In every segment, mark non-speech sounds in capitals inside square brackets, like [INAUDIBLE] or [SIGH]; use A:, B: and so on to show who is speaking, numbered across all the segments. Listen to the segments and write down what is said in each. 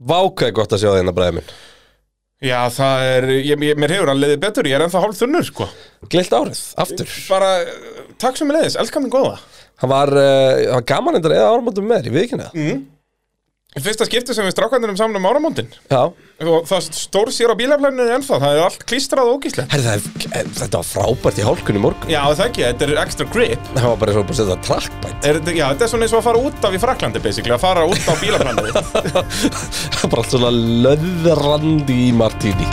A: Vákvæði gott að sjá þérna bræði minn
B: Já, það er, ég, ég, mér hefur hann leiðið betur, ég er ennþá hálf þunnur, sko.
A: Glilt árið, aftur
B: Bara, eh, takk sem leiðis, elskar minn góða.
A: Hann var, uh, hann var gaman endur eða áramótum með þér, ég við ekki neða
B: Mm. Í Fyrsta skipti sem við strákandirum saman um áramóndin.
A: Já,
B: Og það stór sér á bílaflæninu ennþá, það er allt klístrað og ógíslegt.
A: herri það er, eh, þetta var frábært í hálkunni morgun
B: Já, það ekki, þetta er extra grip.
A: Það var bara svo bara að setja trackbætt
B: Er, þetta- já, þetta er svona eins og að fara út af í Fraklandi, basically, að fara út á bílaflæninu.
A: [LAUGHS] Það var bara allt svona löðrandi í Martíni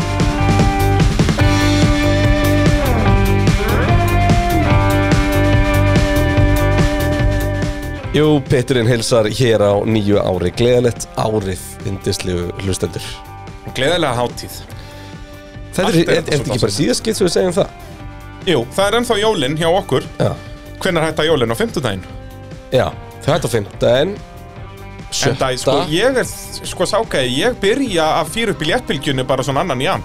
A: Jú, Peturinn hilsar hér á nýju ári Gleðalett árið indislegu hlustendur
B: [LAUGHS] Gleðilega hátíð.
A: Þetta er,
B: Allt er
A: er, er þetta
B: þetta svo
A: ekki bara
B: dásamlegt.
A: síðaskitt sem við segjum það?
B: Jú, það er ennþá jólin hjá okkur.
A: Já,
B: Hvenær hætta jólin? Á fimmtudaginn?
A: já þau hættu á fimmtudaginn
B: En það, sko,
A: Sjötta
B: ég er, sko, sákaði, ég byrja að fyrir upp í léttbylgjunni bara svona annan í ann.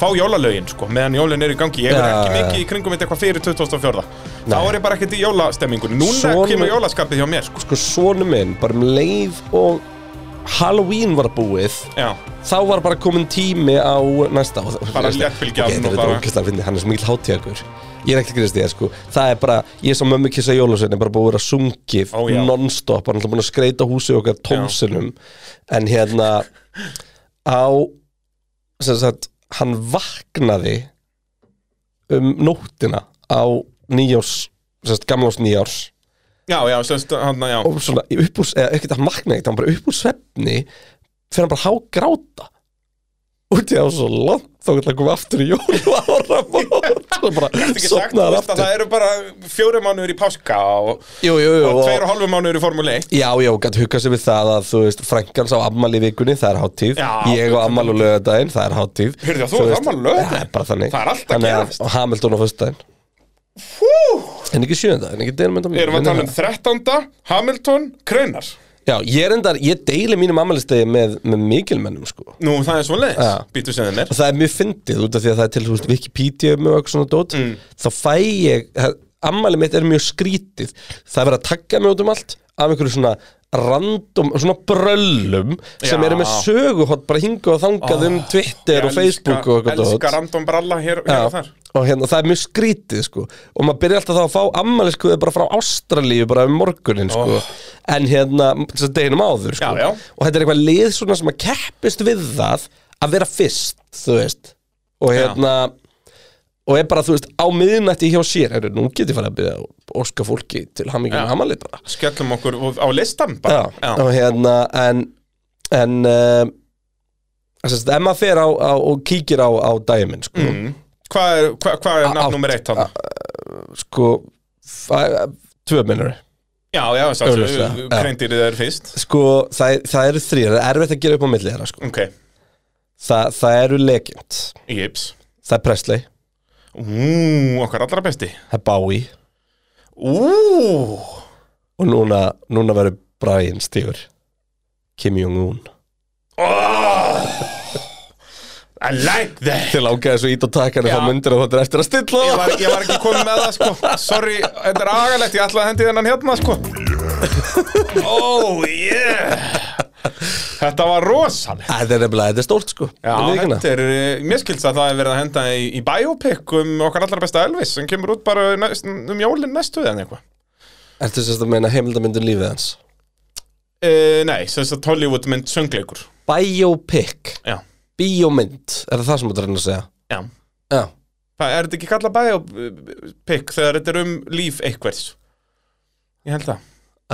B: Fá jólalögin, sko, meðan jólin er í gangi. Ég er
A: Já,
B: ekki
A: já,
B: mikið
A: já.
B: í kringum þetta eitthvað fyrir 2004. Þá
A: Nei.
B: er ég bara ekkert í jólastemmingunni. Núna
A: Svona-
B: kemur jólaskapið hjá mér, sko.
A: Sko sonu minn, bara um leið og Halloween var búið
B: Já,
A: þá var bara komin tími á næsta ár. Þú
B: Bara
A: veist,
B: léttbylgjan
A: ok, þetta
B: og
A: er
B: bara-
A: ógeðslega fyndið, hann er svo mikil hátíðakur ég er ekkert grist þér sko það er bara, ég sem mömmu kissa jólasveinu bara búið að vera sungið
B: Ó, já.
A: non-stop hann er alltaf búin að skreita húsið okkar tómsunum en hérna á sem sagt, hann vaknaði um nóttina á nýjárs sem sagt, gamlárs nýjárs
B: já, já, semst, hann, já.
A: og svona upp úr, eða ekkert hann magna ekkert, hann bara upp úr svefni fyrir hann bara hágráta út í það var svo langt þá getur hann komið aftur í jól og ára og bara
B: Þetta er ekki sagt, [LAUGHS] þú
A: sopnaði hann
B: veist að það
A: aftur
B: eru bara fjóri mánuður í páska og,
A: jú, jú, jú,
B: og tveir
A: og,
B: og hálfu mánuður í Formule 1.
A: já, já, gæti hugað sér við það að þú veist, frænkans á ammali í vikunni, það er hátíð
B: Já.
A: ég á ammali og lögadaginn, það er hátíð
B: Heyrðu, þú átt afmæli á laugardaginn?
A: það er bara þannig
B: Það er allt að
A: Þannig
B: gerast.
A: og Hamilton á föstudaginn en ekki sjönda, en ekki deilum
B: Við erum að tala um 13. Hamilton, Kreinar.
A: já, ég er endar, ég deili mínum ammælistegi með, með mikilmennum sko
B: Nú, það er svo leiðis,
A: Já.
B: býtu sem þeim er.
A: og það er mjög fyndið út af því að það er til þú veist, Wikipedia um og eitthvað svona dót
B: Mm.
A: þá fæ ég, það- ammæli mitt er mjög skrítið það er verið að taka mig út um allt af einhverju svona random, svona bröllum sem
B: Já.
A: eru með söguhot bara hinga og þangað um Twitter og Facebook og eitthvað dót.
B: Elskar random bralla hér, hér og
A: Já,
B: þar
A: og hérna, það er mjög skrítið sko og maður byrja alltaf þá að fá ammæliskuðu bara frá Ástralíu bara um morgunin sko
B: Oh.
A: en hérna, þess að deginum áður sko
B: Já, já.
A: og þetta er eitthvað lið svona sem að keppist við það að vera fyrst, þú veist og hérna og er bara, þú veist, á miðnætti hjá sér hérna, nú get ég farið að byrja og óska fólki til hamingjum
B: Já.
A: ja. ammæli bara
B: Skellum okkur á listan bara
A: já, og hérna, en en uh, þess að ef maður fer á, á og kíkir á, á dæmin sko
B: Hvað er, hva, hva er
A: Á-
B: nafn nummer eitt hann?
A: sko fa- tvö minnur
B: Já, já,
A: Augljóslega,
B: sáttu,
A: já.
B: kreindýrið er fyrst
A: sko það, það eru þrýr, það er erfitt að gera upp á milli þeirra sko.
B: Ok,
A: Þa, það eru Legend,
B: Jips
A: það er Presley
B: Ú, okkar allra besti
A: það er Bowie
B: Ú,
A: og núna, núna verður Brian Stífur Kim Jong-un
B: I like that
A: til ágæði svo ít og taka hann
B: Já.
A: þá myndir að þetta er eftir að stilla
B: Ég
A: það.
B: var, ég var ekki komið með það sko Sorry, þetta er agalegt, ég ætla að hendi þennan hérna sko Oh yeah Þetta var rosaleg
A: þetta er nefnilega, þetta er stórt sko
B: Já,
A: Ég viðurkenna.
B: þetta er, eh, mér skilst að það er verið að henda í, í biopic um okkar allra besta Elvis sem kemur út bara næst, um jólinn næstu eða eitthvað.
A: ertu sérst að meina heimildamyndin lífið hans
B: E, nei, sem þess að Hollywood mynd söngleikur.
A: biopic,
B: Já,
A: biomynd er það það sem þú reyna að segja
B: já.
A: já,
B: Það er þetta ekki kallað biopic þegar þetta er um líf einhvers. Ég held það.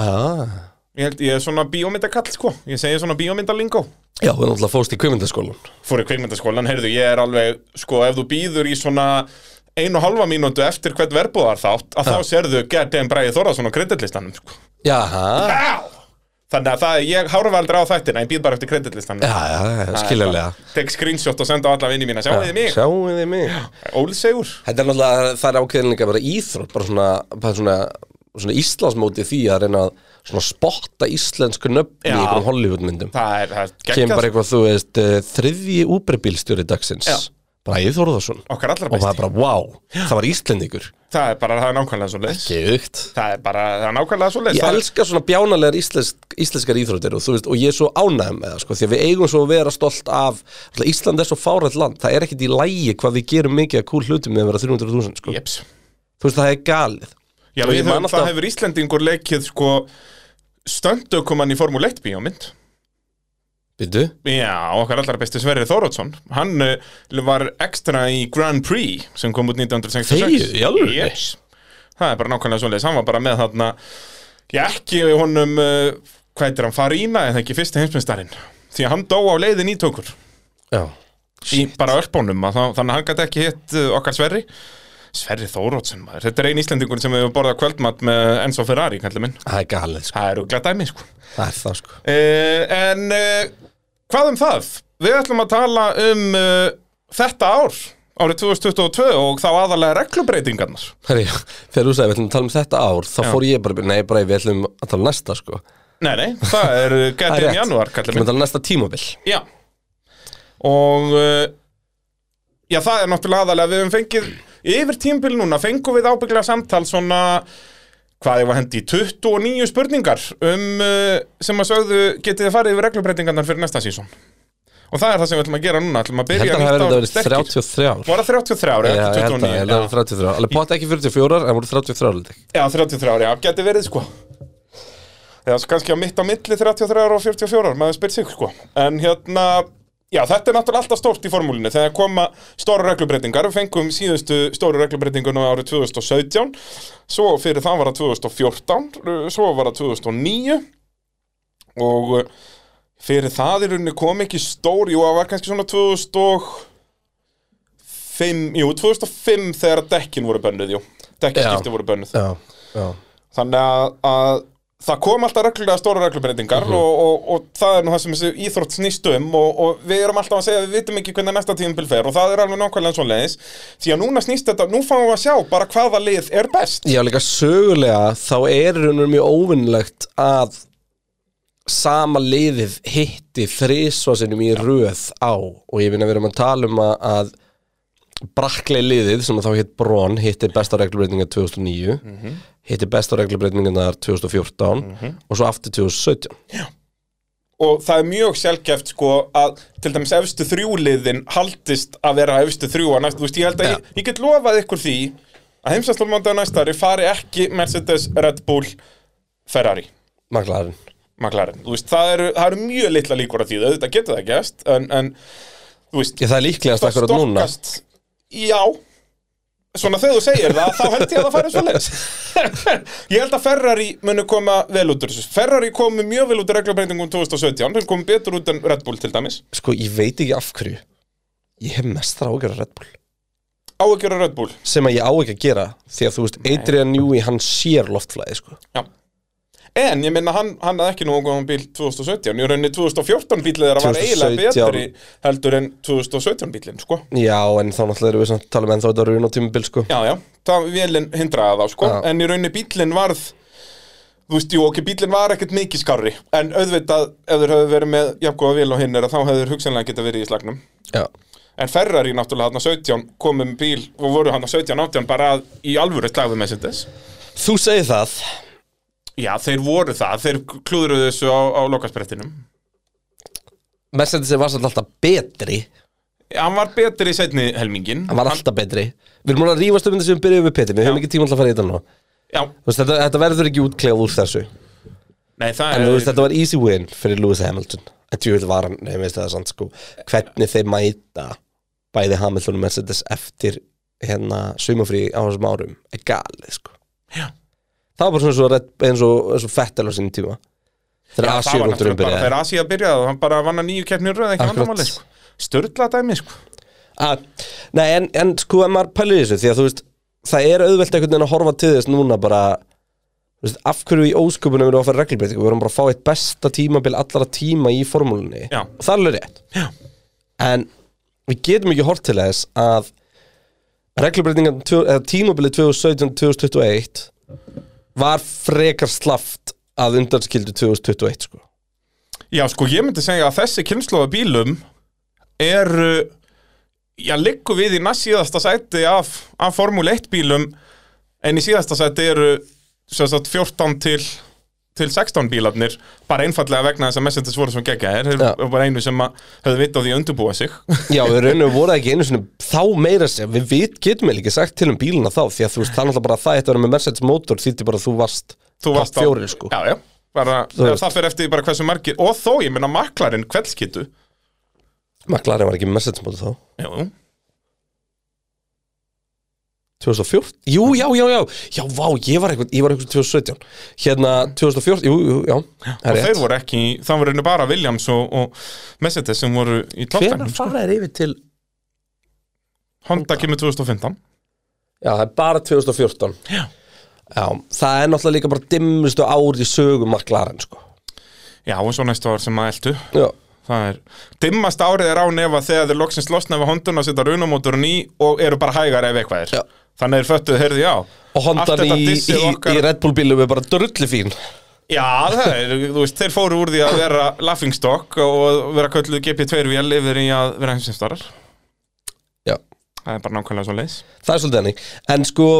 A: ah.
B: Ég, held, ég er svona bíómyndakall, sko. Ég segi svona bíómyndalingó.
A: já, við erum alltaf fóst í kvimundaskólan
B: Fór í kvikmyndaskólan, heyrðu, ég er alveg, sko, ef þú býður í svona einu og halva mínútu eftir hvert verbúðar þátt, að þá sérðu Gerdin Bræði Þóraðsson á kreditlistanum, sko.
A: jaha
B: Já! Þannig að það, ég hárfa aldrei á þættina, ég býð bara eftir kreditlistan
A: Já, já, já, skiljanlega
B: Tek screenshot og senda á alla vini mína, sjáu þið mig
A: Sjáu þið mig
B: Ólsegur
A: Þetta er náttúrulega, það er ákveðin líka bara íþrótt bara svona, bara svona, svona Íslandsmóti í því að reyna að svona spotta íslensku nöfni í
B: Já.
A: einhverjum Hollywoodmyndum
B: Það er, það er
A: Kemur bara
B: geggjað sko.
A: eitthvað, þú veist, eh, þriðji úberbílstjóri dagsins
B: Já.
A: Bræði Þórðarsson
B: okkar allra
A: og maður
B: besti
A: bara, wow, það var Íslendingur
B: það er bara, það er nákvæmlega svo leys
A: Geugt
B: það er bara, það er nákvæmlega svo leys
A: Ég elska svona bjánalegar íslensk, íslenskar íþróttir og, þú veist, og ég er svo ánægð með það sko, því að við eigum svo að vera stolt af alltaf, Ísland er svo fárætt land, það er ekkit í lægi hvað við gerum mikið að kúl hlutum með að vera 300.000 sko.
B: jeps
A: þú veist það er galið
B: Já,
A: Og ég
B: við
A: man
B: höfum,
A: alltaf-
B: það hefur Íslendingur leikið sko stöndukumann í Formule 1 bíómynd
A: Bindu?
B: Já, okkar allra besti Sverri Þórótsson Hann uh, var ekstra í Grand Prix sem kom út 1966
A: Þegiðu, í alvöru?
B: yes. Það er bara nákvæmlega svoleiðis Hann var bara með þarna Já, ekki honum uh, hvað heitir hann, Farina en ekki fyrsti heimsmyndstarinn því að hann dó á leiðin í tókur
A: Já
B: í bara örpónum að þá, þannig að hann gæti ekki hitt uh, okkar Sverri Sverri Þórótsson maður, þetta er ein Íslendingur sem hefur borðað kvöldmatt með Enzo Ferrari, kallar minn
A: Það er galið sko,
B: Það eru glædæmi, sko
A: það er það sko
B: uh, En uh, hvað um það? Við ætlum að tala um uh, þetta ár, árið 2022 og þá aðalega reglubreitingarnar
A: Herri, Þegar þú sagði við ætlum að tala um þetta ár þá
B: Já.
A: fór ég bara, nei bara við ætlum að tala um næsta sko
B: Nei, nei, það
A: [LAUGHS]
B: er
A: Það
B: gætið
A: er
B: í
A: rétt.
B: janúar,
A: Ætlum að
B: kallar mig
A: tala um næsta tímabil
B: Já Og uh, Já, það er náttúrulega aðalega Við höfum fengið yfir tímbil núna Fengum við ábygglega samtal svona Hvað ég var hendi í 29 spurningar Um uh, sem að sögðu Getið þið farið yfir reglubreitingarnar fyrir næsta sísón Og það er það sem við ætlum að gera núna Ætlum að
A: Ég held
B: byrja
A: að það
B: nýtt
A: hafi
B: ár
A: verið
B: sterkir.
A: 33 ár
B: Var það 33 ári,
A: Já,
B: ekki
A: ég held að
B: 29
A: ég held að það
B: já.
A: var 33 ár Alveg pott ekki 44 en voru 33 ár held ég.
B: já, 33 ári, já, geti verið sko Eða svo kannski á mitt á milli 33 ára og 44 ára, maður spyr sig sko En hérna, já, þetta er náttúrulega alltaf stórt í formúlinu Þegar koma stóru reglubreitingar, við fengum síðustu stóru reglubreitinguna árið 2017 Svo fyrir það var það 2014, svo var það 2009 Og uh, fyrir það í rauninni kom ekki stór, jú, það var kannski svona 2000 og 2005, jú, 2005 þegar dekkin voru bönnuð, jú Dekkinskipti
A: Já.
B: voru bönnuð
A: Já, já
B: Þannig að, að það kom alltaf reglulega stóra reglubreitingar og, og, og það er nú það sem þessi íþrótt snýst um og, og við erum alltaf að segja að við vitum ekki hvernig næsta tíðumbil fer og það er alveg nákvæmlega svoleiðis því að núna snýst þetta, nú fáum við að sjá bara hvaða lið er best
A: Já, líka sögulega þá er raunum mjög óvinnlegt að sama liðið hitti þrísvarsinum í röð á og ég finn að við erum að tala um að, að braklei liðið sem þá hitt Brón hitti besta reglubreitingar 2009 hitti besta reglubreitingar 2014 og svo aftur 2017
B: og það er mjög sjálfgeft sko að til dæmis efstu þrjúliðin haldist að vera efstu þrjú að næsta, þú veist, ég held að
A: Já.
B: ég, ég get lofað ykkur því að heimsastólmándag næsta ári fari ekki Mercedes, Red Bull, Ferrari
A: Maglarinn
B: McLaren, þú veist, það eru, það eru mjög litla líkur að því, auðvitað getur það gæst en, en þú veist,
A: Já, það er líklegast
B: það
A: akkurat núna
B: já svona þegar þú segir það, þá held ég að það fari svo leis [LAUGHS] ég held að Ferrari muni koma vel út úr þessu, Ferrari komi mjög vel út úr reglabreitingum 2017, þeir komi betur út en Red Bull til dæmis,
A: Sko, ég veit ekki af hverju Ég hef mestra ágjör að Red Bull
B: á að gera Red Bull
A: sem að ég á ekki að gera því að þú veist, Adrian Newey, hann sér loftflæði sko.
B: já En ég minna hann, hann hafði ekki nú góðan bíl 2017, í rauninni 2014 bílið þeirra var eiginlega
A: 2017.
B: betri heldur en 2017 bílinn, sko.
A: Já, en þá náttúrulega erum við samt að tala um ennþá þetta runa tímubil sko.
B: Já, já, það vélinn hindraði þá sko
A: Já.
B: En í rauninni bíllinn varð Þú veist, jú, ok, bíllinn var ekkert mikið skarri En auðvitað, ef þeir höfðu verið með Jafnkóða vél og hinn er að þá hefðu þeir hugsanlega geta verið í slagnum
A: Já.
B: En Ferrari náttúrulega hann 17 komum bíl og voru hann 17 18 bara að, í alvöru slagðum með sindes
A: Þú segir það
B: Já, þeir voru það, þeir klúðruðu þessu á, á lokasprettinum
A: Mercedes var samt alltaf betri
B: Hann var betur í setni helmingin
A: hann var alltaf betri Við erum múin að rífast um þetta sem við byrjuðum við Petri við höfum
B: Já.
A: ekki tíma alltaf að fara í þetta nú Þú
B: Já,
A: veist, þetta, þetta verður ekki útklegað úr þessu en
B: nei, það
A: þú
B: er
A: veist, þetta var easy win fyrir Lewis Hamilton en tjóðil var hann, nefnum veist það sant sko hvernig þeir mæta bæði Hamilton og Mercedes eftir hérna sumafrí á þessum árum er galið sko
B: Já.
A: Það var bara svona eins og, Red- eins og, eins og Fettel á sinni tíma
B: Já,
A: Þegar
B: það var
A: Asjörundurum
B: náttúrulega bara
A: byrjaði
B: þegar Asi að byrjaði og hann bara vann að nýju keppnir röð ekki
A: Akkurat.
B: vandamáli, sko. Sturla dæmi, sko
A: að, Nei, en, en sko, ef maður pælir í þessu Því að þú veist, það er auðvelt einhvern veginn að horfa til þess núna bara þú veist, Af hverju í ósköpunum erum við að fara reglbreytingu Við erum bara að fá eitt besta tímabil allra tíma í formúlunni
B: Já.
A: Og það er alveg rétt
B: Já.
A: En við getum ekki hort til þess að reglbreytingan eða tímabilið 2017-2021 var frekar slaft að undanskildu 2021 sko.
B: Já, sko, ég myndi segja að þessi kynnslóða bílum eru já, liggur við í næst síðasta sæti af, af Formule 1 bílum en í síðasta sæti eru sem sagt, 14 til, til 16 bílarnir bara einfallega vegna þess að messendis voru sem gegga er,
A: Já.
B: er bara einu sem að höfðu vit á því að undurbúa sig [LAUGHS]
A: Já, við raunum voru það ekki einu svona þá meira sem við vit, getum eiginlega ekki sagt til um bíluna þá því að þú veist, það er náttúrulega bara það þetta var með Mercedes motor þýtti bara að þú varst
B: Þú
A: topp
B: varst á-
A: fjórir, sko.
B: já, já, bara,
A: Þú veist.
B: það fyrir eftir því bara hversu margir og þó, ég meina maklarinn kveldskittu
A: McLaren var ekki með Mercedes motor þá
B: Jú,
A: 2014? Jú, já, já, já Já, vá, ég var eitthvað, ég var eitthvað 2017 Hérna, 2014, jú, jú, já Það
B: og
A: er
B: þeir
A: rétt
B: voru ekki, það voru bara Williams og, og Mercedes sem voru í toppennum,
A: Hvenær fara þeir yfir til
B: Honda kemur 2015
A: Já, það er bara 2014
B: Já.
A: Já, það er náttúrulega líka bara dimmustu ár í sögum McLaren, sko
B: Já, og svo næsta ár sem að eldu
A: Já,
B: Það er, dimmast árið er á nefa þegar þeir loksins losna við Honduna og setja runamótorun í og eru bara hægar ef eitthvað er
A: Já.
B: Þannig þeir föttuðu, heyrðu, já
A: og
B: Allt
A: hondan
B: þetta
A: í, í,
B: dissið okkar-
A: í Red Bull bílum er bara drulli fín
B: Já, það er, þú veist, þeir fóru úr því að vera laughingstock og vera kölluð GP2-vél yfir í að vera heimsinstarar
A: Já,
B: Það er bara nákvæmlega svo leis
A: það er svolítið henni En sko,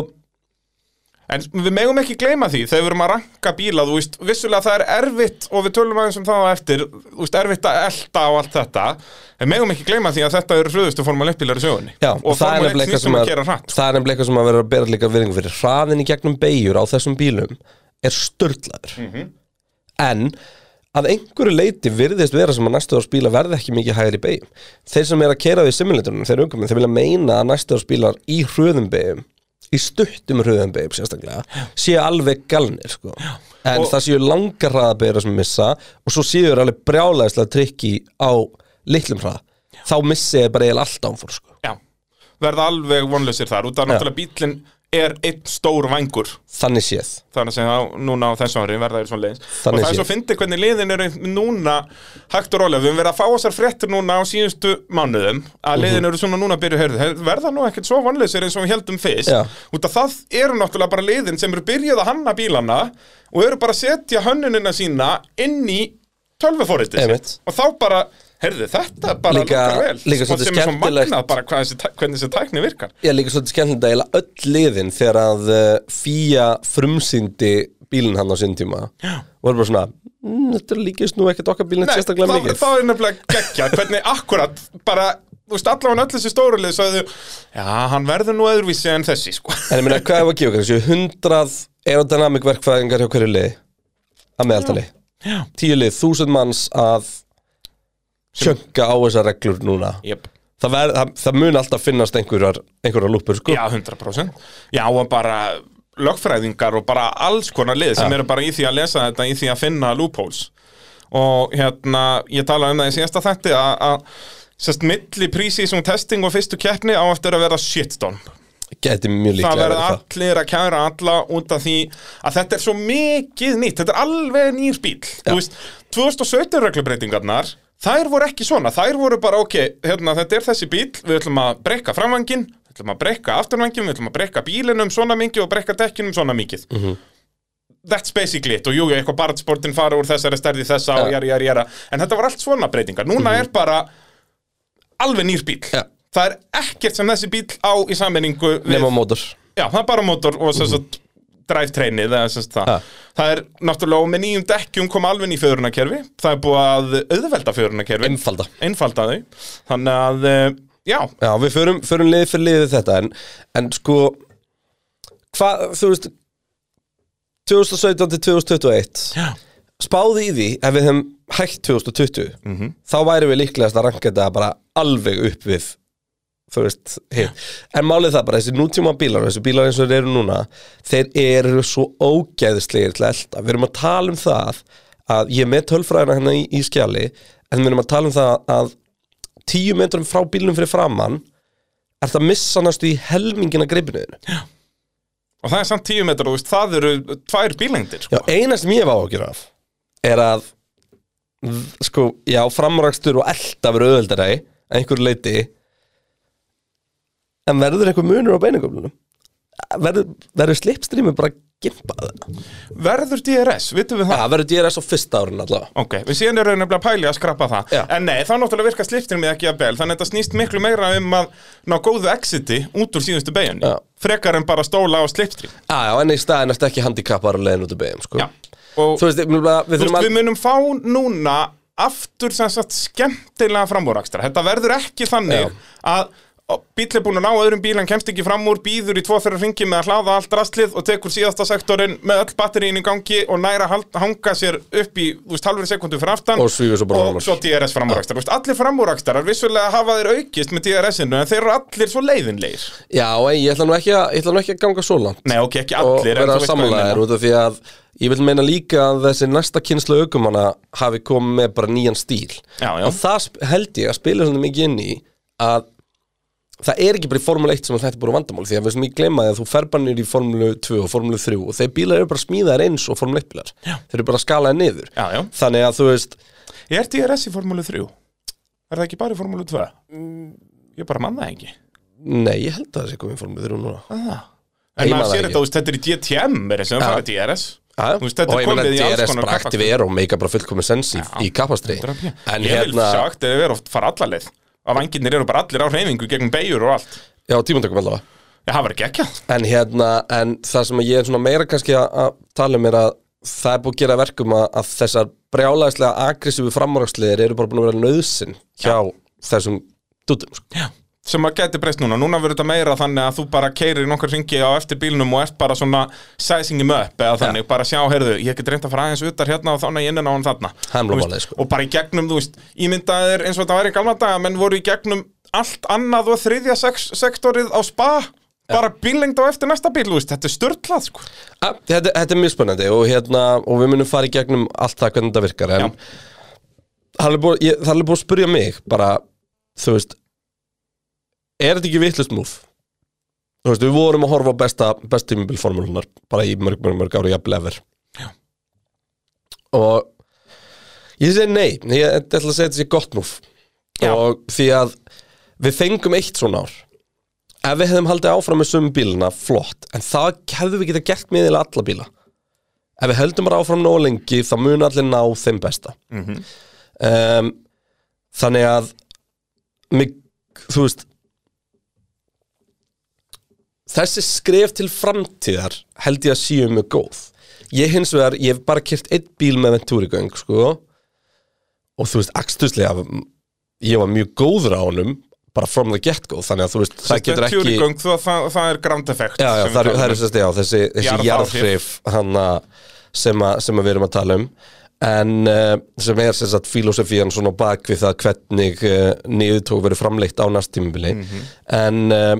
B: En við megum ekki gleyma því þegar við erum að ranka bíla, þú veist, vissulega það er erfitt og við tölum aðeins um það á eftir, þú veist, erfitt að elda og allt þetta, en megum ekki gleyma því að þetta eru hröðustu formule 1 bílar í sögunni.
A: já
B: og
A: það er
B: formule 1
A: nefnilega eitthvað
B: snýstum
A: sem
B: að
A: að-
B: gera hratt.
A: Það er nefnilega eitthvað sem að vera að bera líka virðingu fyrir Hraðin í gegnum beigjur á þessum bílum er störtlaður
B: Mhm.
A: En að einhverju leiti virðist vera sem að næstu árs bílar verði ekki mikið hægir í beigjum Þeir sem er að keira því simulitorunum, þeir umkomið, þeir vilja meina að næstu árs bílar í hröðum beigjum í stuttum hröðum beigjum sérstaklega séu alveg galnir sko. en
B: Og-
A: það séu langar hraðabeigjur sem missa og svo séu þeir alveg brjálæðislega trikki á litlum hraða þá missi þeir bara eiginlega allt ánfór sko.
B: Já, verða alveg vonlausir þar, út af náttúrulega bílinn er einn stór vangur,
A: þannig séð
B: þannig að segja, núna á þessu ári verða þeir svona leis.
A: Þannig
B: og það
A: séð.
B: er svo fyndið hvernig liðin eru núna hægt og rólega, við höfum verið að fá þessar fréttir núna á síðustu mánuðum að
A: Mhm.
B: liðin eru svona núna að byrja að hörðu, verða nú ekkert svo vonlausir eins og við heldum fyrst
A: Já.
B: út af það eru náttúrulega bara liðin sem eru byrjuð að hanna bílana og eru bara að setja hönnunina sína inn í tölvuforritið
A: Einmitt.
B: sitt. og þá bara, heyrðu, þetta er bara
A: Líka-
B: lukkar vel,
A: líka
B: Og
A: svolítið
B: sem er svo
A: skemmtilegt.
B: magnað bara hvað þessi, tæ- hvernig þessi tækni virkar
A: Ég er líka svolítið skemmtilegt að eiginlega öll liðin þegar að eh, FIA frumsýndi bílinn hann á sinn tíma Já. og er bara svona, "Mm, þetta líkist nú ekkert okkar bílinn sérstaklega
B: þá,
A: mikið
B: þá er nefnilega geggja hvernig akkurat bara, þú veist, allavega öll þessi stórulið sagði, já, hann verður nú öðruvísi en þessi, sko
A: En ég meina, hvað er að gefa okkur? Séu hundrað aerodynamic verkfræðingar hjá hverju liði að meðaltali
B: Já.
A: Tíu lið, þúsund manns að sjönga á þessar reglur núna
B: yep.
A: Það, ver, það, það mun alltaf finnast einhverjar, einhverjar lúpur sko
B: Já, 100% Já, og bara lögfræðingar og bara alls konar lið sem eru bara í því að lesa þetta, í því að finna loopholes og hérna, ég talaði um það í síðasta þætti að- að sérst milli prísísum testing og fyrstu keppni á eftir að verða shitstorm
A: Gæti mjög
B: það
A: líklega
B: verða
A: verið
B: allir að kæra alla út af því að þetta er svo mikið nýtt þetta er alveg nýr bíl Þú veist, 2017 reglubreitingarnar þær voru ekki svona, þær voru bara ok hérna, þetta er þessi bíl, við ætlum að breyka framvangin, við ætlum að breyka afturvangin við ætlum að breyka bílinum svona mikið og breyka dekkinum svona mikið
A: Mhm.
B: that's basically it og jú, jú, eitthvað barnsportin fara úr þessari stærði þessa
A: Já.
B: og
A: Mhm.
B: jæri, jæri, jæra en þetta var allt svona breytingar, núna er bara alveg nýr bíl
A: Já.
B: það er ekkert sem þessi bíl á í sammenningu
A: það Nefna mótor
B: Já, það er bara mótor og sem sagt drivetrainið, eða sem sagt það
A: Mhm. Ha.
B: Það er náttúrulega, og með nýjum dekkjum kom alveg ný fjörunarkerfi, það er búið að auðvelda fjörunarkerfi,
A: Einfalda
B: einfalda þau Þannig að, eh, já,
A: Já, við förum, förum liðið fyrir liðið þetta en, en sko hvað, þú veist 2017 til 2021
B: Já.
A: spáði í því ef við hefum hægt 2020 -hmm. þá væri við líklegast að ranka þetta bara alveg upp við þú veist, hitt en málið það bara, þessi nútíma bílar og þessi bílar eins og þeir eru núna þeir eru svo ógæðislegir til að elta við erum að tala um það að ég er með tölfræðina hérna í, í skjali en við erum að tala um það að tíu metrum frá bílnum fyrir framann er það missa næstu í helmingina greipinuðinu
B: og það er samt 10 metrar, þú veist, það eru tvær bílengdir,
A: Já,
B: sko
A: eina sem ég hef áhugjur af er að v- sko, já, framrakstur og elda verið auðveldari að einhverju leiti en verður einhver munur á beinagöflunum verður, verður slipstreami bara gimpað
B: Verður DRS, vitum við það?
A: Já, verður DRS á fyrsta árin allavega
B: Ok, við síðan eru nefnilega að pæli að skrappa það
A: Já.
B: En nei, þá náttúrulega virka sliptirinn með ekki að bel Þannig að þetta snýst miklu meira um að ná góðu exiti út úr síðustu beginni
A: Já.
B: Frekar en bara stóla á sliptirinn
A: Já, já, en í staðin ertu ekki handikappar á leiðin út af beigum, sko
B: Já Og
A: Þú veist, ég meina, við
B: Þú
A: þurfum
B: veist,
A: að
B: við munum fá núna aftur sem sagt skemmtilega framúrakstra. Þetta verður ekki þannig að ó, bíll er búin að ná öðrum bíl, hann kemst ekki fram úr, býður í tvo þeirra ringi með að hlaða allt rastlið og tekur síðasta sektorinn með öll batterín í gangi og næra hald, hanga sér upp í þú veist, halvri sekundu fyrir aftan
A: Og svífur svo bara fram úr.
B: svo DRS framúrakstar. Ja. Allir framúrakstarar vissulega hafa þeir aukist með DRS-inu en þeir eru allir svo leiðinleir.
A: Já, en ég ætla nú ekki að, ég ætla nú ekki að ganga svo langt
B: Nei, ok, ekki
A: og
B: allir. en
A: vera
B: þú veist hvað ég meina.
A: samlæðir út af því að ég vil meina líka að þessi næsta kynslu aukumanna hafi komið með bara nýjan stíl
B: Já, já.
A: og það sp- held ég að spila svona mikið inn í að það er ekki bara í Formule 1 sem að þetta er búin vandamál því að við sem ég glemma því að þú fer bara niður í Formule 2 og Formule 3 og þeir bílar eru bara smíðaðir eins og Formule 1 bílar já. þeir eru bara skalaðir niður
B: Já, já.
A: þannig að þú veist
B: Er DRS í formúlu 3? Er það ekki bara í formúlu 2?
A: Mm.
B: Ég bara mann það ekki
A: nei, ég held að það sé komið í Formule 3 núna
B: ah.
A: Ég
B: En
A: man
B: maður
A: það ekki.
B: sér þetta, þú veist, þetta er í DTM er þess að það er DRS
A: Já, já.
B: Þú veist, þetta
A: og
B: er
A: ég meina
B: komið í alls
A: DRS
B: konar
A: bara
B: kappakstri.
A: aktivera og meika bara fullkomið sens í, í kappastri
B: En Ég vil
A: hérna-
B: sagt, ef við erum oft fara allarleið að vangirnir eru bara allir á hreyfingu gegn beigur og allt
A: já, tímandakum allavega
B: Já, það var ekki ekki
A: En hérna, en það sem ég er svona meira kannski að- að tala um er að það er búið að gera verkum að, að þessar brjálæðislega agressífu framúraksliðir eru bara búin að vera nöðsin hjá þessum dútum, sko.
B: sem að geti breyst núna, núna verður þetta meira þannig að þú bara keirir nokkar ringi á eftir bílnum og ert bara svona sizing him up eða þannig, bara sjá, heyrðu, ég get reynd að fara aðeins utar hérna og þannig innan á hann þarna
A: Það er nú
B: Þú veist,
A: málið, sko.
B: og bara í gegnum, þú veist, ímyndaðir eins og þetta væri í galma daga, menn voru í gegnum allt annað og þriðja sex, sektorið á spa, bara bílengd á eftir næsta bíl, þú veist, þetta er störtlað sko.
A: Ja, Ah, Þetta, þetta er mjög spennandi og, hérna, og við munum fara í gegnum allt það hvernig þetta virkar en
B: Já.
A: það er alveg búið- ég- það er alveg búið að spyrja mig bara, þú veist er þetta ekki vitlust múf? Þú veist, við vorum að horfa á besta, besta tímabilformulunar bara í mörg, mörg, mörg ára jafnvel efer og ég segi nei, ég, ég ætla að segja þetta sé gott múf
B: Já.
A: og því að við fengum eitt svona ár ef við hefðum haldið áfram með sömu bíluna, flott en það hefðum við getað gert með eiginlega alla bíla ef við höldum bara áfram nóg lengi þá mun allir ná þeim besta um, þannig að mig, þú veist þessi skref til framtíðar held ég að séu mjög góð ég hins vegar, ég hef bara kert eitt bíl með ventúrigöng sko og þú veist, akstuslega ég var mjög góður á honum bara from the get go, þannig að þú veist það getur ekki, já,
B: Tjúrigöng, það, það, það er grand effect
A: já,
B: sem við
A: það eru-
B: talum
A: það
B: um.
A: eru sérst, já, þessi, þessi
B: Jarðáhrif.
A: jarðhrif hana, sem, að, sem að við erum að tala um en uh, sem er sem sagt filosofían svona á bak við það hvernig uh, niðurtók verið framleitt á næst tímubili
B: Mhm.
A: en uh,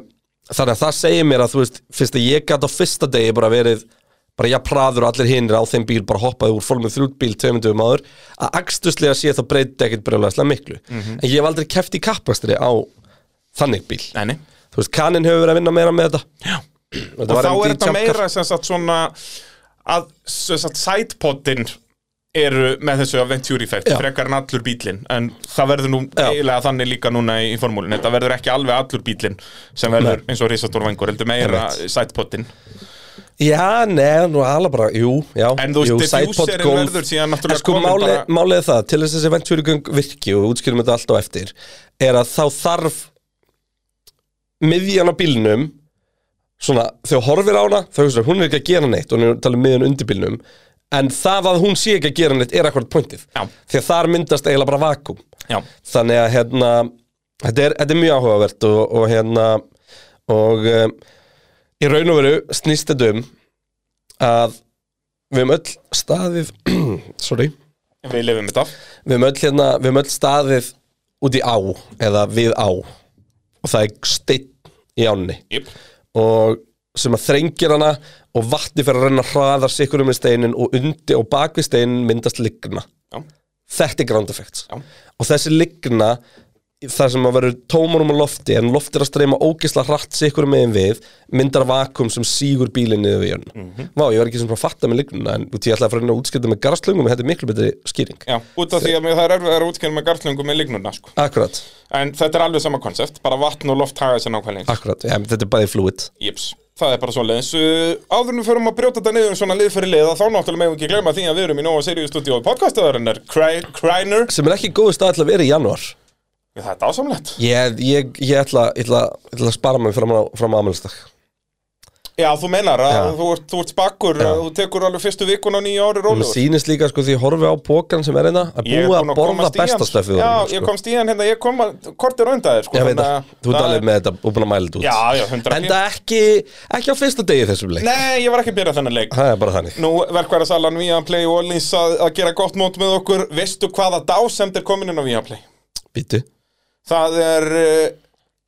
A: þannig að það segir mér að þú veist fyrst að ég gat á fyrsta degi bara verið bara ég praður og allir hinir á þeim bíl bara hoppaði úr formið þrjútbíl tveimundum áður að akstuslega sé þá breyti ekkert brjóðlega miklu
B: Mhm.
A: en ég hef aldrei keft í kappastri á þannig bíl
B: Nei, nei.
A: þú veist kaninn hefur verið að vinna meira með þetta
B: Já.
A: Þetta
B: og
A: var
B: þá
A: MD
B: er þetta
A: Champ Cup.
B: meira sem sagt svona að sem sagt sidepottin eru með þessu Venturi effect
A: Já.
B: frekar en allur bílinn en það verður nú
A: Já.
B: eiginlega þannig líka núna í, í formúlin þetta verður ekki alveg allur bílinn sem verður eins og risatórvengur heldur meira sidepottin
A: Já, neða, nú alveg bara, jú, já
B: En þú veist,
A: jú,
B: diffuserinn
A: sidepod golf.
B: verður síðan náttúrulega
A: En sko,
B: komin
A: máli,
B: bara-
A: málið er það, til þess að þessi ventúrugöng virki og við útskýrum þetta allt á eftir er að þá þarf miðjan á bílnum svona, þau horfir á hana þau hugsa, hún er ekki að gera neitt, hún er að tala um miðjan undir bílnum en það að hún sé ekki að gera neitt er akkurat pointið
B: Já.
A: því að þar myndast eiginlega bara vakum
B: Já,
A: þannig að hérna þetta er, þetta er mjög áhugavert og, og hérna og um, í raun og veru snýst þetta um að við höfum öll staðið [CLEARS THROAT] sorry,
B: við lifum þetta
A: við höfum öll hérna við höfum öll staðið út í á eða við á og það er steinn í ánni
B: yep.
A: og sem að þrengir hana og vatni fyrir að renna hraðar sikur um steinin og undi og bakvið steinin myndast liggna
B: Já.
A: þetta er ground effects
B: Já.
A: og þessi liggna þar sem að verður tómarum á lofti en loftir að streyma ógisla hratt sikur megin við myndar vakum sem sígur bílinn niður við jörn
B: Mhm.
A: Vá, ég var ekki sem að fatta með lignuna en út í ætlaði að fara inn að útskipta með garðslöngum en þetta er miklu betri skýring
B: Já, út af því að mér- það er erfið að útskjörn með gartlöngum með lignuna sko.
A: Akkurat,
B: en þetta er alveg sama konsept, bara vatn og loft haga þessi nákvæmlega eins.
A: akkurat, ja, þetta er bæði fluid
B: Jöps. Það er bara svoleiðis. Uh, Áður en við förum að brjóta þetta niður um svona lið fyrir lið að þá náttúrulega megum við ekki glemma því að við erum í Nóa Sirius Studio podcastaðarinnar Kreiner.
A: sem er ekki góðu stað til að vera í janúar
B: Það er dásamlegt.
A: Ég, ég, ég ætla, ég ætla, ég ætla að spara mig fram á, fram á aðmælstak
B: Já, þú menar að
A: Já.
B: þú ert, þú ert spakkur,
A: Já.
B: að þú tekur alveg fyrstu vikun á nýja ári
A: Mér
B: rólegur.
A: sýnist líka sko því ég horfi á pókan sem er einna að
B: Ég er
A: búa
B: búinn
A: að borða
B: komast í hann.
A: besta stefið
B: Já, ég komst í hann hérna, ég kom að kortir undan þér, sko.
A: Ég veit
B: þannig
A: það, þú ert
B: það-
A: alveg með þetta og búin að mæla þetta út
B: Já, já, hundra.
A: En það ekki, ekki á fyrsta degi í þessum leik
B: Nei, ég var ekki að byrja þennan leik.
A: Það er bara þannig
B: Nú, verkværasalan Viaplay og Olins að, að gera gott mót með okkur. Veistu hvaða dásemd er komin inn á Viaplay?
A: Býtu
B: Það er, eh,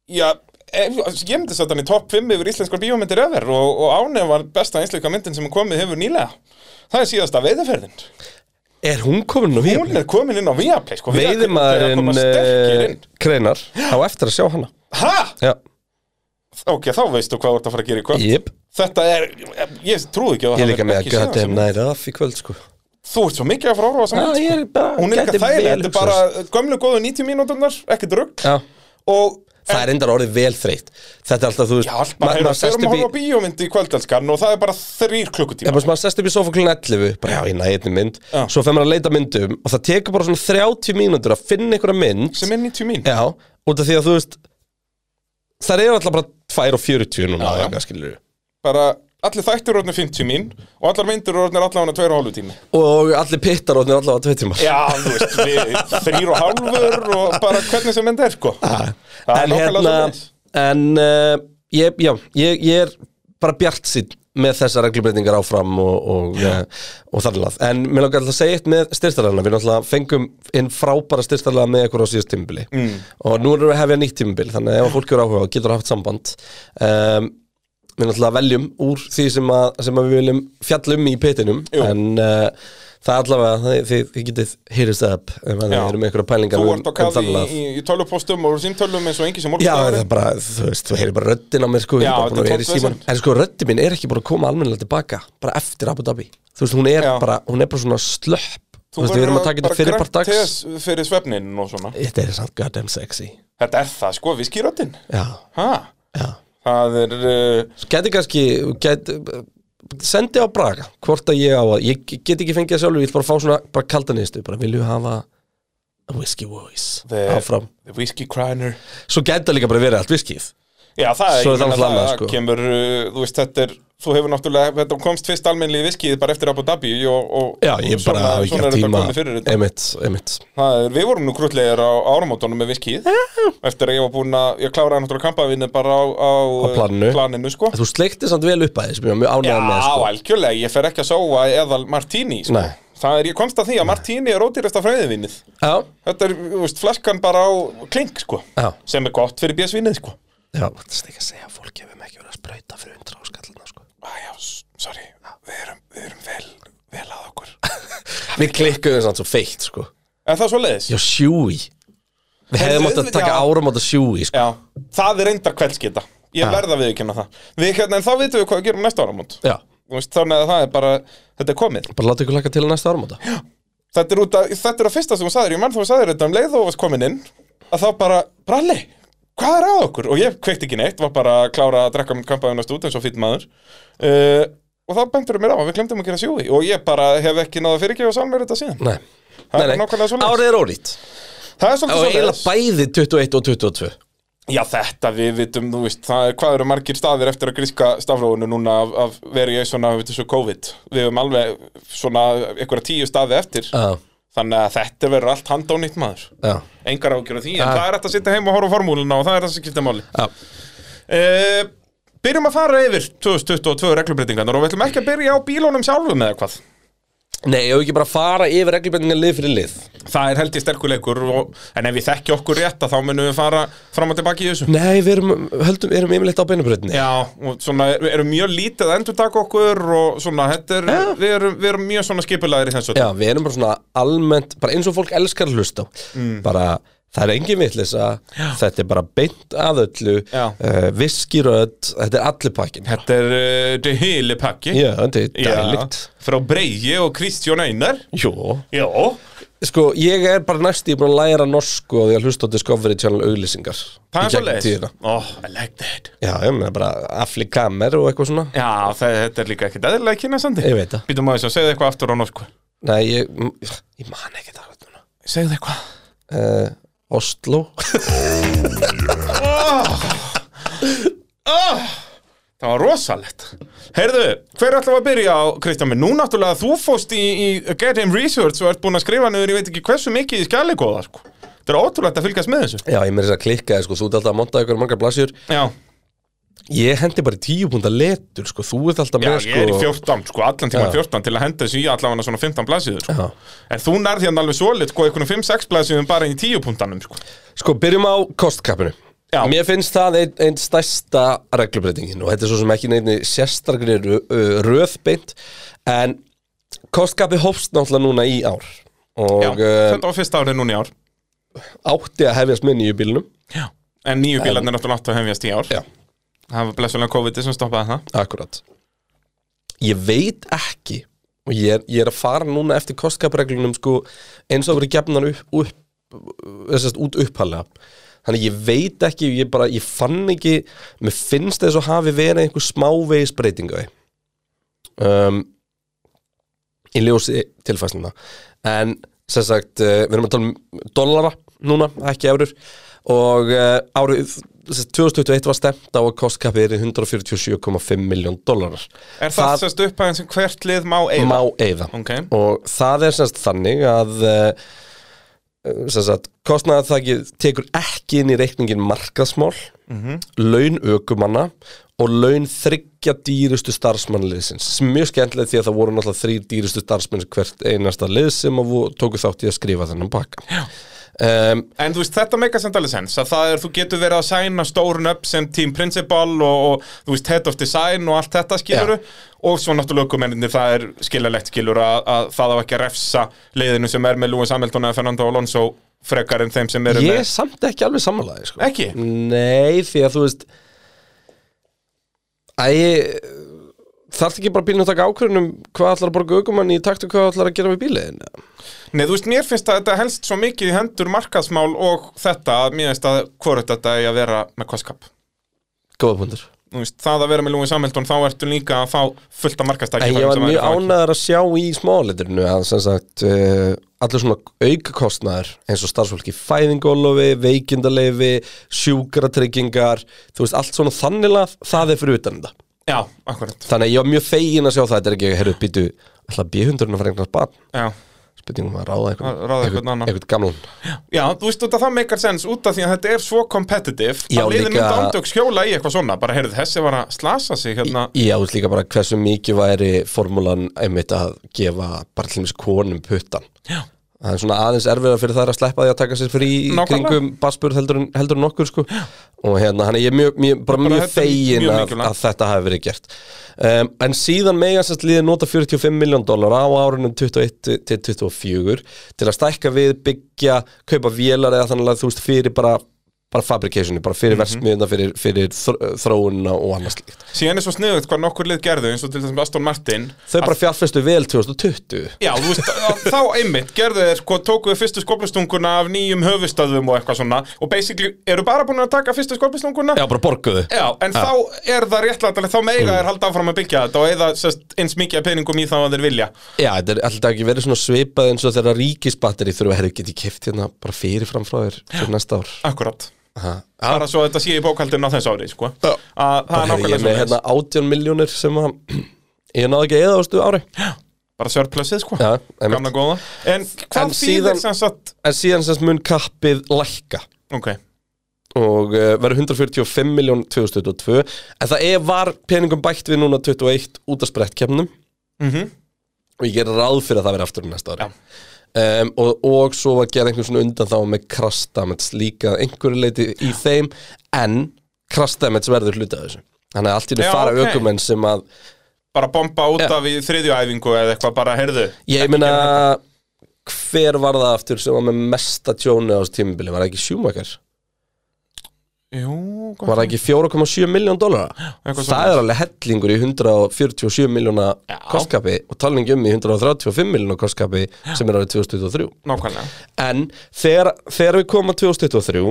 B: já, ef, ég myndi setja hann í topp 5 yfir íslenskar bíómyndir över og, og ánef var besta íslenska myndin sem komið hefur nýlega. Það er síðasta veiðaferðin.
A: Er hún komin á
B: Hún
A: víum?
B: er komin inn á Viaplay, sko. Viaplay er að
A: Veiðimaðurinn
B: koma sterkir
A: eh,
B: inn.
A: Kreinar á eftir að sjá hana
B: Hæ?
A: Já,
B: Ok, þá veistu hvað þú ert að fara að gera í kvöld.
A: jép
B: Þetta er, ég trúi ekki á
A: Ég er líka með að
B: séð
A: gæta
B: sem-
A: þeim næra af í kvöld sko
B: Þú ert svo mikið að fara að orfa
A: Já,
B: saman.
A: ég er bara
B: sko. Hún er
A: gæti
B: ekki þægileg,
A: vel
B: þetta er bara gömlu góðu 90 mínúturnar, ekkert rugg
A: Já,
B: og
A: það er endar orðið vel þreytt Þetta er alltaf, þú veist
B: já, allt bara
A: ma-
B: hefur
A: maður
B: að
A: sest
B: fyrir
A: upp
B: að
A: í-
B: horfa á bíómynd í kvöldelskan og það er bara þrýr
A: Já,
B: klukkutíma
A: bara sem maður sest upp í sofa klun 11 bara já, ég næði einni mynd
B: Já.
A: svo fer maður að leita myndum og það tekur bara svona 30 mínútur að finna einhverja mynd
B: sem er 90 mín
A: já, út af því að þú veist það eru alltaf bara 2 og 40 núna
B: Já, já.
A: eitthvað, skilurðu.
B: bara allir þættir orðnir 50 mín og allar myndir orðnir allavega 2,5 tími
A: og allir pittar og allavega 2 tímar
B: Já, þú veist, við þrýr og hálfur og bara hvernig sem mynd er, sko
A: Já.
B: Það er
A: Ah. en
B: nákvæmlega
A: hérna
B: svoleiðis.
A: en uh, ég, já, ég, ég er bara bjart sín með þessar reglubreitingar áfram og, og, uh, og þarlað en mér langar alltaf að segja eitt með styrstarlega við náttúrulega fengum inn frábæra styrstarlega með ykkur á síðast tímubili mm. og nú erum við að hefja nýtt tímubil þannig að ef fólk eru áhuga og getur haft samband um, við náttúrulega veljum úr því sem, að, sem að við viljum fjalla um í petinum
B: Jú.
A: en uh, það er allavega þið, þið, þið getið hit us up ef að þið
B: Já.
A: eru með einhverja pælingar
B: Þú
A: um-
B: ert á
A: um
B: kafi í,
A: Þarlað.
B: í, í tölvupóstum og símtölvum eins og engi sem
A: Já, það
B: morgunstæður
A: er bara, þú veist, þú heyrir bara röddin á mér sko,
B: Já,
A: ég er bara búin að
B: þetta er
A: vera í
B: tómt
A: síman En sko, röddin mín er ekki bara að koma almennilega tilbaka bara eftir Abu Dhabi Þú veist, hún er,
B: Já.
A: bara, hún er bara svona slöpp Þú veist, við erum að taka þetta fyrir part dags
B: Fyrir svefnin og svona
A: Þetta er samt goddamn sexy
B: Þetta er það, sko, viskiröddin
A: Já,
B: Hæ?
A: já
B: Það er... Uh,
A: Svo gæti kannski, gæti Sendi á Braga, hvort að ég á að Ég get ekki fengið það sjálfur, ég ætla bara að fá svona bara kaldan ystu, bara vilju hafa a Whiskey voice
B: The-
A: áfram
B: The Whiskey Criner
A: Svo gæti það líka bara verið allt whiskeyð
B: Já, það er,
A: Svo er
B: ég meina,
A: það annað, sko.
B: kemur, uh, þú veist, þetta er Þú hefur náttúrulega, þetta komst fyrst almennlega í viskið bara eftir Abu Dhabi og, og,
A: Já, ég
B: og
A: bara
B: svona,
A: hafi ekki haft
B: svona er þetta
A: tíma
B: komið fyrir þetta
A: Einmitt, einmitt
B: Það er, Við vorum nú krútlegar á áramótunum með viskið Eftir að ég var búinn að, ég kláraði náttúrulega kampavinni bara á, á,
A: Á planinu.
B: planinu sko.
A: Þú sleikti samt vel upp að þessum, ég var mjög
B: Já,
A: ánægð með sko.
B: algjörlega, ég fer ekki að sóa eða Martini sko.
A: Nei.
B: Það er, ég komst að því að Martini er ódýrasta fröðivinnið
A: Já,
B: Þetta er, þú veist, flaskan bara á klink sko.
A: já,
B: Sem er gott fyrir bjösvinnið sko.
A: já, þetta er ekki að segja að fólk hefum ekki verið að sprauta fyrir undra á skallina sko.
B: Ah, já, s- sorry, við erum, við erum vel, vel að okkur
A: [LAUGHS] Við klikkuðum samt svo feitt sko.
B: Er það svo leiðis?
A: Já, sjúi Við
B: Heyrðu,
A: hefðum átt að
B: auðvitað-
A: taka
B: já.
A: árum átt að sjúi sko.
B: Já, það er reyndar kveldskita Ég
A: Ha.
B: verða við ekki hérna það við, hérna, En þá vitum við hvað við gerum næsta áramót
A: Já,
B: Þú veist, Þannig að það er bara, þetta er komið
A: bara láta ykkur laka til næsta árum átt
B: Þetta er, út að, þetta er að fyrsta sem hún sagðir Ég mann þá hún sagðir þetta um leið og varst komin inn Að þá bara, bralli, hvað er að okkur? Og ég kveikt ekki neitt, var bara að klára að drekka um minn kampaðunast út eins og fýtt maður uh, Og þá bendur mér á að við glemdum að gera sjúi Og ég bara hef ekki náða fyrirgefa sálmur þetta síðan
A: Nei,
B: Það
A: nei,
B: er
A: nei.
B: nákvæmlega svoleiðis.
A: árið er órýtt
B: Það er svolítið
A: Og eiginlega
B: svoleiðis.
A: bæði 21 og 22
B: Já, þetta við vitum, þú veist, það er, hvað eru margir staðir eftir að gríska stafróinu núna af, af verið ég svona, við þessu COVID. Við höfum alveg svona einhverja tíu staði eftir,
A: Já,
B: þannig að þetta verður allt handónýtt maður.
A: já,
B: Engar ágjur á því, en
A: Ah.
B: það er hægt að sitja heim og horfa á formúluna og það er það sem skipta máli.
A: já
B: Uh, byrjum að fara yfir 2022 reglubreitingarnar og við ætlum ekki að byrja á bílunum sjálfum eða hvað.
A: Nei, ég hef ekki bara að fara yfir reglubendingar lið fyrir lið
B: Það er held ég sterkur leikur, og, en ef við þekki okkur rétt að þá munum við fara fram og tilbaki í þessu.
A: Nei, við erum, höldum, erum yfirleitt á beinubröðinni
B: Já, og svona er- erum mjög lítið að endur taka okkur og svona, þetta er,
A: Já.
B: við erum, við erum mjög svona skipulæðir í þessu
A: Já, við erum bara svona almennt, bara eins og fólk elskar að hlusta á.
B: Mm.
A: bara það er engin vitleysa, þetta er bara beint að öllu,
B: Já.
A: uh, viskirödd, þetta er allir pakkin
B: Þetta er uh, The Hili pakki
A: Já, þetta er dælikt
B: Frá Breyji og Kristjón Einar
A: Jó,
B: Já
A: Sko, ég er bara næst í búin að læra norsku og því að hlusta á Discovery Channel auglýsingar
B: Það
A: í
B: er svo
A: gegnum tíðina.
B: Oh, I like that
A: Já, ég meina bara aflikamer og eitthvað svona
B: Já, það, þetta er líka ekkert eðlilega kynasandi
A: Ég veit það.
B: Býtum að þess að segja eitthvað aftur á norsku
A: Nei, ég, m- ég man ekki það hvað núna
B: Segðu eitthvað
A: uh, Oslo
B: Það var rosalegt Heyrðu, hver ætlum við að byrja á, Kristján minn? Nú náttúrulega þú fóst í, í Get Him Research og ert búin að skrifa niður, ég veit ekki hversu mikið í skjallikóða sko. Þetta er ótrúlegt að fylgjast með þessu
A: Já, ég meira þess að klikka, sko, þú ert alltaf að monta ykkur margar blaðsjur
B: Já,
A: Ég hendi bara í tíu púnta letur, sko, þú ert alltaf
B: já
A: með, sko
B: ég er í 14, sko, allan tíma
A: Já.
B: 14 til að henda þessu í allavega svona 15 blaðsíður sko.
A: Já.
B: En þú nærði hann alveg svolít, sko, einhvernum 5-6 blaðsíðum bara í 10 puntanum sko.
A: Sko, byrjum á kostkappinu
B: Já.
A: Mér finnst það einn ein stærsta reglubreitingin og þetta er svo sem ekki neitt sérstakri röðbeint en kostkappi hófst náttúrulega núna í ár
B: Já,
A: og uh,
B: þetta var fyrsta árið núna í ár
A: átti að hefjast með nýju bílnum
B: Já. En nýju bílarnir náttúrulega áttu að hefjast í ár
A: Já.
B: Það var blessulega COVID sem stoppaði það
A: Akkurat Ég veit ekki og ég er, ég er að fara núna eftir kostkapreglunum sko, eins og verið gefnar upp, upp, þessast, út upphalega Þannig ég veit ekki, ég bara, ég fann ekki Mér finnst þess að hafi verið einhver smávegis breytinga um, Í ljósi tilfæsluna En sem sagt, eh, við erum að tala um dollara núna, ekki eurur Og uh, árið sem sagt, 2021 var stemt á að kostkappið er 147,5 miljón dollarar
B: Er það, það sérst upphæðin sem hvert lið má eigða?
A: má eyða
B: Ok.
A: og það er semst þannig að eh, sem sagt, kostnaðar það tekur ekki inn í reikningin markasmál laun ökumanna og laun þryggja dýrustu starfsmann liðsins sem er mjög skemmtileg því að það voru náttúrulega þrý dýrustu starfsmann hvert einasta lið sem að vo- tóku þátt í að skrifa þennan pakka um,
B: En þú veist, þetta meika samt alveg sens að það er, þú getur verið að sæna stórun upp sem team principal og, og þú veist, head of design og allt þetta skiluru og svo náttúrulega ökumennir það er skiljalegt skilur að, að það á ekki að refsa leiðinu sem er með Lewis Hamilton eða Fernando Alonso frekar en þeim sem eru
A: Ég er samt ekki alveg samanlæði sko.
B: með Ekki?
A: Nei, því að þú veist Æ Þarf ekki bara bílinn að taka ákvörðunum hvað ætlar að borga aukumann í takt og hvað ætlar að gera við bílinn
B: Nei, þú veist, mér finnst að þetta helst svo mikið í hendur markaðsmál og þetta að mér finnst að hvort þetta er að vera með kostkap
A: Góða pundur
B: Þú veist, það að vera með Lewis Hamilton þá ertu líka að fá fullt af markastækja
A: En ég var mjög ánæður að sjá í smáleiturinu að sem sagt uh, allir svona aukakostnaðar eins og starfsfólki fæðingólofi, veikindaleifi sjúkratryggingar þú veist, allt svona þanniglega það er fyrir utan þetta
B: Já, akkurat
A: Þannig að ég var mjög fegin að sjá það þetta er ekki, herru, býtu alltaf B100 að fara einhvern barn
B: Já
A: spurningum um að ráða
B: Að ráða einhvern
A: einhvern
B: annan.
A: einhvern gamlun
B: Já, þú veist út að það meikar sens út af því að þetta er svo competitive
A: Já,
B: að liðin
A: líka-
B: mynda ándöks hjóla í eitthvað svona bara heyrðu þessi var að slasa sig hérna
A: Já, þú veist líka bara hversu mikið væri formúlan einmitt að gefa bara til þess konum puttan
B: Já.
A: Það er svona aðeins erfiðar fyrir þær að sleppa því að taka sér frí í
B: Nákvæmlega.
A: kringum basspur heldur, en- heldur en okkur sko og hérna, hann er ég er mjög, mjög, bara
B: Bara
A: mjög
B: þetta er
A: fegin
B: mjög
A: að,
B: mikilvægt.
A: að þetta hafi verið gert um, En síðan mega sérst liðið nota 45 miljón dólar á árunum 21 til 24 til að stækka við, byggja, kaupa vélar eða þannig að þú veist fyrir bara bara fabricationi, bara fyrir mm fyrir, fyrir þr- þróunina og annars slíkt
B: síðan er svo sniðugt hvað nokkur lið gerðu eins og til þessum Aston Martin
A: Þau bara fjárfestu vel 2020
B: Já, þú veist, að- þá einmitt gerðu þeir sko, tókuðu fyrstu skoplustunguna af nýjum höfustöðum og eitthvað svona og basically eru bara búin að taka fyrstu skoplustunguna
A: Já, Mm. bara borguðu
B: Já, en þá er það réttlætanlega, þá meiga þeir halda áfram að byggja þetta og eða sest, eins mikið af peningum í þá að þeir vilja
A: Já, þetta er alltaf ekki verið svona svipað eins og þegar ríkisbatteri þurfa að herðu geti kift hérna bara fyrirfram frá þér fyrir næsta ár
B: Akkurat,
A: Aha.
B: bara svo þetta sé í bókaldinu á þessu ári, sko
A: Já.
B: Að það er
A: Bara hefði
B: nákvæmlega
A: ég með
B: svoleiðis.
A: hérna 18 miljónir sem að ég náði ekki eða ástu ári
B: bara surplusið sko
A: Já, einmitt.
B: gamla góða en hvað
A: En
B: þýðir
A: síðan-
B: sem sagt
A: En síðan sem sagt mun kappið lækka
B: ok,
A: og uh, verður 145 miljón 2022 en það er var peningum bætt við núna 21 út af sprettkefnum
B: mm
A: og ég ger ráð fyrir að það verði aftur næsta ári
B: Já.
A: um, og, og svo að gera einhvern svona undan þá með crash damage líka að einhverju leiti í þeim en crash damage verður hluti af þessu þannig að allt í
B: Já,
A: þetta fara
B: ok.
A: ökumenn sem að
B: bara bomba út
A: Já.
B: af í þriðju æfingu eða eitthvað bara heyrðu
A: ég meina hver var það aftur sem var með mesta tjónu á þessu tímabili, var það ekki sjúmakar
B: Jú, hvað
A: var það ekki 4,7 miljón dólara
B: eitthvað
A: það er alveg hellingur í 147 miljóna kostkapi og talningi um í 135 miljóna kostkapi sem er árið 2023
B: Nákvæmlega
A: en þegar, þegar við komum að 2023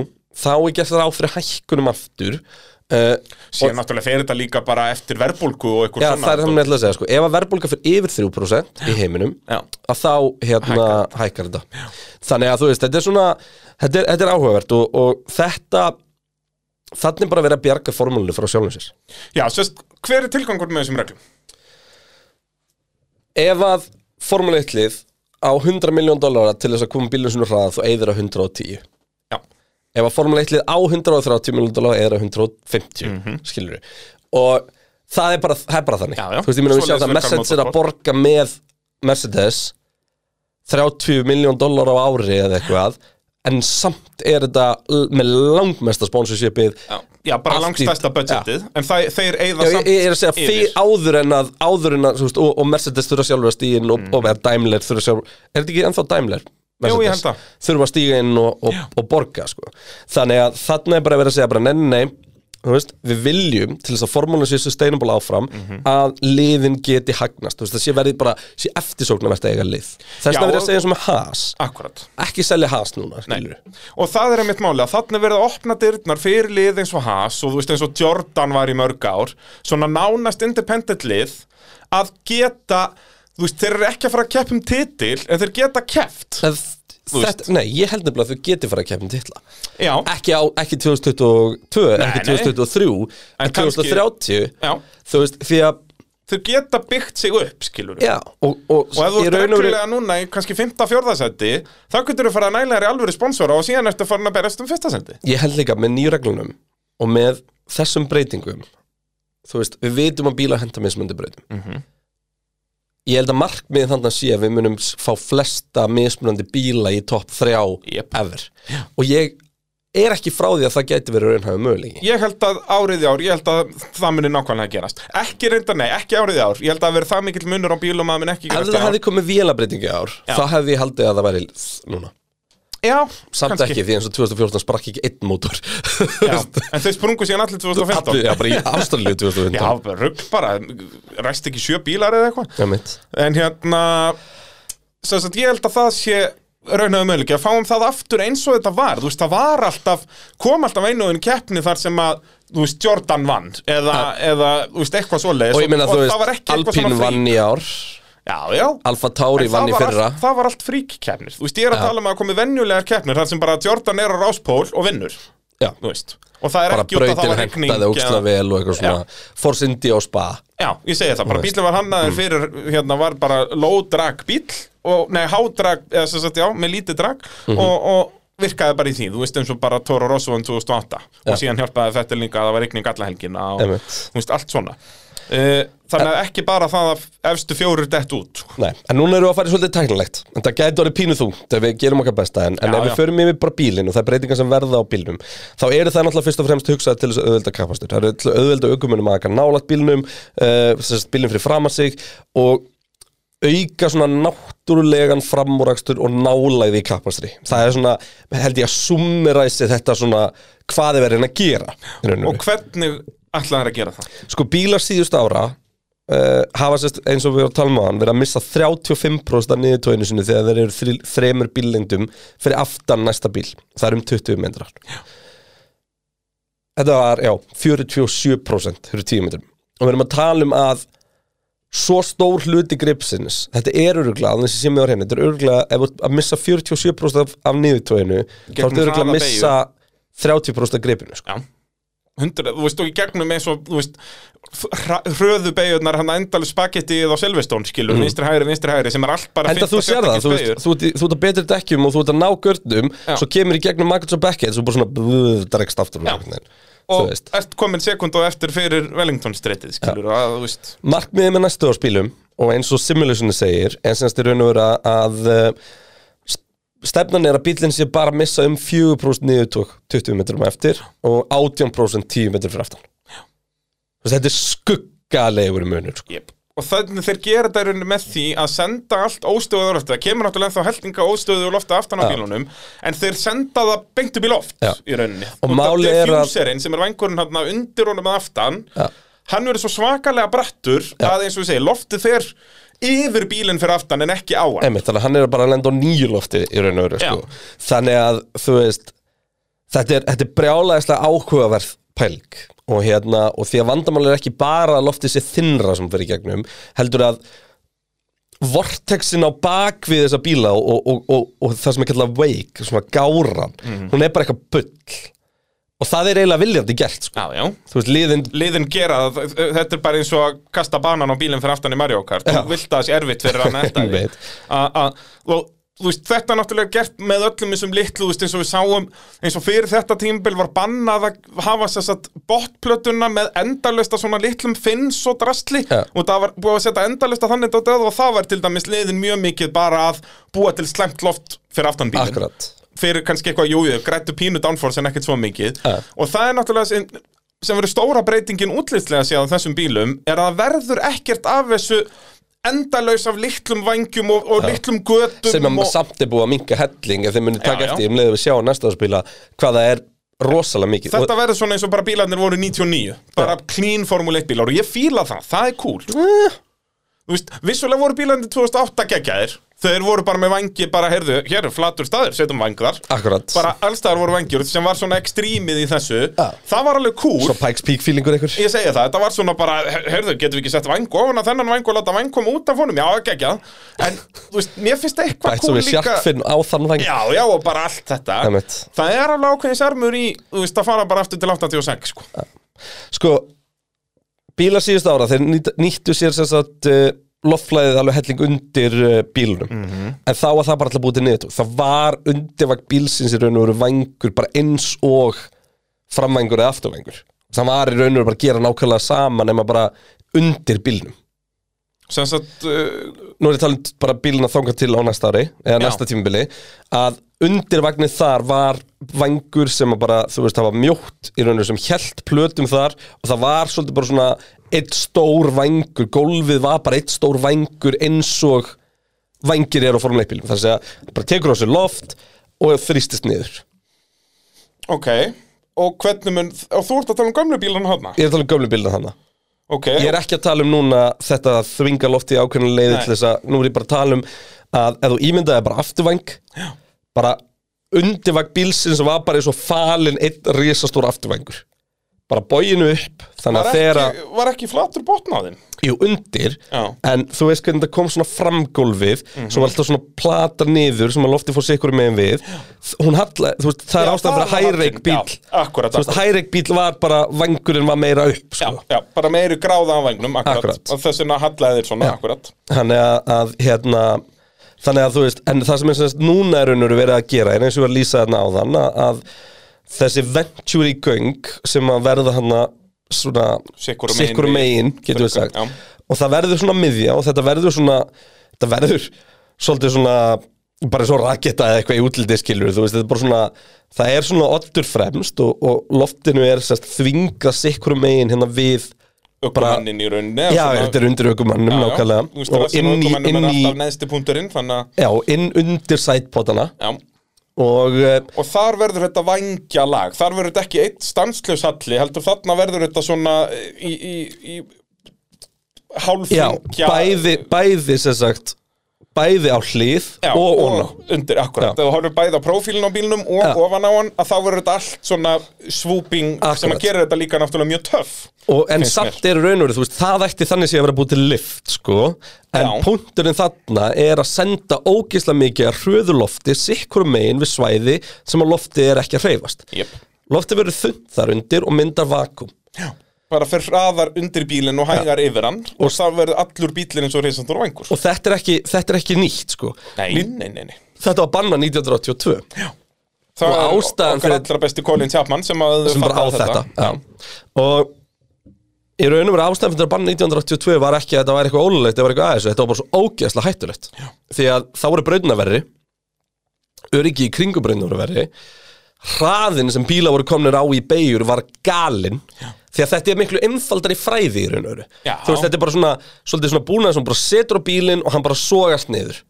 A: þá er gert það á fyrir hækkunum aftur uh,
B: Síðan náttúrulega fer þetta líka bara eftir verbulgu og eitthvað
A: já, það er það með ætla að segja sko. ef að verðbólga fyrir yfir 3% í heiminum
B: Já.
A: að þá hérna hækkar þetta þannig að þú veist, þetta er svona þetta er, þetta er áhugavert og, og þetta þannig er bara verið að bjarga formúlinu frá sjálfum sér
B: Já, sérst, hver er tilgangur með þessum reglum?
A: ef að formúlu 1 lið á 100 miljón dollara til þess að koma bílum svona hraða þú eyðir að 110
B: Já,
A: ef að Formule 1 lið á 130 miljónum dólar eða 150, mm skilur við og það er bara, það er bara þannig
B: Mhm. Já, já.
A: þú veist, ég meina við
B: Svoleiðis
A: sjáum það
B: virkar
A: Mercedes er að
B: motorsport.
A: borga með Mercedes 30 miljón dólar á ári eða eitthvað en samt er þetta l- með langmesta sponsorshipið
B: já, já bara
A: Allt í-
B: langstæsta budgetið En það, þeir
A: Já,
B: eigða
A: ég,
B: samt
A: ég er að segja fyrir
B: yfir.
A: áður en að áður en að, þú veist, og, og Mercedes þurfa sjálfur að stíga inn og, og eða Daimler þurfa sjálfur er þetta ekki ennþá Daimler?
B: Mm. Jú, ég
A: Mercedes?
B: held það.
A: þurfa að stíga inn og, og, og borga sko. þannig að þarna er bara verið að segja bara nei, nei, nei, þú veist, við viljum til þess að formúlun sé sustainable áfram
B: Mhm.
A: að liðin geti hagnast þú veist, það sé verið bara, sé eftirsóknarvert að eiga lið þess
B: Já,
A: að verið
B: og-
A: að segja eins og með has
B: Akkurat
A: ekki selja has núna, skilur
B: Og það er einmitt máli að þannig verið að opna dyrnar fyrir lið eins og Haas og þú veist eins og Jordan var í mörg ár svona nánast independent lið að geta, þú veist, þeir eru ekki að fara að keppa um titil en þeir geta keppt
A: það,
B: Þú veist.
A: þetta, nei, ég held nefnilega að þau geti fara að keppin titla
B: Já,
A: ekki, á, ekki 2022, ekki
B: nei.
A: 2023 en,
B: En kannski-
A: 2030
B: já,
A: þú veist, því að
B: þeir geta byggt sig upp, skilur
A: já, og, og,
B: Og ef þú
A: í
B: ert
A: raun og veru-
B: reglulega núna í kannski 5-4 seti þá getur þú fara að næla þér í alvöru sponsora og síðan ertu farin að berast um fyrsta seti
A: ég held líka með nýju reglunum og með þessum breytingum þú veist, við vitum að bíla henda mismunandi breytum
B: Mhm.
A: ég held að markmiðið þannig að sé að við munum s- fá flesta mismunandi bíla í topp þrjá
B: Jep.
A: ever og ég er ekki frá því að það gæti verið raunhæfum möguleiki
B: Ég held að árið í ár, ég held að það muni nákvæmlega gerast Ekki reynda, nei, ekki árið í ár Ég held að það verið það mikill munur á bílum að það muni ekki
A: ef
B: gerast
A: það
B: í ár.
A: hefði komið vélabreytingi ár
B: Já.
A: þá hefði ég haldið að það væri s- núna
B: Já,
A: samt
B: kannski.
A: ekki því eins og 2014 sprakk ekki einn mótor [LAUGHS]
B: Já, En þeir sprungu síðan allir 2015
A: Allir, já, bara í Ástralíu 2015
B: Já, rugg bara, ræst ekki sjö bílar eða eitthvað
A: Já, mitt.
B: En hérna sem sagt, ég held að það sé raunhafum möguleiki að fáum það aftur eins og þetta var þú veist, það var alltaf, kom alltaf einuðin keppni þar sem að, þú veist, Jordan vann eða, eða þú veist, eitthvað svoleiðis
A: og ég meina þú
B: það var
A: veist
B: ekki eitthvað
A: Alpín
B: svona frík.
A: vann í ár
B: já, já,
A: Alfa Tauri
B: En
A: vann
B: það
A: í
B: var
A: fyrra
B: allt, það var allt fríkkeppnir, þú veist, ég er að tala um að það komi venjulegar keppnir þar sem bara Jordan er á ráspól og vinnur,
A: Já,
B: þú veist og það er
A: bara
B: ekki út að það
A: brautin
B: var regning
A: hentaði ógstna
B: eða-
A: vel og eitthvað svona Force India og Spa
B: Já, ég segi það, bara bílum var
A: Mm.
B: hannaður fyrir, hérna var bara low-drag bíl og, nei, há-drag, eða sem sagt, já, með lítið drag
A: Mhm.
B: og, og virkaði bara í því, þú veist eins og bara Toro Rosso um 2008
A: Já.
B: og síðan hjálpaði þetta líka að það var rigning alla helgina og,
A: Einmitt.
B: þú veist, allt svona uh, Þannig að ekki bara það að efstu fjórir dett út
A: Nei, en núna erum við að fara í svolítið tæknilegt En það gæti orðið pínu þú, þegar við gerum okkar besta En, en
B: Já,
A: ef við
B: já.
A: förum yfir bara bílinn og það er breytingar sem verða á bílnum Þá eru það náttúrulega fyrst og fremst hugsað til þess að auðvelda kappastur Það eru til að auðvelda aukumunum að aka nálat bílnum uh, Bílnum fyrir fram að sig Og auka svona náttúrulegan framúrakstur og nálæði í kappastri Það er svona, held ég að summeræsi þetta svona Hvað er verið að gera í raun og veru.
B: og hvernig ætlaði hann að gera það?
A: Sko bílar síðust ára uh, hafa sérst eins og við erum að tala um hann verið að missa 35% af niðurtóinu sinni þegar þeir eru þri, þremur bíllengdum fyrir aftan næsta bíl það er um 20 metrar Þetta var, já, 47% fyrir 10 metrum og við erum að tala um að svo stór hluti gripsins þetta er öruglega, þessi sem ég var henni þetta er öruglega, ef þú ert að missa 47% af, af niðurtóinu þá
B: Gegnum
A: ertu öruglega
B: hraða
A: að missa 30% af gripinu sko.
B: Já, hundra, þú veist, og í gegnum eins og, þú veist hröðu beigurnar, hann endalur spagettið á Selvestón, skilur, vinstri hægri, vinstri hægri sem er allt bara
A: Mm. Enda
B: 15,
A: þú sér
B: 16
A: það, þú,
B: beygjur.
A: veist, þú, ert, í- þú ert að betri dekkjum og þú ert að ná gördum
B: Já.
A: Svo kemur í gegnum Magnus og Beckett Svo bara svona blöð, dregst aftur
B: Já.
A: Þú
B: og
A: veist.
B: ert komin sekund og eftir fyrir Wellington streitið, skilur, að þú veist
A: Markmiðið með næstu áspílum Og eins og simulationu segir En semst er raun og vera að uh, s- Stefnan er að bílinn sé bara að missa um 4% niðurtók 20 metrum eftir Og 18% 10 metrum fyrir aftan Þú veist, Þetta er skuggalegur munur sko.
B: yep. og þannig þeir gera þetta í rauninni með því að senda allt óstöðuð á lofti það kemur náttúrulega ennþá heldinga óstöðuð á lofti aftan á
A: Já.
B: bílunum en þeir senda það beint upp í loft
A: Já.
B: í rauninni
A: Og málið er að-
B: fjúserinn sem er vangurinn hann undir honum að aftan
A: Já.
B: hann verður svo svakalega brattur að eins og við segi loftið fer yfir bílinn fyrir aftan en ekki á hann
A: Einmitt, þannig að hann er bara að lenda á nýju lofti í raun og veru sko. þannig að þú veist þetta er, þetta er brjálæðislega áhugaverð pæling og, hérna, og því að vandamál er ekki bara að loftið sé þinnra sem fyrir gegnum heldur að vortexin á bakvið þessa bíla og, og, og, og, og það sem er kallað wake, svona gáran hún er bara eitthvað bull og það er eiginlega viljandi gert sko.
B: Já, já
A: þú veist, liðin
B: liðin gera það, þetta er bara eins og að kasta banan á bílinn fyrir aftan í Mario Kart þú vilt að það sé erfitt fyrir hann
A: [LAUGHS]
B: eftir því
A: Einmitt.
B: A- a- og þú veist, þetta er náttúrulega gert með öllum þessum litlu, þú veist, eins og við sáum eins og fyrir þetta tímbil var bannað að hafa sér satt botplötuna með endalösta svona litlum finns og drastli
A: Já.
B: og það var búið að setja endalösta þannig dótið að- og það var til dæmis liðin mjög mikið bara að búa til slæmt loft fyrir aftan bílinn
A: akkurat
B: fyrir kannski eitthvað júið, grættu pínu downforce en ekkert svo mikið
A: Ja.
B: og það er náttúrulega sem, sem verður stóra breytingin útlitslega séðan þessum bílum er að það verður ekkert af þessu endalaus af litlum vangjum og, og litlum götum
A: sem að
B: og,
A: samt er búið að minka helling ef þeir munið taka
B: Já, já.
A: eftir um leiðum við sjá næsta spila hvað það er rosalega mikið
B: þetta verður svona eins og bara bílarnir voru 99 bara clean Formule 1 bílar og ég fíla það, það er cool
A: og,
B: Þú veist, vissulega voru bílarnir 2008 geggjaðir þeir voru bara með vangi, bara heyrðu hér er flatur staður, setjum vang þar
A: akkurat,
B: bara allstaðar voru vangjur sem var svona ekstrímið í þessu
A: Ja.
B: það var alveg cool
A: svo Pikes Peak feelingur ykkur
B: Ég segja það, þetta var svona bara, heyrðu, getum við ekki sett vang ofan að þennan vang og láta vang koma út af honum? Já, ekki ekki En, þú veist, mér finnst eitthvað
A: bætt svo
B: kúl
A: við
B: líka
A: sjarkfinn á þann vang
B: Já, já, og bara allt þetta
A: Einmitt.
B: Það er alveg ákveðin sérmur í, þú veist, að fara bara aftur til 86, sko
A: sko, bílar síðust ára þeir nýta- nýttu sér sem sagt uh, loftflæðið alveg helling undir uh, bílunum
B: Mhm.
A: en þá var það bara alltaf búið til niður það var undirvagn bílsins í raun og veru vangur bara eins og framvangur eða afturvangur það var í raun og veru bara að gera nákvæmlega sama nema bara undir bílnum
B: Sem sagt, uh,
A: nú er ég talað bara bíluna þangað til á næsta ári eða
B: Já.
A: næsta tímabili að undir vagnið þar var vangur sem að bara, þú veist, það var mjótt í rauninu sem hjælt plötum þar og það var svolítið bara svona eitt stór vangur, gólfið var bara eitt stór vangur eins og vangir eru á formuleikbílum, þannig að segja, bara tekur á sig loft og þrýstist niður
B: ok Og hvernig mun, og þú ert að tala um gömlu bílun hana
A: ég er að tala um gömlu bíluna þannig
B: Ok,
A: Ég er ekki að tala um núna þetta að þvinga lofti í ákveðna leiði
B: Nei.
A: til þess að nú er ég bara að tala um að ef þú ímyndaði bara afturvæng Já. bara undirvæng bílsins var bara eins og falin einn risastór afturvængur bara bóginu upp þannig
B: var,
A: að þegar að,
B: ekki, var ekki flatur botn á þinn?
A: jú undir
B: Já. Mhm.
A: en þú veist hvernig það kom svona framgólfið sem var alltaf svona plata niður sem að lofti fór sikkur megin við hún halla, þú veist, það er
B: Já,
A: ástæðan fyrir að
B: það var
A: hæreik
B: hallinn, já,
A: bíl
B: akkúrat,
A: þú veist,
B: akkúrat.
A: hæreik bíl var bara vangurinn var meira upp
B: Já,
A: sko.
B: já, bara meiri gráða á vangnum, akkurat,
A: Akkurat.
B: Og þess vegna hallaði þér svona, akkurat
A: þannig að, að hérna þannig að þú veist, en það sem er sem sagt núna er raunur verið að gera, er eins og ég var að lýsa þarna á þann að, að þessi Venturi göng sem að verða hann svona
B: Sikkur megin
A: sikkur
B: við-
A: megin, getum við
B: fyrir göng,
A: sagt
B: já.
A: og það verður svona miðja og þetta verður svona þetta verður svolítið svona bara svo raketta eða eitthvað í útlitið skilur þú veist, þetta er bara svona það er svona oddur fremst og, og loftinu er sérst þvinga sikkur megin hérna við
B: Ökumannin í rauninni eða
A: Já,
B: svona-
A: þetta er undir ökumannum
B: Já, já. Þú veist,
A: nákvæmlega og inn í,
B: ökumennum
A: inn
B: er
A: í
B: alltaf neðsti punkturinn þannig að
A: já, inn undir sætpotana
B: já.
A: og eh,
B: og þar verður þetta vangja lag þar verður þetta ekki eitt stanslaus halli heldur þarna verður þetta svona eh, í, í, í
A: já,
B: hálfringja
A: bæði bæði sem sagt bæði á hlið
B: Já,
A: og ón á
B: undir, akkurat,
A: Já.
B: þegar þú horfir bæði á prófílinn á bílnum og
A: Já.
B: ofan á hann að þá verður þetta allt svona swooping sem
A: Akkurat.
B: að gera þetta líka náttúrulega mjög töff
A: og en
B: Finnst
A: samt er raunverið, þú veist, það ætti þannig sé að vera búið til lift, sko en
B: Já.
A: punkturinn þarna er að senda ógisla mikið að hröðulofti sikkur megin við svæði sem að lofti er ekki að hreyfast
B: yep.
A: lofti verður þunnt þar undir og myndar vakum
B: bara fyrir hraðar undir bílinn og hægar yfir hann og þá verður allur bílinn eins og reysandur vangur
A: og þetta er ekki, þetta er ekki nýtt, sko
B: nei, nei, nei, nei
A: þetta var banna 1982
B: Það
A: Og
B: er
A: ástæðan
B: okkar
A: fyrir-
B: allra besti Colin Chapman sem,
A: sem bara á þetta, Já. og í raun og veru ástæðan fyrir að banna 1982 var ekki að þetta var eitthvað ólulegt, þetta var eitthvað aðeins þetta var bara svo ógeðslega hættulegt Já. því að þá voru braunaverri öryggi í kringum braunaverri hraðin sem bíla voru komnir á í beigur var galinn Já. því að þetta er miklu einfaldar í fræði í raun og veru
B: Já.
A: þú veist þetta er bara svona, svolítið svona búnað sem bara setur á bílinn og hann bara sogast niður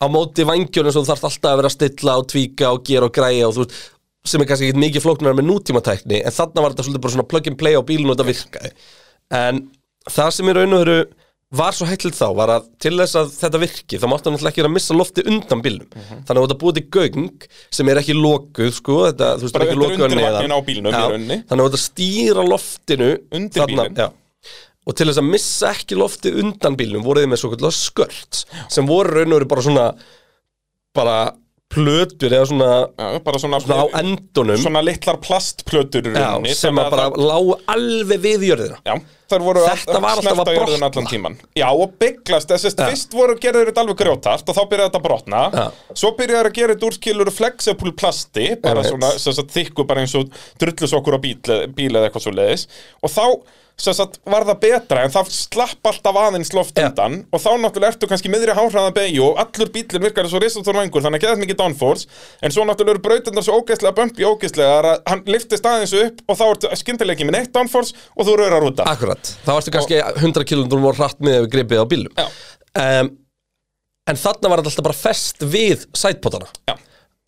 A: á móti vangjörnum svo þú þarft alltaf að vera að stilla og tvíka og gera og græja og þú veist sem er kannski ekkert mikið flóknar með nútímatækni en þarna var þetta svolítið bara svona plug and play á bílinn og þetta virkaði en það sem í raun og veru var svo hættilegt þá var að til þess að þetta virki þá máttu náttúrulega ekki vera að missa lofti undan bílnum
B: Mhm.
A: þannig að þetta búið til göng sem er ekki lokuð sko, þetta, þú veist,
B: Bara
A: ekki
B: undir
A: lokuð að
B: undirvagnin
A: neðan.
B: á bílnum í
A: Já,
B: rauninni.
A: þannig að þetta stýra loftinu
B: Undir bílinn.
A: já. og til þess að missa ekki lofti undan bílnum voru þið með svo kallar skört sem voru raun og veru bara svona bara plötur eða svona,
B: Já, bara svona,
A: svona á endunum
B: svona litlar plastplötur í
A: já,
B: rauninni,
A: sem
B: þannig
A: að bara lágu alveg við jörðina
B: Já, þar voru
A: Þetta var alltaf
B: snerta
A: að
B: jörðina
A: brotna.
B: allan tíman Já, og bygglast, þessist
A: Já.
B: fyrst voru gerður þetta alveg grjótart og þá byrjaði þetta að brotna
A: Já.
B: Svo byrjaði að gera þetta úr skilur flexible plasti bara
A: Einmitt.
B: svona, sem sagt, þykku bara eins og drullusokkur á bíl, bíl eða eitthvað svo leiðis og þá sem sagt, var það betra en það slapp alltaf aðeins loft
A: Já.
B: undan og þá náttúrulega ertu kannski í miðri hárhraðan beigju og allur bílinn virkar svo risatór vangur þannig að geðað mikið downforce en svo náttúrulega eru brautirnar svo ógeðslega bömpi ógeðslegar að hann liftist aðeins upp og þá ertu skyndilega ekki með neitt downforce og þú raurar út af
A: Akkurat, þá varstu kannski 100 km og hratt með ef við gripið á bílum
B: Já.
A: um, En þarna var þetta alltaf bara fest við sætpotana
B: Já,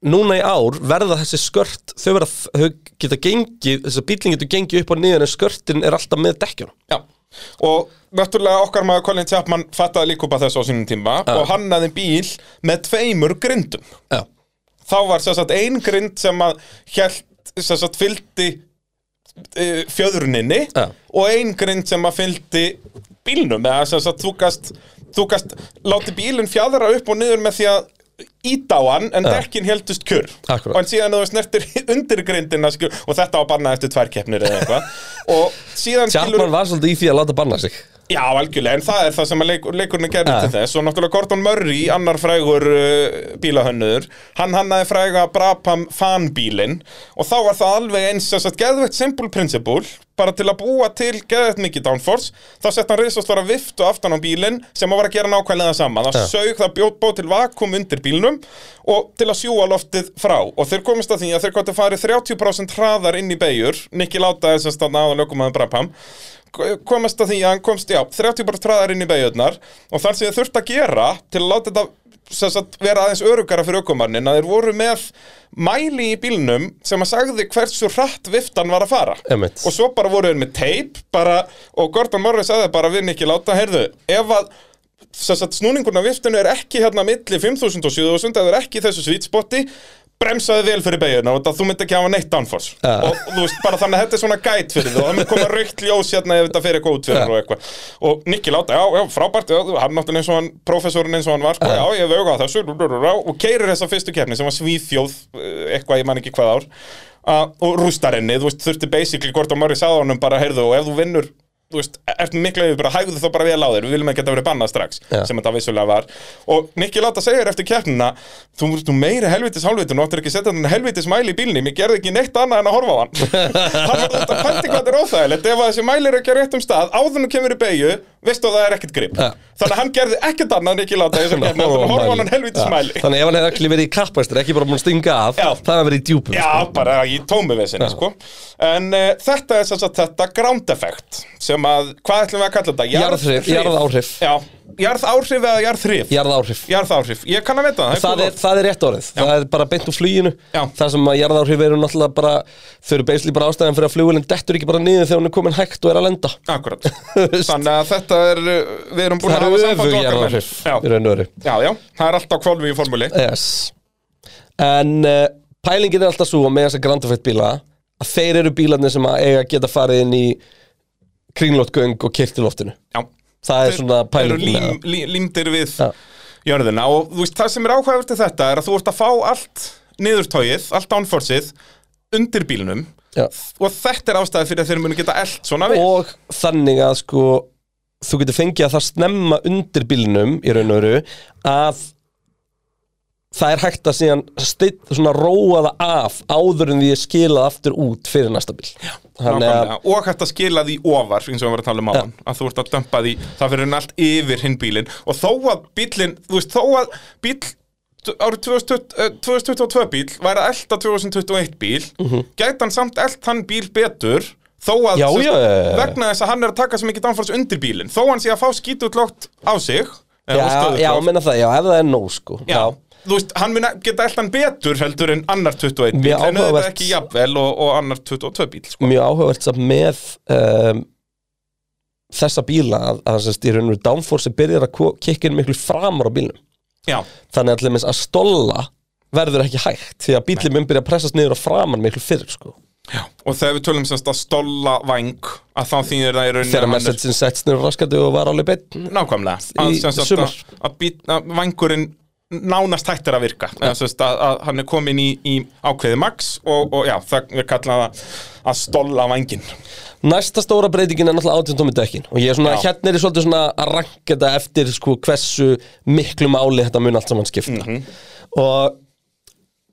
A: Núna í ár verða þessi skört þau, verða, þau geta gengið þessi bílinn getur gengið upp og niður en skörtin er alltaf með dekkjunum
B: já Og náttúrulega okkar maður Colin Chapman fattaði líka upp að þessu á sínum tíma og hannaði bíl með tveimur grindum
A: Já,
B: Þá var sem sagt ein grind sem að hjælt, sem sagt fylgdi uh, fjöðruninni
A: Já.
B: og ein grind sem að fylgdi bílnum eða sem sagt þú gast, þú gast láti bílinn fjadra upp og niður með því að íta á hann en dekkin heldust kjur
A: Akkúrat.
B: og en síðan þú snertir [LAUGHS] undirgrindina skilur, og þetta var bannað eftir tvær keppnir eða eitthvað og síðan
A: Tjartmann var svolítið í því að láta banna sig
B: Já, algjörlega, en það er það sem að leik, leikurinn gerði
A: Ja.
B: til þess og náttúrulega Gordon Murray, annar frægur uh, bílahönnur, hann hannaði fræga Brabham fanbílinn og þá var það alveg eins að sett geðveitt simple principle, bara til að búa til geðveitt mikið downforce, þá sett hann risastóra viftu aftan á bílinn sem að var að gera nákvæmlega það sama, það
A: Ja.
B: sög það bjóð bó til vakum undir bílnum og til að sjúa loftið frá og þeir komist að því að þeir gott að fari 30% hraðar inn í beigur, Nicky Láta þess að stanna aðan lögumæðan Brabham komast að því að hann komst, já, 30 bara traðar inn í beigjötnar og þar sem þið þurft að gera til að láta þetta sem sagt, vera aðeins örugara fyrir ökumannin að þeir voru með mæli í bílnum sem að sagði hversu hratt viftan var að fara
A: Einmitt.
B: og svo bara voru þeir með teip bara, og Gordon Murray sagði bara við ekki láta, heyrðu, ef að sem sagt, snúningurinn á viftinu er ekki hérna milli 5000 og 7000, eða er ekki í þessu svítspotti bremsaði vel fyrir beiguna og þetta þú myndi ekki hafa neitt downforce
A: Ja.
B: og þú veist bara þannig að þetta er svona gæt fyrir þú og það mun koma raukt ljós hérna ef þetta fer eitthvað út fyrir
A: Ja.
B: og eitthvað og Nicky láta, já, já, frábært, já, þú- hann náttúrulega eins og hann professorinn eins og hann var, sko, já, ég hef augað þessu rú, rú, rú, rú, og keirir þessa fyrstu keppni sem var svíþjóð eh, eitthvað, ég man ekki hvað ár uh, og rústar henni, þú veist, þurfti basically Gordon Murray sagði honum bara, heyrðu, og ef þú vinnur þú veist, e-, ert mikla yfir bara hægðu þá bara vel á þér við viljum ekki að þetta verið bannað strax
A: Já.
B: sem þetta vissulega var og Nicky Láta segir eftir keppnina þú ert nú meiri helvitis hálfvitin og áttir ekki að setja þannig helvitis mæli í bílnum ég gerði ekki neitt annað en
A: [LAUGHS]
B: að horfa á hann hann var þetta pælti hvað þetta er óþægilegt ef að þessi mæli er ekki á réttum stað áðunum kemur í beigju veistu að það er ekkert grip
A: Já.
B: þannig að hann gerði ekkert annað en Nicky Láta í þessum keppni heldur en að horfa á hann helvitis
A: Já.
B: mæli
A: Þannig að ef hann hefði allir verið í kappæstur ekki bara búin að stinga af
B: Já.
A: það sko. hefði verið í djúpum
B: Já, bara í tómuvesinni, sko En uh, þetta er sem sagt þetta ground effect sem að, hvað ætlum við að kalla þetta?
A: Jarðhrif, jarðáhrif,
B: Já, jarðáhrif eða jarðhrif
A: jarðáhrif
B: Jarðáhrif, ég kann að veta það,
A: það
B: það
A: er, það er rétt orðið, það er bara beint úr fluginu
B: Já.
A: það sem að jarðárhif eru náttúrulega bara þau eru beisli bara ástæðan fyrir að flugulinn dettur ekki bara niður þegar hún er komin hægt og er að lenda
B: Akkurat
A: [LAUGHS]
B: Þannig að þetta er, uh, við erum búin
A: það
B: að
A: eru öfug
B: hafa samband við okkar menn.
A: jarðárhif í raun og veru
B: Já, já, já, það er alltaf kvolfi í formúli
A: yes. en uh, pælingin er alltaf svo með þessa grandafett bíla að þeir eru bílarnir sem að eiga að geta farið inn í kringlótgöng og kyrti loftinu
B: Já
A: það er svona
B: Þeir eru
A: pælingin með
B: lím,
A: það.
B: lím, límdir við
A: Já.
B: jörðina og þú veist, það sem er áhugavert við þetta er að þú ert að fá allt niðurtóið, allt downforceið undir bílnum
A: Já.
B: og þetta er ástæði fyrir að þeir munu geta eld svona við
A: og þannig að sko þú getur fengið að það snemma undir bílnum í raun og veru að það er hægt að síðan stið, svona róa það af áður en því ég skilað aftur út fyrir næsta bíl Já,
B: Nákvæmlega. og hægt að skila því ofar eins og við varum að tala um áðan, að þú ert að dömpa því það fyrir hann allt yfir hinn bílinn og þó að bílinn, þú veist, þó að bíl árið 2020 eh, 2022 bíl væri að elta 2021 bíl gæti hann samt elt hann bíl betur þó að
A: Mhm. Já,
B: sem sagt,
A: já, já, já.
B: vegna þess að hann er að taka svo mikið downforce undir bílinn þó hann sé að fá skítutlátt á sig eða á
A: Já,
B: stöðuglátt.
A: já, menna það, já, ef það er nóg sko
B: já. þú veist, hann mun e- geta eldan betur heldur en annar 21 bíl
A: Mjög
B: en auðvitað
A: áhugavert.
B: ekki jafnvel og, og annar 22 bíl sko.
A: Mjög áhugavert samt með um, þessa bíla að, að sérst, í raun og veru downforce byrjar að kikkin miklu framar á bílnum
B: já,
A: þannig að til dæmis að stolla verður ekki hægt því að bílinn mun byrja að pressast niður á framan miklu fyrr sko
B: og þegar við tölum semst að stolla væng að þá þýðir það í rauninni
A: þegar
B: að hann er-
A: messaginn setst niður á raskandi og var alveg beinn
B: nákvæmlega
A: Í
B: að, sem sagt,
A: sumar.
B: að, að, bít, að vangurinn nánast hættir að virka eða, sem sagt, að, að hann er komin í, í ákveði max og, og já, það við kalla það að stolla vangin
A: Næsta stóra breytingin er náttúrulega 18 tómi dekkin og ég er svona,
B: Já.
A: hérna er ég svolítið svona að ranka þetta eftir sko hversu miklu máli þetta mun allt saman skipta
B: Mhm.
A: og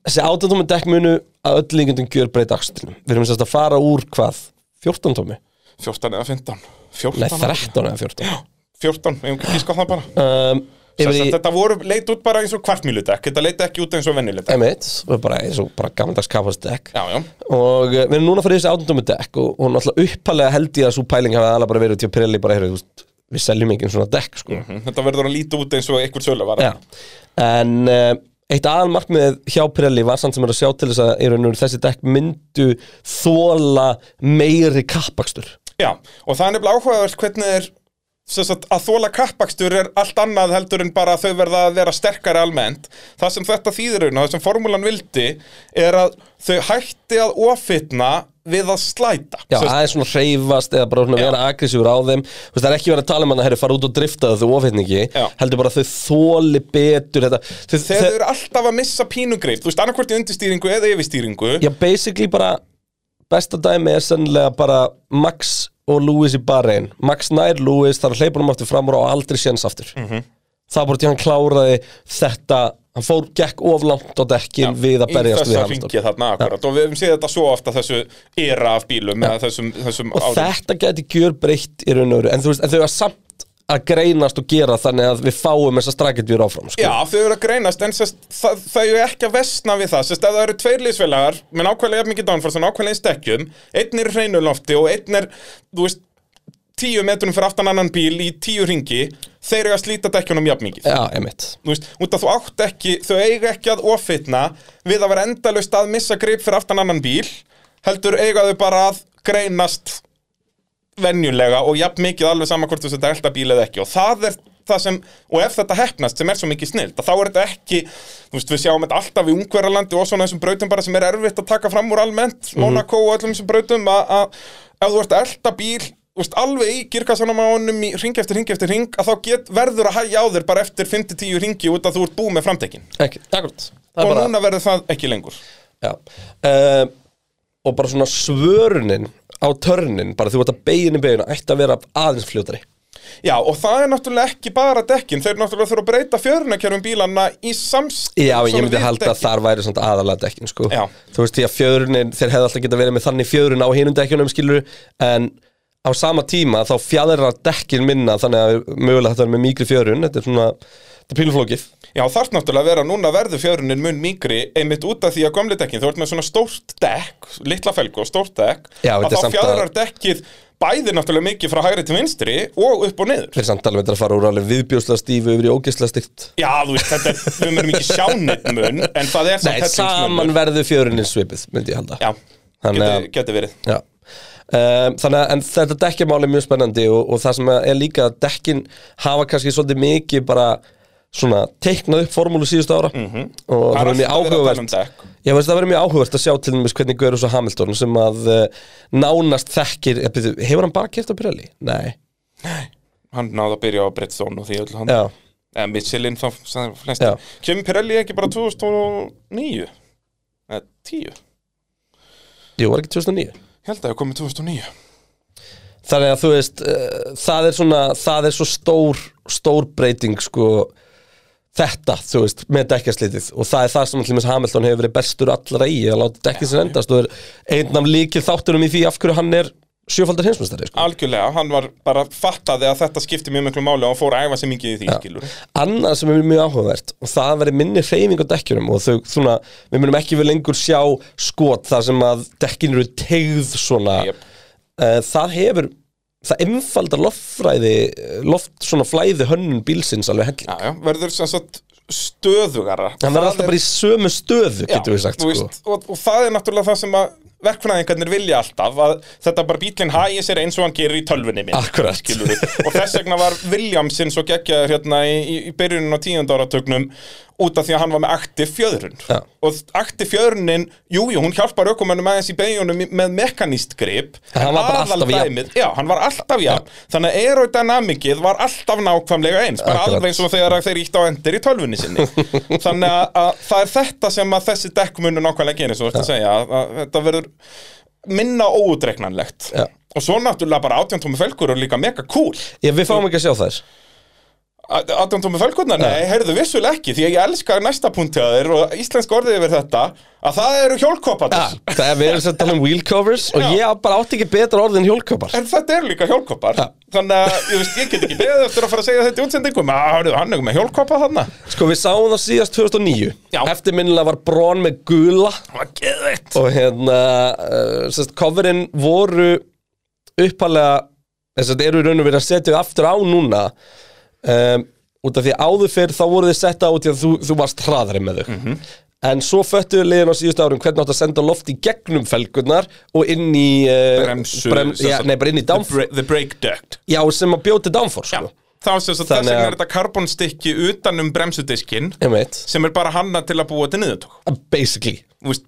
A: þessi 18 tómi dekk munu að öll líkendum gjör breyta axlinum við erum sérst að fara úr hvað 14 tómi,
B: 14 eða 15
A: nei
B: 14,
A: 13 eða 14
B: 14, ég ekki sko það bara
A: um, yfir
B: Sess,
A: í,
B: þetta voru, leit út bara eins og kvartmýludekk þetta leit ekki út eins og venniludekk
A: emitt og bara eins og bara gammaldags kapasdekk
B: já, já,
A: og eh, við erum núna fyrir þessi 18 tómi dekk og, og náttúrulega uppalega held ég að svo pæling hafa aðalega bara verið til að preli bara, heyrðu, þú veist, við seljum ekki svona dekk sko
B: Mhm, þetta verður að líta út eins og einhver sölu var
A: Já, en uh, eitt aðalmarkmið hjá Pirelli var samt sem er að sjá til þess að í raun og veru þessi dekk myndu þóla meiri kappakstur
B: Já, og það er nefnilega áhugavert hvernig er sem sagt, að þóla kappakstur er allt annað heldur en bara að þau verða að vera sterkari almennt. Það sem þetta þýðir og það sem formúlan vildi er að þau hætti að ofitna við að slæta.
A: Já,
B: Sem sagt,
A: aðeins svona hreyfast eða bara svona
B: Já.
A: vera aggressífur á þeim Þú veist, Það er ekki verið að tala um hann að herri fara út og drifta það þau ofitningi
B: Já.
A: heldur bara að þau þóli betur þetta, þau,
B: þegar þau
A: þau,
B: eru alltaf að missa pínugreif, þú veist, annarkvort í undirstýringu eða yfirstýringu.
A: Já, basically bara besta dæmi er sennilega bara Max og Lewis í barinn Max nær Lewis, þar hleypunum aftur framur og á aldrei séns aftur
B: Mhm.
A: það bara til hann kláraði þetta hann fór, gekk of langt á dekkin við að berjast við sko.
B: þessa
A: Hamilton
B: hringi þarna akkurat og við hefum séð þetta svo ofta þessu era af bílum eða þessum, þessum
A: og þetta gæti gjör breytt í raun og veru en þú veist, en þau er samt að greinast og gera þannig að við fáum þessa strakendvíur áfram sko.
B: Já, þau eru að greinast en sest, það, það er ekki að vestna við það sest, ef það eru tveir liðsfélagar með nákvæmlega jafn mikið downforce og nákvæmlega eins dekkjum einn er í hreinu lofti og einn er þú veist, tíu metrum fyrir aftan annan bíl í tíu ringi þeir eru að slíta dekkjunum jafn mikið
A: Já, emitt
B: Þú veist, út að þú átt ekki, þau eiga ekki að ofitna við að vera endalaust að missa grip fyrir aftan annan bíl heldur eiga þau bara að greinast venjulega og jafn mikið alveg saman hvort þú setja elda bíl eða ekki og það er það sem, og ef þetta hefnast sem er svo mikið snild, þá er þetta ekki þú veist, við sjáum þetta alltaf í ungverjalandi og svona þessum brautum bara sem er erfitt að taka fram úr almennt,
A: Mhm.
B: Monaco og öllum þessum brautum að- að ef þú ert að elda bíl þú veist, alveg í girkassanum á honum í ring eftir ring eftir ring, að þá get, verður að hægja á þér bara eftir 5-10 ringi út að þú ert búið með framtekin
A: Ekki, akkurat Það er
B: og
A: bara-
B: núna verður það ekki lengur
A: Já uh, Og bara svona svörunin á törnin, bara þú ert að beginni beginu ætti að vera aðeins fljótari
B: Já, og það er náttúrulega ekki bara dekkin þeir náttúrulega þurfa að breyta fjörunarkerfum bílanna í samst
A: Já, en ég
B: svona
A: myndi
B: við
A: halda að
B: dekkin.
A: þar væri svona aðalega dekkin, sko
B: Já.
A: Þú veist, því að fjörunin, þeir hefði alltaf geta verið með þannig fjörun á hinum dekkjunum, skilur En á sama tíma þá fjadrar dekkin minna Þannig að mögulega þetta er með mýkri fjörun Þetta er svona, þetta er píluflókið
B: Já, þarf náttúrulega að vera núna verður fjörunin mun mingri einmitt út af því að gömli dekkin þú ert með svona stórt dekk, litla felgu og stórt dekk
A: Já,
B: að
A: þetta er
B: þá
A: samt
B: fjörunar
A: að-
B: dekkið bæði náttúrulega mikið frá hægri til vinstri og upp og niður
A: Fyrir samt alveg þetta að fara úr alveg viðbjóðslega stífu yfir í ógeðslega stygt
B: Já, þú veist, þetta er, við mörum ekki sjá neitt mun en það er
A: Nei,
B: samt
A: saman
B: hellingsmunur.
A: verður fjörunin svipið, myndi ég halda
B: Já,
A: Þannig að-
B: geti, geti verið
A: Já Um, þannig að en þetta dekkjamál er mjög spennandi og, og það sem er líka að dekkin hafa kannski svolítið mikið bara svona teiknað upp formúlu síðustu ára
B: Mhm.
A: og það
B: Það er
A: verður mjög
B: alltaf verið að tala um
A: áhugavert
B: dekk.
A: ég veist það verður mjög áhugavert að sjá til dæmis hvernig Görus og Hamilton sem að uh, nánast þekkir, eh, byrju, hefur hann bara kæft á Pirelli? Nei,
B: Hann náði að byrja á Bridgestone og því öll hann
A: já,
B: eða Michelin þá sagði flest
A: Já.
B: kemur Pirelli ekki bara 2009 eða 10 Eh, ég
A: jú, var ekki 2009
B: held að það komið 2009
A: þannig að þú veist uh, það er svona, það er svo stór stór breyting sko þetta, þú veist, með dekkjaslitið og það er það sem allir með Hamilton hefur verið bestur allra í að láta dekkið sér endast og er einn af líkið þáttunum í því af hverju hann er sjöfaldar hinsmestari sko.
B: algjörlega, hann var bara fattaði að þetta skipti mjög miklu máli og hann fór að æfa sér mikið í því skilur
A: annað sem er mjög áhugavert og það verið minni hreyfing á dekkjunum og þau, svona, við munum ekki við lengur sjá skot þar sem að dekkin eru tegð svona
B: Jep.
A: uh, það hefur það einfaldar loftfræði loft svona flæði hönnun bílsins alveg helling
B: já, já, verður sem sagt stöðugara
A: hann
B: Það
A: verður alltaf bara í sömu stöðu getur við sagt
B: þú
A: sko.
B: veist, og, og það er náttúrulega það sem að verkfræðingarnir vilja alltaf að þetta bara bílinn hægir sér eins og hann gerir í tölvunni minn
A: Akkúrat.
B: skilurðu. og þess vegna var Williamson svo geggjaður hérna í, í- í byrjunin á tíundarartögnum út af því að hann var með akti fjöðrun
A: Já.
B: og akti fjöðrunin, jú, jú, hún hjálpar ökumönnum aðeins í beigjunum í- með mekaníst grip
A: En hann var bara alltaf jafn.
B: aðaldæmið- já, hann var alltaf jafn þannig að aerodynamikið var alltaf nákvæmlega eins bara
A: Akkurat.
B: alveg eins og þegar þeir ítt á endur í tölvunni
A: [LAUGHS]
B: sinni þannig að, að það er þetta sem að þessi dekk munu nákvæmlega gerir svo þetta segja að, að þetta verður minna óutreiknanlegt
A: Já.
B: og svo náttúrulega bara 18 tómi fölgur og líka mega cool
A: ég, við fáum ekki að sjá þær
B: 18 tómi fölgurna, nei, heyrðu vissulega ekki því að ég elska næsta punktjaðir og íslensk orðið yfir þetta að það eru
A: ja,
B: hjólkopparnir
A: [LAUGHS] það er við erum sem að tala um wheel covers og
B: Ah. Já.
A: ég bara átti ekki betra orðin hjólköpar
B: En þetta eru líka hjólkoppar Þannig að ég, veist, ég get ekki beðið eftir að fara að segja þetta í útsendingum að hörðu, hann er með hjólkoppa þarna
A: sko við sáum það síðast 2009
B: Já.
A: eftirminnilega var brón með gula
B: Það var geðveitt
A: og hérna uh, sérst, coverin voru uppalega þess að eru í raun og verið að setja þau aftur á núna um, út af því að áður fyrr þá voru þið setta út í að þú, þú varst hraðari með þau
B: Mhm.
A: en svo föttuðu liðin á síðustu árum hvernig átt að senda loft í gegnum felgurnar og inn í uh,
B: Bremsu,
A: brem,
B: sem
A: já,
B: sagt,
A: nei, bara inn í
B: The,
A: downforce
B: bra- the brake duct
A: já, sem að bjóti downforce sko.
B: Þá sem sagt
A: Þannig
B: þess vegna
A: að-
B: er þetta karbonstykki utan um bremsudiskin
A: Einmitt.
B: sem er bara hanna til að búa til niðurtók
A: basically
B: Vist,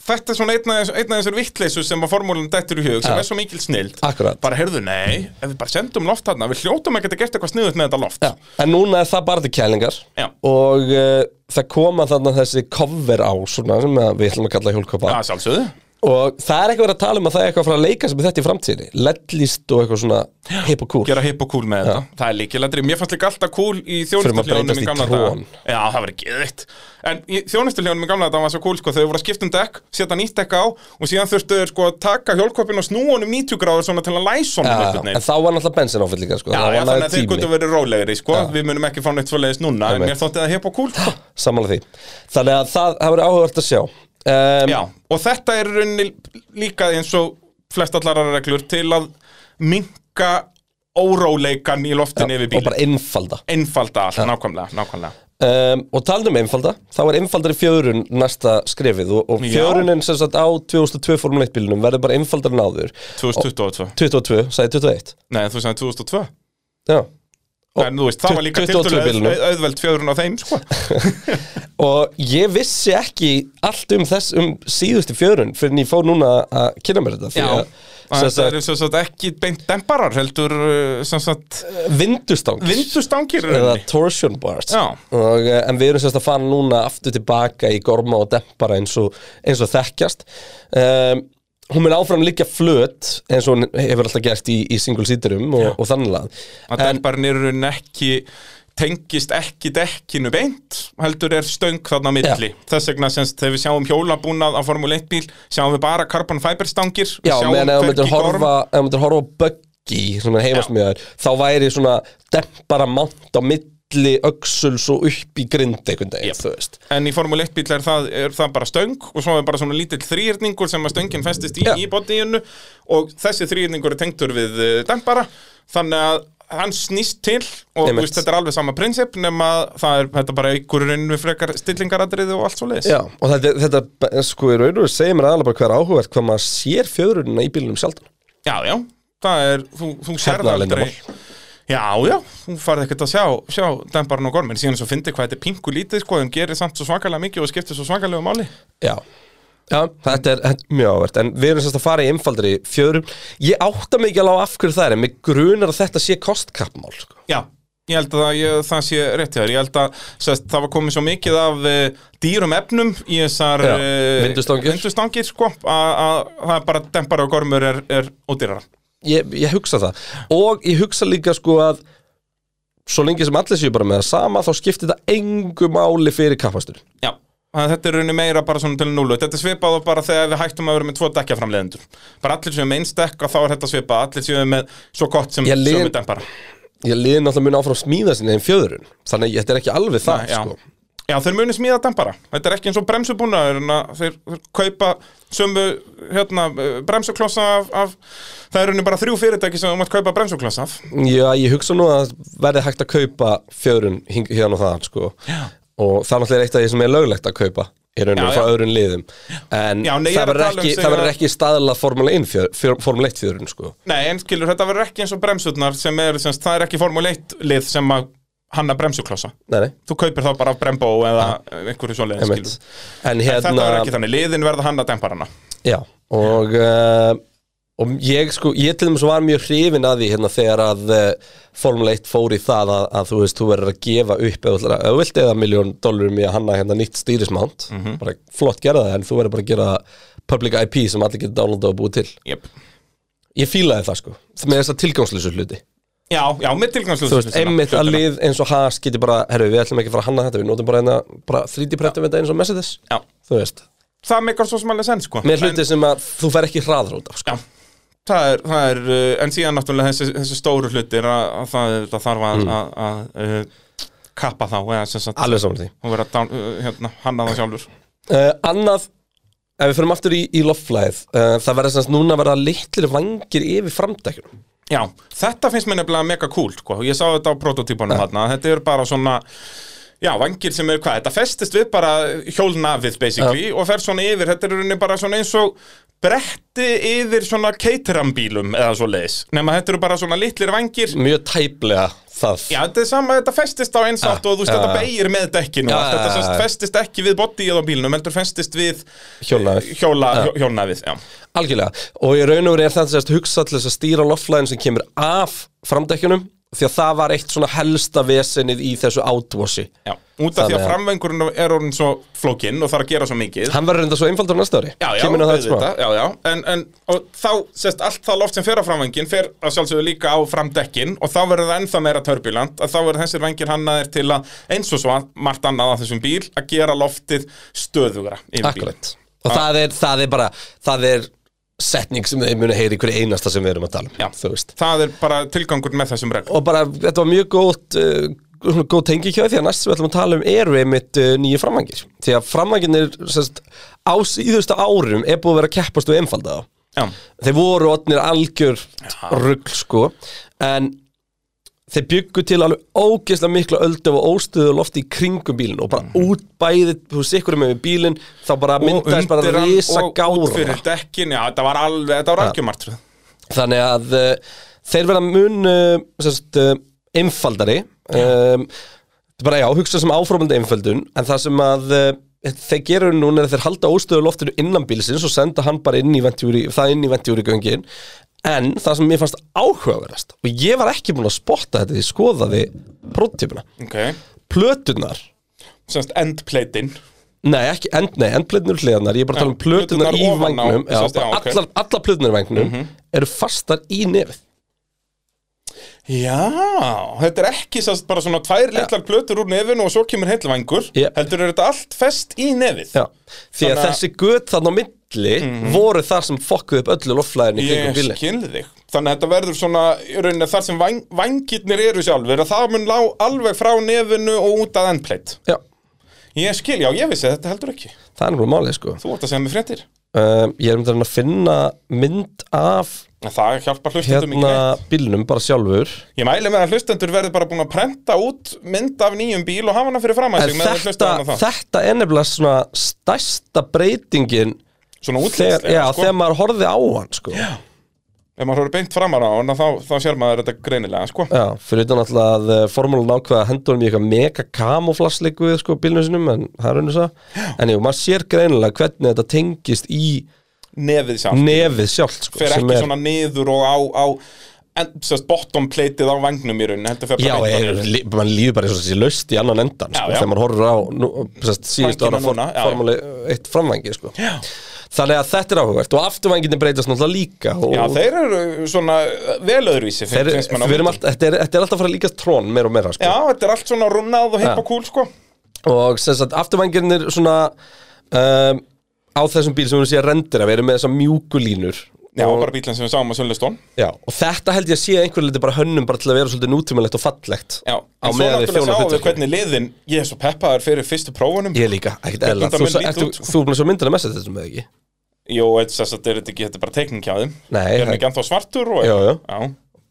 B: Þetta er svona einn af þess- einn af þessar vittleysu sem að formúlum dættur í hug sem er svo mikil snild
A: Akkurat.
B: Bara heyrðu, nei, ef við bara sendum loft þarna við hljótum ekki að geta eitthvað sniðut með þetta loft
A: Já, en núna er það bara til kælingar
B: Já.
A: og uh, það koma þarna þessi cover á svona sem að við ætlum að kalla hjólkopa
B: Það er sálsöðu
A: og það er eitthvað verið að tala um að það er eitthvað að fara að leika sem er þetta í framtíðinni leddlist og eitthvað svona hip og cool
B: gera hipp og cool með þetta það er líkilegri, mér fannst líka alltaf cool í þjónustuhljónum
A: breytast
B: í
A: í
B: gamla
A: trón.
B: daga. já, það var geðvitt en í þjónustuhljónum í gamla þetta var svo cool sko, þau voru að skipta um dekk, setja nýtt dekk á og síðan þurftu þau sko að taka hjólkoppin og snúa honum 90 gráður svona til að læsa honum
A: Já,
B: einhvern veginn.
A: en þá var náttúrulega bensin áfell líka sko.
B: já,
A: það var
B: já, þannig að
A: náttúrulega
B: þeir
A: tími
B: gotu verið rólegri sko, við munum ekki fá neitt svoleiðis núna en
A: Einmitt.
B: mér þótti það hipp og cool sko.
A: samanlega því þannig að það, það verið áhugavert að sjá um,
B: já, og þetta er í rauninni líka eins og flest allara reglur til að minka óróleikan í loftin yfir
A: og
B: bílinn
A: bara einfalda
B: einfalda allt, nákvæmlega, nákvæmlega
A: um, og talandi um einfalda þá er einfaldari fjörun næsta skrefið og, og
B: Já.
A: fjörunin sem sagt á 2002 Formule 1 bílunum verður bara einfaldari en áður
B: 2022
A: 22, sagði 21
B: Nei, þú sagði 2002
A: Já. Ó,
B: En þú veist, það var líka
A: 22
B: tiltölu
A: bílnum.
B: auðveld fjörun á þeim, sko
A: og ég vissi ekki allt um þess um síðustu fjörun fyrir en ég fór núna að kynna mér þetta því að sem
B: Það
A: sagt,
B: eru sem sagt ekki beint demparar heldur uh, sem sagt
A: vindustangir
B: vindustangir í
A: eða
B: rauninni.
A: torsion bars
B: Já.
A: og, eh, en við erum sérst að fara núna aftur tilbaka í gorma og dempara eins og, eins og þekkjast um, hún mun áfram líkja flöt eins og hún hefur alltaf gert í, í single seaterum og, og þannlega
B: Að demparin eru en ekki tengist ekki dekkinu beint heldur er stöng þarna á milli þess vegna sem sagt, þegar við sjáum hjólabúnað á Formule 1 bíl, sjáum við bara carbon fiber stangir
A: Já,
B: sjáum
A: meðan ef þú
B: hvergi
A: myndir
B: gorm.
A: horfa ef þú myndir horfa á buggy sem er heimastmjöður þá væri svona dempara mant á milli öxuls og upp í grind einhvern veginn,
B: Jep.
A: þú veist
B: En í Formule 1 bíl er það, er það bara stöng og svo er bara svona lítill þrýrningur sem að stöngin festist í,
A: Já.
B: í bodyinu og þessi þrýrningur er tengdur við eh, dempara þannig að hann snýst til og þú
A: Einmitt.
B: veist, þetta er alveg sama prinsip nema það er þetta bara einhverjum við frekar stillingaratriði og allt svo leiðis.
A: Já, og þetta, þetta sko í raun og veru segir mér aðalega bara hver áhugavert hvað maður sér fjöðrunina í bílunum sjaldan
B: já, já, það er, þú, þú
A: Hérna
B: sérð aldrei
A: Hernaðarleyndarmál.
B: Já, já, þú farið ekkert að sjá, sjá dembaran og gormin síðan svo fyndi hvað þetta er pinku lítið sko, þeim gerir samt svo svakalega mikið og skiptir svo svakalega máli
A: Já Já, þetta er, þetta er mjög áhvert, en við erum sérst að fara í einfaldri fjöðrum. Ég átta mig ekki alveg á af hverju það er, en mig grunar að þetta sé kostkappmál, sko.
B: Já, ég held að það, ég, það sé rétt hjá þér Ég held að sest, það var komið svo mikið af uh, dýrum efnum í þessar
A: Já,
B: eh,
A: vindustangir.
B: vindustangir, sko, að að það er bara dempar og gormur er, er ódýrara
A: ég, ég hugsa það og ég hugsa líka sko að svo lengi sem allir séu bara með það sama þá skiptir þetta engu máli fyrir kappastur
B: Já Þannig að Þetta er rauninni meira bara svona til núlu Þetta er svipað og bara þegar við hættum að vera með tvo dekkja framleiðendur Bara allir séu með eins dekk og þá er þetta svipað Allir séu með svo gott sem
A: Ég lið-
B: sömu dempara
A: ég liði náttúrulega mun áfram smíða sinni einn fjöðurinn þannig að þetta er ekki alveg það
B: Já.
A: sko
B: Já, þeir muni smíða dampara. Þetta er ekki eins og bremsubúnaður en að þeir, þeir kaupa sömu hérna, eh, bremsuklossa af, af það eru henni bara þrjú fyrirtæki sem þú mátt kaupa bremsuklossa af.
A: Já, ég hugsa nú að verði hægt að kaupa fjörun hing- hérna og þaðan sko. og það er náttúrulega eitt af því sem er löglegt að kaupa í rauninu
B: Já,
A: frá
B: já.
A: öðrun liðum en
B: Já, nei, ég er
A: það
B: að
A: verður
B: tala um
A: ekki,
B: sig
A: það
B: að-
A: verður ekki staðlað Formule 1 fjör, fjör, Formule 1 fjörun sko.
B: Nei, en skilur, þetta verður ekki eins og bremsurnar sem er, sem, sagt, það er ekki Formule 1 lið sem að hanna bremsuklossa.
A: nei, nei,
B: Þú kaupir þá bara af Brembo eða einhverju svoleiðin, skilur.
A: einmitt en
B: En Þetta verður
A: hérna,
B: ekki þannig, liðin verða hanna damparana.
A: já og, uh, og ég sko ég til þess var mjög hrifin að því hérna, þegar að uh, Formule 1 fór í það að, að þú veist, þú verður að gefa upp eða þú vilt eða miljón dólarum í að hanna hérna nýtt stýrismánt
B: Mhm.
A: bara flott gera það, en þú verður bara að gera public IP sem allir getur downloadað og búið til
B: Yep.
A: ég fílaði það sko, með þess að tilgangslösu hluti
B: Já, já, með
A: þú
B: tilgangsluðsum.
A: veist, einmitt að lið eins og Haas geti bara, herru, við ætlum ekki að fara að hanna þetta við notum bara, hérna, bara 3D-prentum þetta eins og Mercedes
B: Já,
A: þú veist,
B: það meikar svo smálega senn, sko.
A: með
B: En-
A: hluti sem að þú fer ekki hraðrót af, sko
B: Já, það er, það er uh, en síðan náttúrulega þessi, þessi stóru hlutir að, að það, er- það þarf að, að, að uh, kappa þá eða sem sagt
A: alveg saman því
B: hún verið að dán, uh, hérna, hanna það sjálfur
A: uh, annað, ef við förum aftur í, í loftflæð, uh, það verður semst núna verða litlir vangir yfir framdækjunum
B: Já, þetta finnst mér nefnilega mega cool sko. ég sá þetta á prototípunum þarna þetta er bara svona Já, vangir sem er hvað, þetta festist við bara hjólnafið basically og fer svona yfir, þetta er í rauninni bara svona eins og bretti yfir svona caterambílum eða svo leis, nema þetta eru bara svona litlir vangir
A: mjög tæplega það
B: Já, þetta er sama, þetta festist á einsátt
A: Ja,
B: og þú veist,
A: ja.
B: þetta beigir með dekkinu
A: Ja,
B: ja, þetta
A: ja,
B: ja,
A: ja.
B: festist ekki við bodyið á bílnum, heldur festist við eh,
A: Hjólnafið.
B: hjóla, ja. hjólnafið já.
A: Algjörlega, og í raun og verið er þetta sérst hugsað til þess að stýra loftlæðin sem kemur af framdækjunum því að það var eitt svona helsta vesenið í þessu outwashi
B: Já. Út af því
A: Þannig
B: að
A: að-
B: framvengurinn er orðin svo flókinn og þarf að gera svo mikið
A: Hann verður reynda svo einfaldur á næsta ári
B: Já, já,
A: Kemur inn á það smá.
B: auðvitað, já, já, en, en og þá, sérst, allt það loft sem fer á framvengin fer að sjálfsögðu líka á framdekkin og þá verður það ennþá meira törbulant að þá verður þessir vengir hannaðir til að eins og svo margt annað að þessum bíl að gera loftið stöðugra yfir bíl.
A: Akkurat Og
B: Ah.
A: það er, það er bara, það er setning sem þeir muni heyri hverju einasta sem við erum að tala um
B: Já.
A: Þú veist
B: Það er bara tilgangur með þessum reglum
A: Og bara, þetta var mjög gótt uh, svona góð tengi hjá því að næst sem við ætlum að tala um eru einmitt uh, nýju framvangir því að framvanginir sérst, á síðustu árum er búið að vera að keppast og einfalda þá
B: Já.
A: þeir voru otnir algjör rugl sko en þeir byggu til alveg ógeðslega mikla öldu og óstöðu lofti í kringum bílinn og bara
B: Mhm.
A: út bæði, þú veist, ykkur með bílinn þá bara myndaðist bara
B: undir hann
A: risa
B: og út
A: gára
B: fyrir dekkin, já, þetta var alveg, þetta var sko. algjömartröð
A: þannig að uh, þeir verða mun uh, sérst, uh, einfaldari um, þetta er bara já, hugsa sem áframandi einföldun en það sem að uh, þeir gerur núna er að þeir halda óstöðu loftinu innan bílsins og senda hann bara inn í ventjúri, það inn í ventjúri göngin en það sem mér fannst áhugaverðast og ég var ekki búin að spotta þetta því skoðaði prototípuna
B: ok,
A: plötunar
B: semst endpleitin
A: Nei, ekki, end, nei, endplötunar hliðanar, ég er bara að tala um
B: Já,
A: plötunar
B: plöturnar
A: í
B: ofan á,
A: vangnum, já,
B: sem sagt,
A: bara
B: já, ok. Mhm.
A: allar, allar plötunar í vangnum eru fastar í nefið.
B: já, þetta er ekki semst bara svona tvær litlar plötur úr nefinu og svo kemur heill vangur,
A: Yep.
B: heldur er þetta allt fest í nefið
A: Já, því að
B: Þannig að- Mhm.
A: þessi göt þarna á milli voru þar sem fokkuð upp öllu loftflæðinu í kringum
B: ég
A: bílinn.
B: skilði þig þannig að þetta verður svona, í rauninni þar sem vang, vangirnir eru sjálfur, að það mun lá alveg frá nefinu og út að endpleit
A: Já,
B: ég skil, já, ég vissi að þetta heldur ekki
A: það er náttúrulega málið sko.
B: þú ert að segja mér fréttir,
A: Um, ég er um þetta að finna mynd af
B: En það hjálpar hlustendum
A: hérna
B: ekki neitt
A: bílnum bara sjálfur.
B: um Ég mæli með að hlustendur verði bara búin að prenta út mynd af nýjum bíl og hafa hana fyrir fram að
A: En
B: sig með að hlusta
A: þetta,
B: hana það.
A: þetta er nefnilega svona stærsta breytingin
B: Svona
A: þegar, já,
B: útlýslega, sko.
A: þegar maður horfði á hann sko. Já.
B: Ef maður horfður beint framar á hana þá, þá sér maður þetta greinilega, sko.
A: Já, fyrir utan alltaf að uh, formúlan ákveða að hendur um í eitthvað mega kamoflassleik við sko bílnum sinum, en það er unnið það en jú, maður sér greinilega hvernig þetta tengist í
B: Nefið sjálf.
A: nefið sjálft sko,
B: Fer
A: sem
B: ekki
A: er-
B: svona niður og á, á en, sérst, bottom plateið á vangnum í rauninni, heldur fer
A: Já,
B: bara beint á
A: er,
B: nefið.
A: li, mann líður bara eins og þessi laust í annan endan
B: Já,
A: sko,
B: já.
A: þegar maður horfir á nú, sest, síðustu
B: Fangina
A: ára for,
B: núna, já, já.
A: formúli eitt framvangi sko. Þannig að þetta er áhugavert og afturvanginni breytast náttúrulega líka og
B: Já, þeir eru svona eh, vel öðruvísi,
A: þeir,
B: fin- finnst
A: við
B: maður.
A: erum allt, þetta, er, þetta er alltaf að fara að líkast trón meira og meira sko.
B: Já, þetta er allt svona runnað og hipp
A: Já.
B: og cool, sko.
A: og sem sagt ehm, afturvangirnir svona um, á þessum bíl sem við séum rendir að við erum með þessar mjúkulínur
B: Já,
A: og,
B: bara bílinn sem við sáum á Sölvestón
A: já, og þetta held ég að sé að einhverju liti bara hönnum bara til að vera svolítið nútímalegt og fallegt
B: Já,
A: á
B: en svo
A: meðan við
B: náttúrulega
A: þjóna
B: sáum við
A: hlutverki
B: hvernig liðin Ég er svo peppaður fyrir fyrstu prófunum
A: Ég líka, ekkert eðla
B: Hvernig þetta
A: Þú,
B: mun
A: sa-
B: líta
A: ertu-
B: út, sko.
A: þú er búin að sjá myndina með þetta með ekki?
B: Jó, þess að þetta er þetta ekki, þetta er bara teikning hjá þeim
A: Nei,
B: Er hann
A: það-
B: ekki anþá svartur og
A: Jú, jú.
B: já.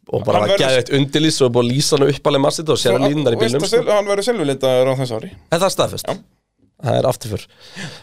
A: og bara að
B: Hann verður-
A: geða eitt undirlýs og er búin að lýsa hann upp alveg massið og sér að línunar í
B: Og
A: bílnum
B: veist
A: sko.
B: að Sil- Hann verður silfurlitaður á þessu ári
A: En það er staðfest
B: Já.
A: Það er afturför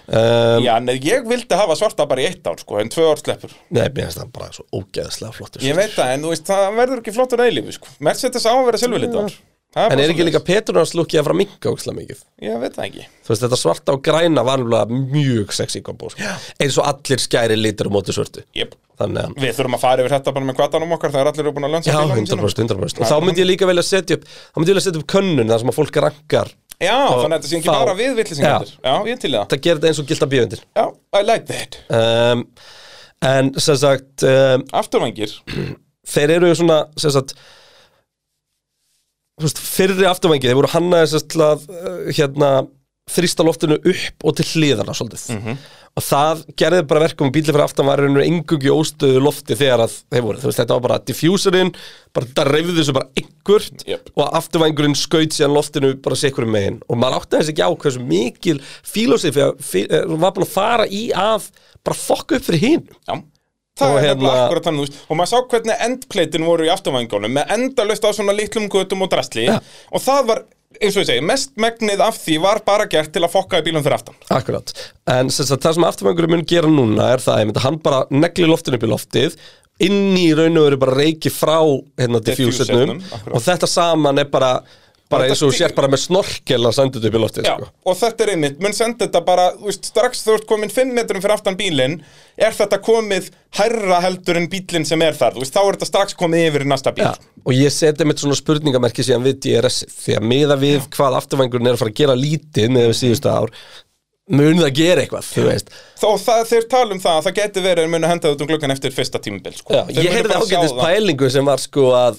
A: um,
B: Já, en ég vildi hafa svarta bara í eitt ár, sko En tvö ár sleppur
A: Nei, mér finnst það bara svo ógeðslega flottur
B: Ég veit það, en þú veist, það verður ekki flottur að eilífi, sko Mercedes á að vera silfurlitaður Það
A: En
B: bara
A: er ekki
B: svoleiðis.
A: líka Petrunars lúkið að fara að minka ógeðslega mikið?
B: Ég veit það ekki
A: Þú veist, þetta svarta og græna var alveg mjög sexy kombo sko. Eins og allir skæri litur á móti svörtu
B: Jep.
A: Þannig að
B: Við þurfum að fara yfir þetta bara með kvatanum okkar Þegar allir eru búin að lönsa
A: Já,
B: bílunum sínum.
A: 100%, 100%. Og þá myndi ég líka velja að setja upp þá myndi ég velja að setja upp könnun þar sem að fólk rankar
B: Já, þannig að þetta sé ekki
A: þá-
B: bara við villisingar Já, ég er til í það
A: Það gerir þetta eins og gilda bíðundir
B: Já, I like that
A: um, En sem sagt um,
B: Afturvængir
A: þeir eru svona sem sagt þú veist, fyrri afturvængi, þeir voru hannaði sem sagt til að uh, hérna þrýsta loftinu upp og til hliðana svolítið og það gerði bara verkum að bílið fyrir aftan var einhvern engungi óstöðu lofti þegar að þeir voru, þú veist, þetta var bara diffuserinn bara þetta reyfði þessu bara einhvert
B: Jep.
A: og afturvængurinn skaut síðan loftinu bara sikkurum megin og maður átti þessi ekki á hversu mikil fílósið fyrir að eh, var búin að fara í að bara fokka upp fyrir hinn
B: Já Það
A: Og
B: er
A: hérna-
B: hérna... akkurat þannig, þú veist, og maður sá hvernig endpleitin voru í afturvængunum með endalaust á svona litlum götum og drastli
A: Já.
B: og það var, eins og ég segi, mest megnið af því var bara gert til að fokka í bílum fyrir aftan
A: Akkurát, en sem sagt, það sem afturvangurinn mun gera núna er það einmitt að hann bara negli loftinu upp í loftið inn í raun og veru bara reiki frá hérna diffúsernum
B: Diffuserunum, akkúrat.
A: og þetta saman er bara bara
B: Þetta
A: eins og
B: di-
A: sér bara með snorkel að senda þetta upp í loftið
B: Já,
A: sko.
B: og þetta er einmitt, mun senda þetta bara, þú veist, strax þú ert komin 5 metrum fyrir aftan bílinn er þetta komið hærra heldur en bílinn sem er þar, þú veist, þá er þetta strax komið yfir í næsta bíl
A: Já, og ég seti mitt svona spurningamerki síðan við DRS -ið, því að miða við hvað afturvangurinn er að fara að gera lítið með við síðustu ár mun það gera eitthvað, þú veist
B: Þó það, þeir tala um það að það geti verið að muni henda þetta um gluggan eftir fyrsta tímabil sko.
A: Já, ég
B: Þeir munu
A: heyrði
B: bara sjá
A: ágætis
B: það.
A: pælingu sem var sko að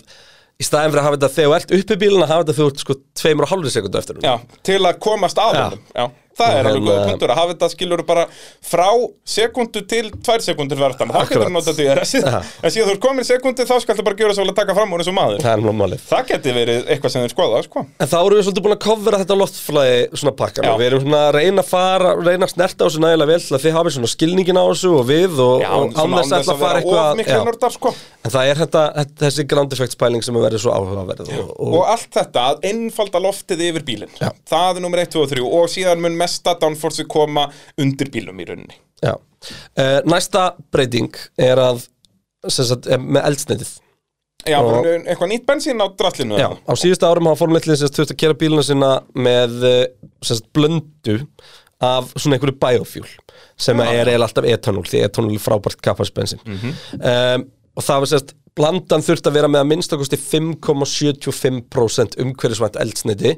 A: í staðin fyrir að hafa þetta þegar þú ert uppi bílun að hafa þetta þegar þú ert sko tveimur og hálfri sekundu eftir núna.
B: Já, til að komast að
A: Já.
B: honum Já, það
A: Og
B: er alveg
A: hérna-
B: góða punktur að hafa þetta skilur bara frá sekundu til tvær sekundur verðan Það
A: Akkurat.
B: getur nota því
A: [LAUGHS]
B: að þessi
A: Já.
B: En síðan þú er komin sekundu þá skal það bara gjöra svo að taka fram úr eins og maður
A: Það er náttúrulega málið.
B: Það geti verið eitthvað sem þeir skoða sko.
A: En þá erum við svolítið búin að kofra þetta loftflæði svona pakkan
B: Já.
A: og við erum svona að reyna að fara, reyna að snerta á þessu nægilega vel til að þið hafið svona skilningin á þessu og við og, og án
B: svona
A: þess að ætla að fara
B: vera of miklu
A: eitthvað já.
B: nördar sko.
A: En það er þetta, þetta- þessi ground effects pæling sem er verið svo áhugaverð og, og,
B: Og allt þetta að einfalda loftið yfir bílinn
A: Já.
B: Það er nummer 1, 2 og 3 Og síðan mun mesta downforce koma undir bílum í rauninni
A: já uh, Næsta breyting er að sem sagt, er með eldsneitið
B: Já,
A: Og-
B: og... eitthvað nýtt bensín á draslinu
A: Já,
B: eða?
A: á síðustu árum hafa formleitlið sem sagt þurft að kera bíluna sína með eh, sem sagt blöndu af svona einhverju biofjúl sem
B: Já.
A: er eiginlega alltaf etanól því etanól er frábært kapparsbensin um, og það var sem sagt blandan þurft að vera með að minnstakosti 5,75% umhverjusvænt eldsneiti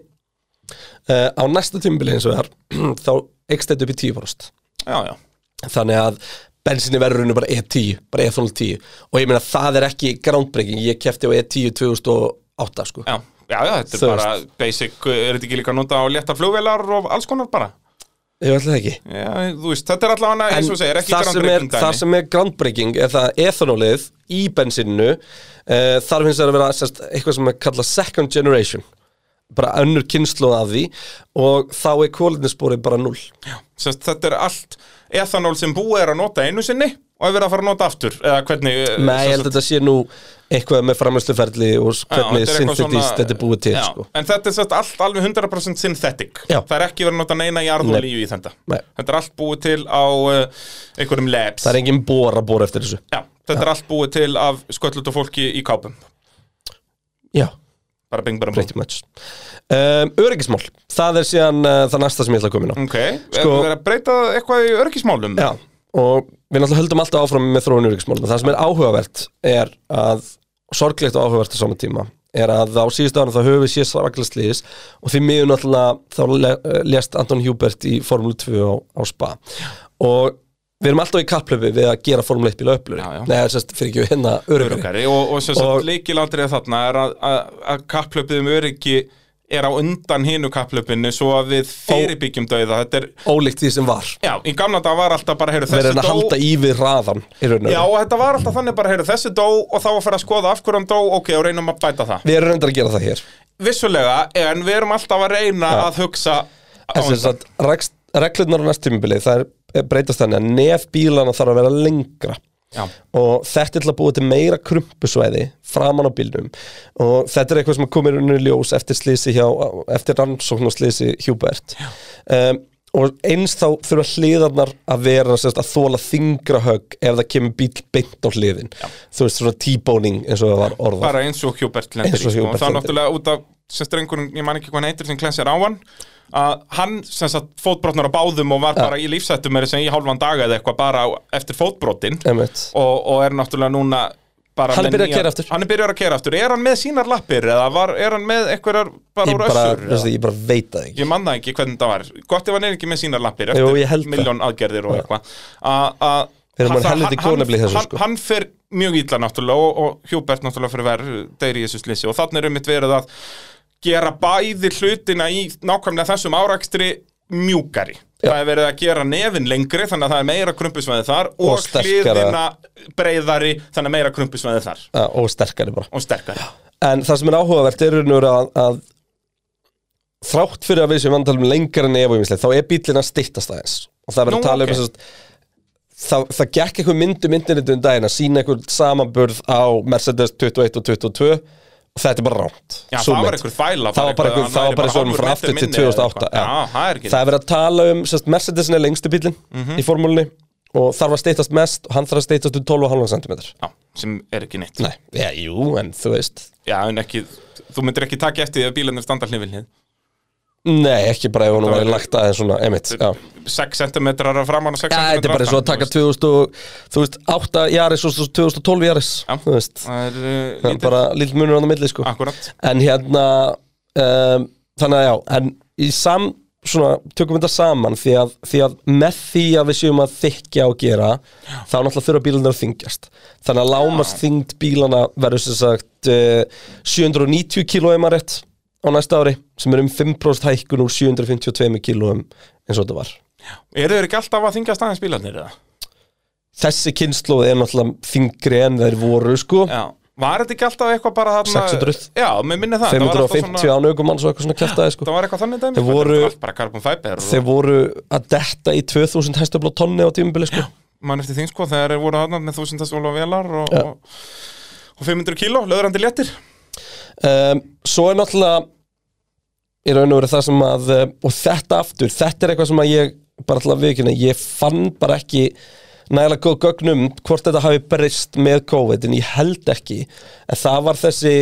A: uh, á næsta tímubili eins og þar [CLEARS THROAT] þá ekst þetta upp í 10%
B: já, já
A: þannig að bensinni verður rauninu bara E10 bara etanól 10 og ég meina það er ekki groundbreaking, ég kefti á E E10 2008 sko
B: Já, já, já, þetta er
A: Þú
B: bara basic, eh, er þetta ekki líka að nota á létta flugvelar og alls konar bara?
A: Ég ætla það ekki
B: Já, þú veist, þetta er allavega, eins og þú segir, ekki
A: það, sem er,
B: groundbreaking
A: það
B: dæmi.
A: sem er groundbreaking er það að ethanolið í bensinnu uh, þarf hins vegar að vera sérst, eitthvað sem er kallað second generation bara önnur kynslu af því og þá er kólinnisporið bara null
B: Sest, þetta er allt ethanol sem búið er að nota einu sinni og er verið að fara að nota aftur, eða hvernig... eh,
A: Nei, ég held
B: sem
A: að
B: sagt-
A: þetta sé nú eitthvað með framhæsluferli og s-
B: Já,
A: hvernig
B: þetta er eitthvað
A: synthetist
B: svona-
A: þetta er búið til
B: já,
A: sko.
B: En þetta er sest, allt alveg 100% synthetic
A: Já.
B: Það er ekki verið að nota neina jarðolíu í þetta
A: Nei.
B: Þetta er allt búið til á uh, einhverjum labs
A: Það er engin bor að bora eftir þessu
B: Já, Þetta er allt búið til af sköllutu fólki í kápum
A: Já,
B: Bara bing, bara bing
A: pretty much um, Öryggismál, það er síðan uh, það næsta sem ég ætla að koma inn á
B: Ok,
A: Sko-
B: sko, er verið að breyta eitthvað í örgismálum?
A: Já, og við náttúrulega höldum alltaf áfram með þróun öryggismálum. Það sem er áhugavert er að, sorglegt og áhugavert á saman tíma, er að á síðustu árum þá höfum við séð svaklega slíðis og því miður náttúrulega þá le- lést Anton Hubert í Formule 2 á, á Spa. Og við erum alltaf í kapplöfi við að gera Formule 1 bíla öflur.
B: Já, já.
A: Nei, sérst, fyrir ekki hérna öryggari.
B: Öruggari. og, og sem sagt
A: Og-
B: leikilandrið þarna er að, að, að kapplöpið um öryggi er á undan hinu kapplöpinu svo að við fyrirbyggjum dauða þetta er,
A: Ólíkt því sem var
B: já, í gamla dag var alltaf bara, heyrðu,
A: Við
B: þessi
A: erum að halda í við raðan í raun og
B: já,
A: veru.
B: og þetta var alltaf þannig bara, heyrðu, þessi dó og þá að fara að skoða af hverjum dó, ok, og reynum að bæta það
A: Við erum reyndar að gera það hér
B: vissulega, en við erum alltaf að reyna að hugsa á
A: En sem
B: undan.
A: sagt, rekst- reglurnar á næst tímubili Það er breytast þannig að nef bílana þarf að vera lengra
B: já,
A: og þetta er til að búa til meira krumpusvæði framan á bílnum og þetta er eitthvað sem komir unni ljós eftir slísi hjá, eftir rannsókn og slísi Hjúbert um, og eins þá þurfa hliðarnar að vera sérst, að þóla þingra högg ef það kemur bíl beint á hliðin þú veist svona t-boning eins og það var orðað
B: bara eins og Hubert lendir í
A: Eins og
B: sko.
A: Hubert
B: og það er
A: lendir.
B: náttúrulega út af sem strengurinn, ég man ekki hvað hann heitir sem klensir á hann að hann sem sagt fótbrotnar á báðum og var bara í lífsættum er sem í hálfan daga eða eitthvað bara á- eftir fótbrotin og,
A: Einmitt.
B: og er náttúrulega núna bara
A: Hann er
B: með
A: byrjaður að
B: nýja-
A: keyra aftur.
B: hann er byrjar að kera aftur, er hann með sínar lappir eða var, er hann með einhverjar bara
A: ég
B: úr
A: bara,
B: össur
A: veistu,
B: eða?
A: ég bara veit það ekki
B: ég manna ekki hvernig það var gott ef hann er ekki með sínar lappir
A: Jú, ég held það.
B: miljón aðgerðir og eitthvað A- a-
A: Þeir eru
B: hann-
A: bara helviti
B: hann-
A: góðnefli í þessu,
B: hann-
A: sko.
B: hann fer mjög illa náttúrulega og, og Hjúbert náttúrulega fyrir verð deyri í þessu slissi og þannig er um mitt verið að gera bæði hlutina í nákvæmlega þessum árakstri mjúkari
A: Já.
B: það er verið að gera nefin lengri þannig að það er meira krumpusvæði þar og,
A: Og
B: og
A: sterkara.
B: hliðina breiðari þannig að meira krumpusvæði þar
A: Ja, Ah, og sterkari bara
B: og sterkari
A: En það sem er áhugavert er raunur að, að þrátt fyrir að við séum vandalum lengra en ef og yfislega, þá er bílina styttast aðeins og það er verið
B: Nú,
A: að tala
B: ok.
A: um þess að Það, það gekk eitthvað myndu myndinni um daginn að sína eitthvað samanburð á Mercedes 21 og 22 og þetta er bara rámt
B: Já,
A: Sú
B: það var
A: mynd.
B: einhver þvæla
A: Það var bara
B: eitthvað-
A: einhver- það var
B: hann væri
A: bara svona
B: hálfur
A: frá
B: metri
A: aftur til
B: minni eða eitthvað.
A: 2008, já.
B: Já, það er ekki
A: Það er verið að tala um, sérst, Mercedesin er lengstu bílinn
B: Mhm.
A: í formúlunni og þarf að styttast mest og hann þarf að styttast um 12,5 cm
B: Já, sem er ekki neitt
A: Nei, já, jú, en þú veist
B: Já, en ekki, þú myndir ekki taka eftir því að bílarnir standa hlifin hlið
A: Nei, ekki bara ef hún
B: Það
A: var
B: var-
A: lagt aðeins svona, emitt, já
B: 6 cm að framan og 6
A: Já,
B: cm
A: þetta er bara eins og að taka 2000 og, þú veist, 8 Jaris og svo 2012 Jaris
B: Já.
A: þú veist,
B: Það er uh,
A: það er
B: lítið,
A: bara lill munur á það milli sko.
B: akkurat
A: en hérna um, þannig að já, en í sam svona, tökum þetta saman því að, því að með því að við séum að þykja og gera, þá náttúrulega þurfa bílunar að þyngjast, þannig að lámast þyngd bílana verður sem sagt uh, 790 km rétt á næsta ári, sem er um 5% hækkun úr 752 km eins og þetta var
B: Eru þeir ekki alltaf að þingja staðins bílarnir eða?
A: þessi kynnslóð er náttúrulega þingri en þeir voru sko
B: Já Var þetta ekki alltaf eitthvað bara þarna
A: 600?
B: Já, mér minni það það var alltaf
A: 550
B: svona,
A: á nögumann svo eitthvað svona kjæftaði sko
B: Það var eitthvað þannig dæmi
A: Þeir
B: sko, þetta
A: voru-
B: var allt Bara carbon fiber og
A: þeir voru að detta í 2000 hæstöfla tonni á tímubili sko
B: mann eftir þín sko Þegar þeir voru þarna með 1000 stóla velar og, og, og 500 kíló, löðrandi léttir
A: um, svo er náttúrulega í raun og veru það sem að eh, og þetta aftur, þetta er eitthvað sem að ég bara alltaf viðkynna, ég fann bara ekki nægilega góð gögnum hvort þetta hafi breyst með COVID en ég held ekki, en það var þessi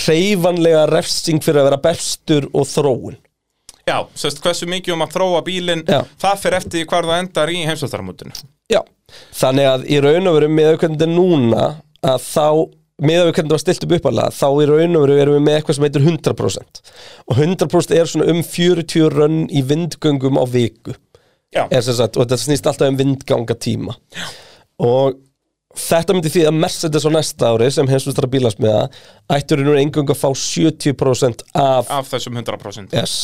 A: hreyfanlega refsing fyrir að vera bestur og þróun
B: Já, sérst hversu mikið um að þróa bílinn
A: Já.
B: Það fer eftir því hvar það endar í heimsóttarmótinu
A: Já, þannig að í raun og veru með hvernig þetta er núna að þá með að við hvernig það var stilt upp uppalega þá í raun og veru erum við með eitthvað sem heitir 100% og 100% er svona um 40 rönn í vindgöngum á viku
B: Já,
A: er sem sagt, og þetta snýst alltaf um vindganga tíma Já. og þetta myndi því að Mercedes á næsta ári sem heimsvistara bílasmiða ættur nú einhverjum að fá 70% af
B: af þessum 100%
A: yes.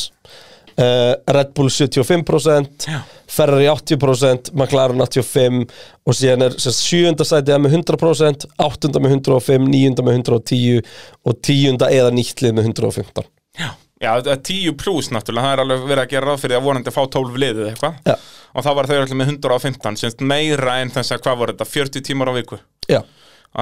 A: uh, Red Bull 75%
B: Já.
A: Ferrari 80% McLaren 85% og síðan er sem sagt, sjöunda sætið með 100% áttunda með 105, níunda með 110 og tíunda eða nýttlið með 115
B: Já, þetta er 10 pluss náttúrulega, það er alveg verið að gera ráð fyrir að vonandi að fá 12 liðið eitthvað
A: Já.
B: og þá var þau allir með 115, semst meira en þess að hvað voru þetta, 40 tímar á viku
A: Já,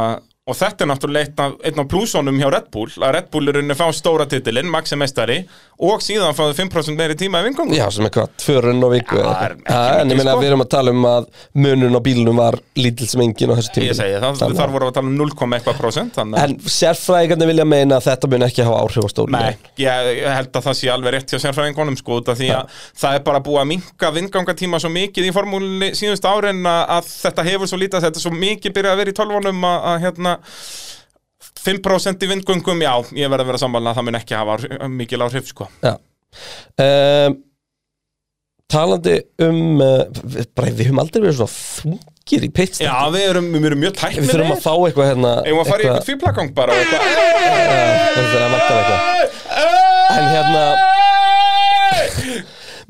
B: uh, og þetta er náttúrulega einn af, einn af plussunum hjá Red Bull, að Red Bull er unni fá stóra titilinn, Maxi meistari og síðan fáðu 5% meiri tíma í vingum
A: Já sem er hvað, tvörun og viku
B: Já,
A: eða
B: það er
A: eitthvað.
B: ekki
A: Já, En
B: mikið,
A: ég meina
B: sko.
A: að við erum að tala um að munun á bílunum var lítill sem engin á þessu tíma
B: Ég segi það,
A: Þannig að-
B: þar voru að tala um 0,1 eitthvað prósent þannig að-
A: En sérfræðingarnir vilja meina að þetta mun ekki hafa áhrif á stólu
B: Nei, ég ég held að það sé alveg rétt hjá sérfræðingunum sko, út af því að það er bara búið að minka vindgangatíma svo mikið í formúlinni síðust árin að, að þetta hefur svo lítið að þetta er svo mikið byrjað að vera í tölvunum að, að hérna 5% í vindgöngum, já, ég verð að vera sammála að það mun ekki hafa áhrif- mikil áhrif sko.
A: Já um, Talandi um uh, við, bara, við höfum aldrei verið svona þungir í pitstop
B: Já, við erum, við erum mjög tæknir
A: Við þurfum að fá eitthvað hérna
B: Eða að fara í eitthvað tvíplagang bara og eitthvað
A: Það er að vantar eitthvað En hérna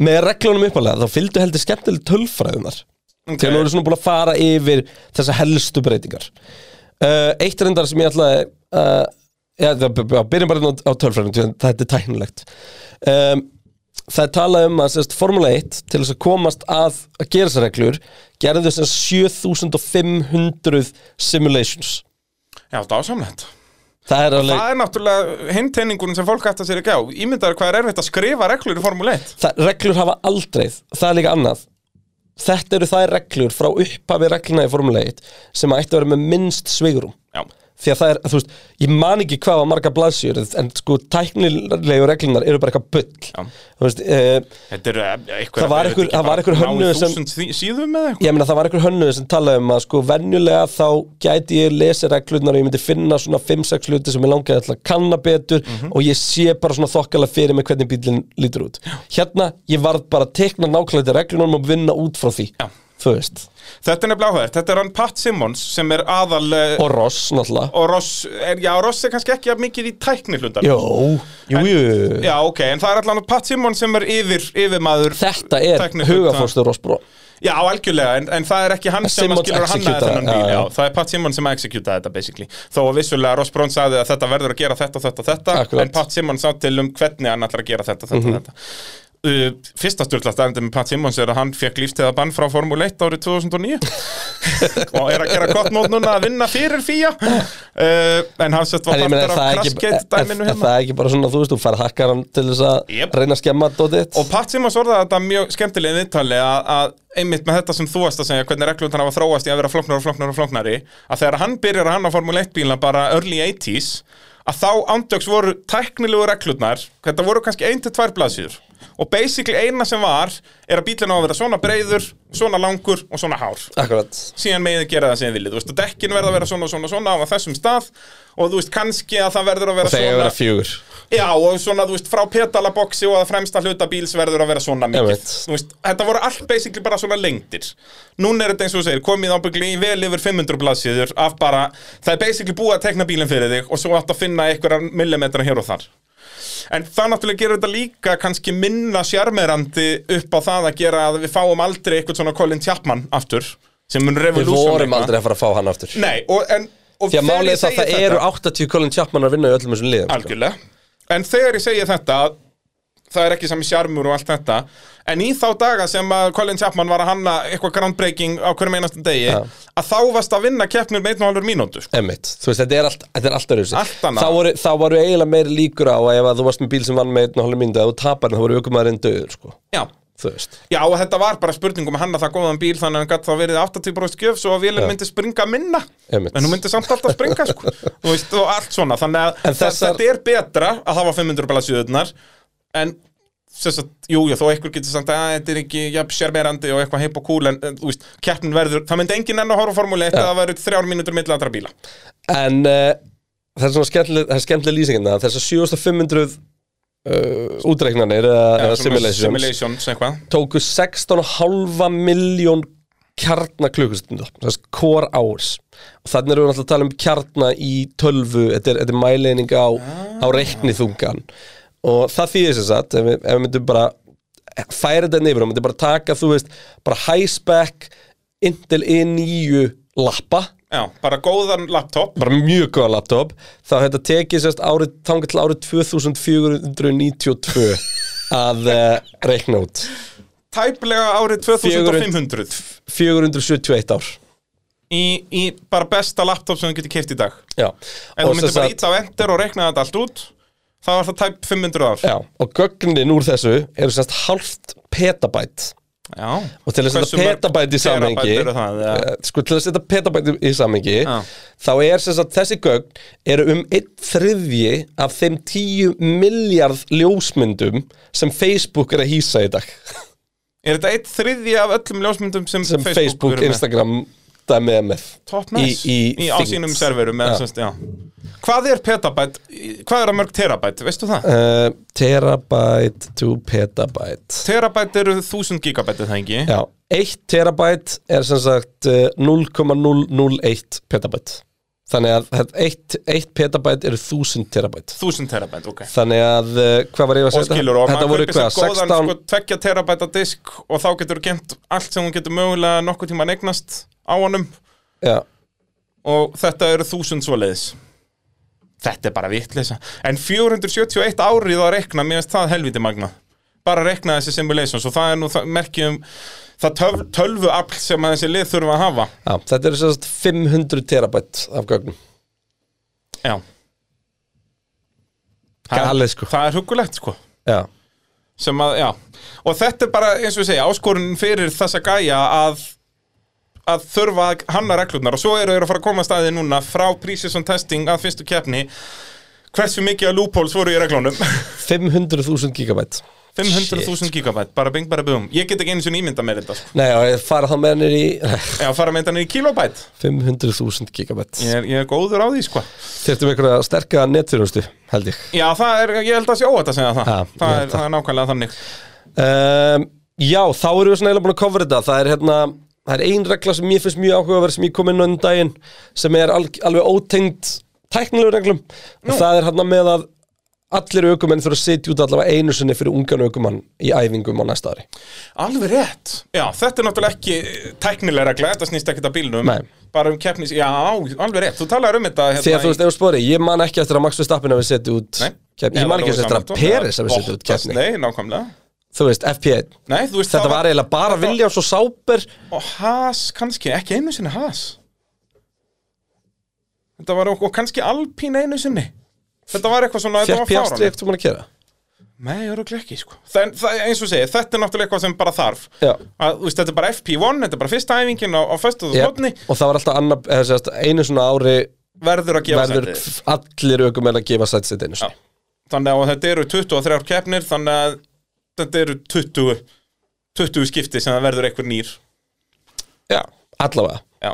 A: Með reglunum uppalega þá fylgdu heldur skemmtileg tölfræðunar okay. Þegar nú erum svona búin að fara yfir þessa helstu breytingar uh, Eitt reyndar sem ég ætlaði uh, Já, það- b- b- byrjum bara hérna á, á tölfræðinu því að Þetta er tæknilegt um, Það er talað um að sérst, Formula 1 til þess að komast að að gera þessar reglur gerðu þess 7500 simulations
B: Já, dásamlegt
A: Það er alveg
B: Það er náttúrulega heimteiningun sem fólk ætti að sér ekki á Ímyndaður hvað er erfitt að skrifa reglur í Formule 1
A: það, reglur hafa aldrei það er líka annað þetta eru þær reglur frá upphafi regluna í formulegit sem ætti að vera með minnst svigrum
B: Já,
A: því að það er, þú veist, ég man ekki hvað var marga blaðsjur en sko tæknilegu reglunar eru bara eitthvað bull
B: Já.
A: þú veist, uh,
B: þetta er eitthvað
A: Það var einhver- það var einhver hönnuður sem-
B: sem Síðum með eitthvað
A: ég meina það var einhver hönnuð sem talaði um að sko venjulega þá gæti ég lesi reglunar og ég myndi finna svona 5-6 hluti sem ég langaði alltaf að kanna betur
B: Mhm.
A: og ég sé bara svona þokkalega fyrir mig hvernig bílinn lítur út hérna, ég varð bara að tekna nákvæmlega til reglunum og vinna út frá því
B: Já.
A: þú veist
B: Þetta er nefnilega áhverð, þetta er hann Pat Simmons sem er aðal eh,
A: og Ross náttúrulega
B: og Ross, er, já Ross er kannski ekki jafn mikið í tækni hlutan
A: Jó, jú, jú
B: Já, ok, en það er allan Pat Simmons sem er yfir, yfirmaður
A: Þetta er
B: Tæknihluta.
A: hugafórstur Ross Bró
B: Já, algjörlega, en, en það er ekki hann sem að
A: Simmons
B: skilur að hanna
A: executa,
B: þennan bíl,
A: já,
B: já,
A: já.
B: það er Pat Simmons sem að executa þetta basically, þó að vissulega Ross Brown sagði að þetta verður að gera þetta og þetta og þetta,
A: Akkurat. Mhm.
B: en Pat Simmons sá til um hvernig hann ætlar að gera þetta og þetta, og þetta. Uh, fyrsta stjórnlast aðeins með Pat Simmons er að hann fekk lífstæða bann frá Formule 1 árið
A: [LAUGHS]
B: 2009 og er að gera gott mót núna að vinna fyrir fíja uh, en hann sett var
A: En ég meina, er
B: partur af hérna.
A: það er ekki,
B: kraskeitt
A: er,
B: dæminu
A: er
B: heima
A: það ekki bara svona, þú veist, þú fær hakkaran til þess að
B: Jep.
A: reyna að skemma dótið
B: Og Pat Simmons orðaði þetta mjög skemmtilegin viðtali að, að einmitt með þetta sem þú varst að segja hvernig reglundan hafa þróast í að vera flóknar og flóknar og flóknari að þegar hann byrjar að hanna Formule 1 bílna bara early 80s að þá ándöks voru tæknilegu reglurnar þetta voru kannski ein til tvær blaðsýður og basically eina sem var er að bílinn á að vera svona breiður, svona langur og svona hár
A: Akkurat
B: síðan megið þið gera það sem þið viljið, þú veist, og dekkin verða að vera svona, svona, svona á þessum stað og þú veist, kannski að það verður að vera
A: Þegar
B: svona
A: vera fjögur
B: Já, og svona, þú veist, frá petalaboksi og að fremsta hluta bíls verður að vera svona mikið
A: Einmitt.
B: Þú veist, þetta voru allt basically bara svona lengdir Núna er þetta eins og þú segir, komið ábyggli í vel yfir 500 blaðsíður af bara Það er basically búið að tekna bílinn fyrir þig og svo átt að finna einhverja millimetra hér og þar En það náttúrulega gerir þetta líka kannski minna sjarmerandi upp á það að gera að við fáum aldrei eitthvað svona Colin Chapman aftur sem mun
A: Við
B: revolutiona
A: vorum aldrei að fara að fá hann aftur
B: Nei, og, en, og
A: Því að
B: þegar ég
A: málið er það,
B: segi
A: það
B: þetta-
A: eru 80 Colin Chapman að vinna í öllum þessum liðum sko.
B: Algjörlega En þegar ég segi þetta Það er ekki sami sjarmur og allt þetta En í þá daga sem að Colin Chapman var að hanna eitthvað groundbreaking á hverjum einastan degi
A: Já.
B: að þá varst að vinna keppnur með einn og halvur mínútu sko.
A: Einmitt, þú veist, þetta er allt, þetta er allt öðruvísi.
B: Allt annað.
A: Þá voru, þá voru eiginlega meiri líkur á að ef að þú varst með bíl sem vann með einn og hálfum myndu að þú tapar en þá voru aukumæðurinn döður, sko
B: Já
A: Þú veist
B: Já, og þetta var bara spurningum að hanna það góðan bíl þannig að hann gætt þá verið 80% gjöf svo að vélum myndi springa minna
A: Einmitt.
B: en hún myndi samt alltaf springa sko. Þú veist, og allt svona þannig
A: En
B: að
A: þessar-
B: þetta er betra að hafa 500 blaðsjöðunar en sem sagt, jú, jú, þó einhver getur samt að þetta er ekki jafn sérmerandi og eitthvað heip og kúl en en, þú veist, keppnin verður, það myndi engin enn að horfa á formúli 1 að það verður þrjár mínútur milli allra bíla
A: En uh, það er svona skemmtileg, það er skemmtileg lýsingina Þessar 7500 uh, útreiknanir eða eða
B: Svona
A: simulations
B: simulations eitthvað
A: tóku 16,5 miljón kjarnaklukustundu þess core hours og þannig erum við náttúrulega að tala um kjarna í tölvu, þetta er, þetta er mæleining á, á reikniþungan og það þýðir sem sagt ef við, ef við myndum bara færa þetta nefnir og myndum bara taka, þú veist, bara high-spec Intel i9 lappa
B: Já, bara góðan laptop
A: bara mjög góða laptop þá hefði þetta tekið sérst árið þangað til árið 2492 að uh, reikna út
B: tæplega árið 2500
A: 471 ár
B: í, í bara besta laptop sem þú getur keift í dag
A: já.
B: En þú
A: og,
B: myndir
A: sem
B: bara
A: sagt,
B: ítla á enter og reikna þetta allt út Það var það tæp 500 ár
A: já, og gögnin úr þessu eru sérst hálft petabæt
B: Já
A: og til að
B: Hversu
A: setja
B: mörg
A: petabæt í samhengi
B: terabæt eru það, eða?
A: eh, sko til að setja petabæt í samhengi
B: Já.
A: þá er sérst að þessi gögn eru um einn þriðji af þeim 10 miljard ljósmyndum sem Facebook er að hýsa í dag [LAUGHS]
B: Er þetta eitt þriðji af öllum ljósmyndum sem,
A: sem Facebook,
B: eru með?
A: Instagram dæmið er með
B: Top nice
A: í, í,
B: á
A: þyngd.
B: sínum serverum
A: Já.
B: eða semst, já Hvað er petabæt? Hvað er að mörg terabæt? Veistu það?
A: uh, Terabyte to petabyte
B: Terabæt eru 1000 gigabæt er það ekki?
A: Já, 1 terabyte er sem sagt eh, 0,001 petabyte þannig að þetta- eitt, eitt petabæt eru 1000 terabæt
B: 1000 terabæt, ok
A: þannig að eh, hvað var ég að
B: og
A: segja
B: skilur og
A: þetta
B: maður
A: voru
B: kaupir
A: hvað,
B: sér góðan
A: 16
B: sko, tvekja terabæta disk og þá getur þú gemt allt sem þú getur mögulega nokkuð tíma eignast á honum
A: já,
B: og þetta eru þúsund svoleiðis þetta er bara vitleisa en 471 árið að rekna mér finnst það helviti magna bara rekna þessi simulations og það er nú það, merkjum það töl, tölvu afl sem að þessi lið þurfa að hafa
A: já, þetta eru sérst 500 terabæt af gögnum
B: já
A: Galið, sko.
B: það er hugulegt sko
A: já,
B: sem að, já, og þetta er bara eins og ég segja, áskorun fyrir þessa gæja að, að þurfa að hanna reglurnar og svo eru þeir að fara að koma að staðið núna frá pre-season testing að fyrstu keppni hversu mikið að loopholes voru í reglunum [LAUGHS]
A: 500.000 gigabæt
B: 500.000 gigabæt, bara bing bara bum ég get ekki eins og ímynda með þetta sko.
A: Nei, já, ég fara þá með hennir í eh,
B: eða fara með þetta í kilobæt
A: 500.000 gigabæt
B: ég er, ég er góður á því, sko
A: Þyrftum einhverja sterka netþjónustu, held ég
B: já, það er, ég held að sé óvægt að segja það
A: Ha, ég
B: það,
A: held það.
B: er, það er nákvæmlega þannig
A: um, Já, þá erum við svona eiginlega búin að cover þetta Það er hérna, það er ein regla sem ég finnst mjög áhugaverð sem ég kom inn á um daginn sem er al alveg ótengd tæknilegu reglum og það er hérna með að allir aukumenn þurfa að sitja út allavega einu sinni fyrir ungan aukumann í æfingum á næsta ári
B: Alveg rétt Já, þetta er náttúrulega ekki tæknilega regla Þetta snýst ekkert að bílnum
A: Nei.
B: Bara um keppnis, já, alveg rétt Þú talar um þetta hérna,
A: Þegar þú veist, ef þú spori, ég man ekki eftir að Max Verstappen hafi setið út
B: Nei.
A: keppni, ég man ekki eftir að Peres hafi setið út keppni
B: Nei, nákvæmlega
A: Þú veist, FP1
B: Nei, þú veist,
A: Þetta var eiginlega bara Viljáns og Sáber
B: Og has, kannski, ekki einu sinni has Þetta var, og, og kannski alpín einu sinni Þetta var eitthvað svona, þetta
A: Fjart
B: var fáránlegt.
A: Piastri eftir mann að gera
B: Nei, örugglega ekki, sko það, það, Eins og ég segi, þetta er náttúrulega eitthvað sem bara þarf
A: Já.
B: að, Þú veist, þetta er bara FP1, þetta er bara fyrsta æfingin á, á föstuð og
A: Já,
B: smotni
A: Og það var alltaf annar, eða sérst, einu svona ári
B: Verður að gefa
A: verður
B: sætið.
A: f- allir aukumenn að gefa sætt sitt einu
B: Já.
A: sinni
B: Þannig að og þetta eru 23 keppnir Þannig að þetta eru 20 20 skipti sem það verður einhver nýr
A: Já, allavega
B: Já,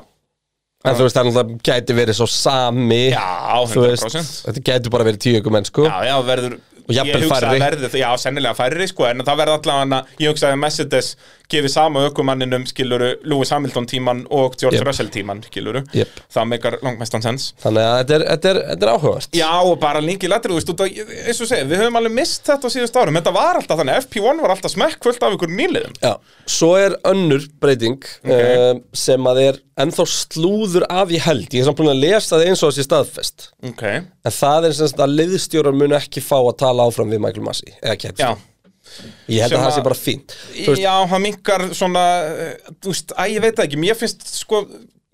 A: En þú veist, það er alltaf gæti verið svo sami
B: já
A: þú veist,
B: 100%
A: Þetta gæti bara verið tíu aukumenn, sko
B: Já, já, verður
A: Og jafnvel
B: ég hugsa að
A: færri.
B: verði, Já, sennilega færri, sko En það verður allavega Ég hugsa að Mercedes gefi sama ökumanninum Skiluru Lewis Hamilton tíman og George
A: Jep.
B: Russell tíman Skiluru
A: Jep.
B: Það meikar langmestan sens
A: Þannig að þetta er, þetta er, þetta er áhugast
B: Já, og bara líki lættir, þú veist, út að, eins og segja, við höfum alveg mist þetta á síðust árum, þetta var alltaf þannig, FP1 var alltaf smekkfullt af ykkur nýliðum.
A: Svo er önnur breyting
B: Ok.
A: um, sem að er ennþá slúður af í held Ég er samt búin að lesa það eins og þessi staðfest
B: Ok,
A: En það er sem sagt að liðstjórar munu ekki fá að tala áfram við Michael Massey eða
B: já,
A: Kjætt Ég held að
B: Sem
A: það
B: að-
A: sé bara fínt Þú veist,
B: Já, það mingar svona, eh, þú veist, að ég veit það ekki, mér finnst sko,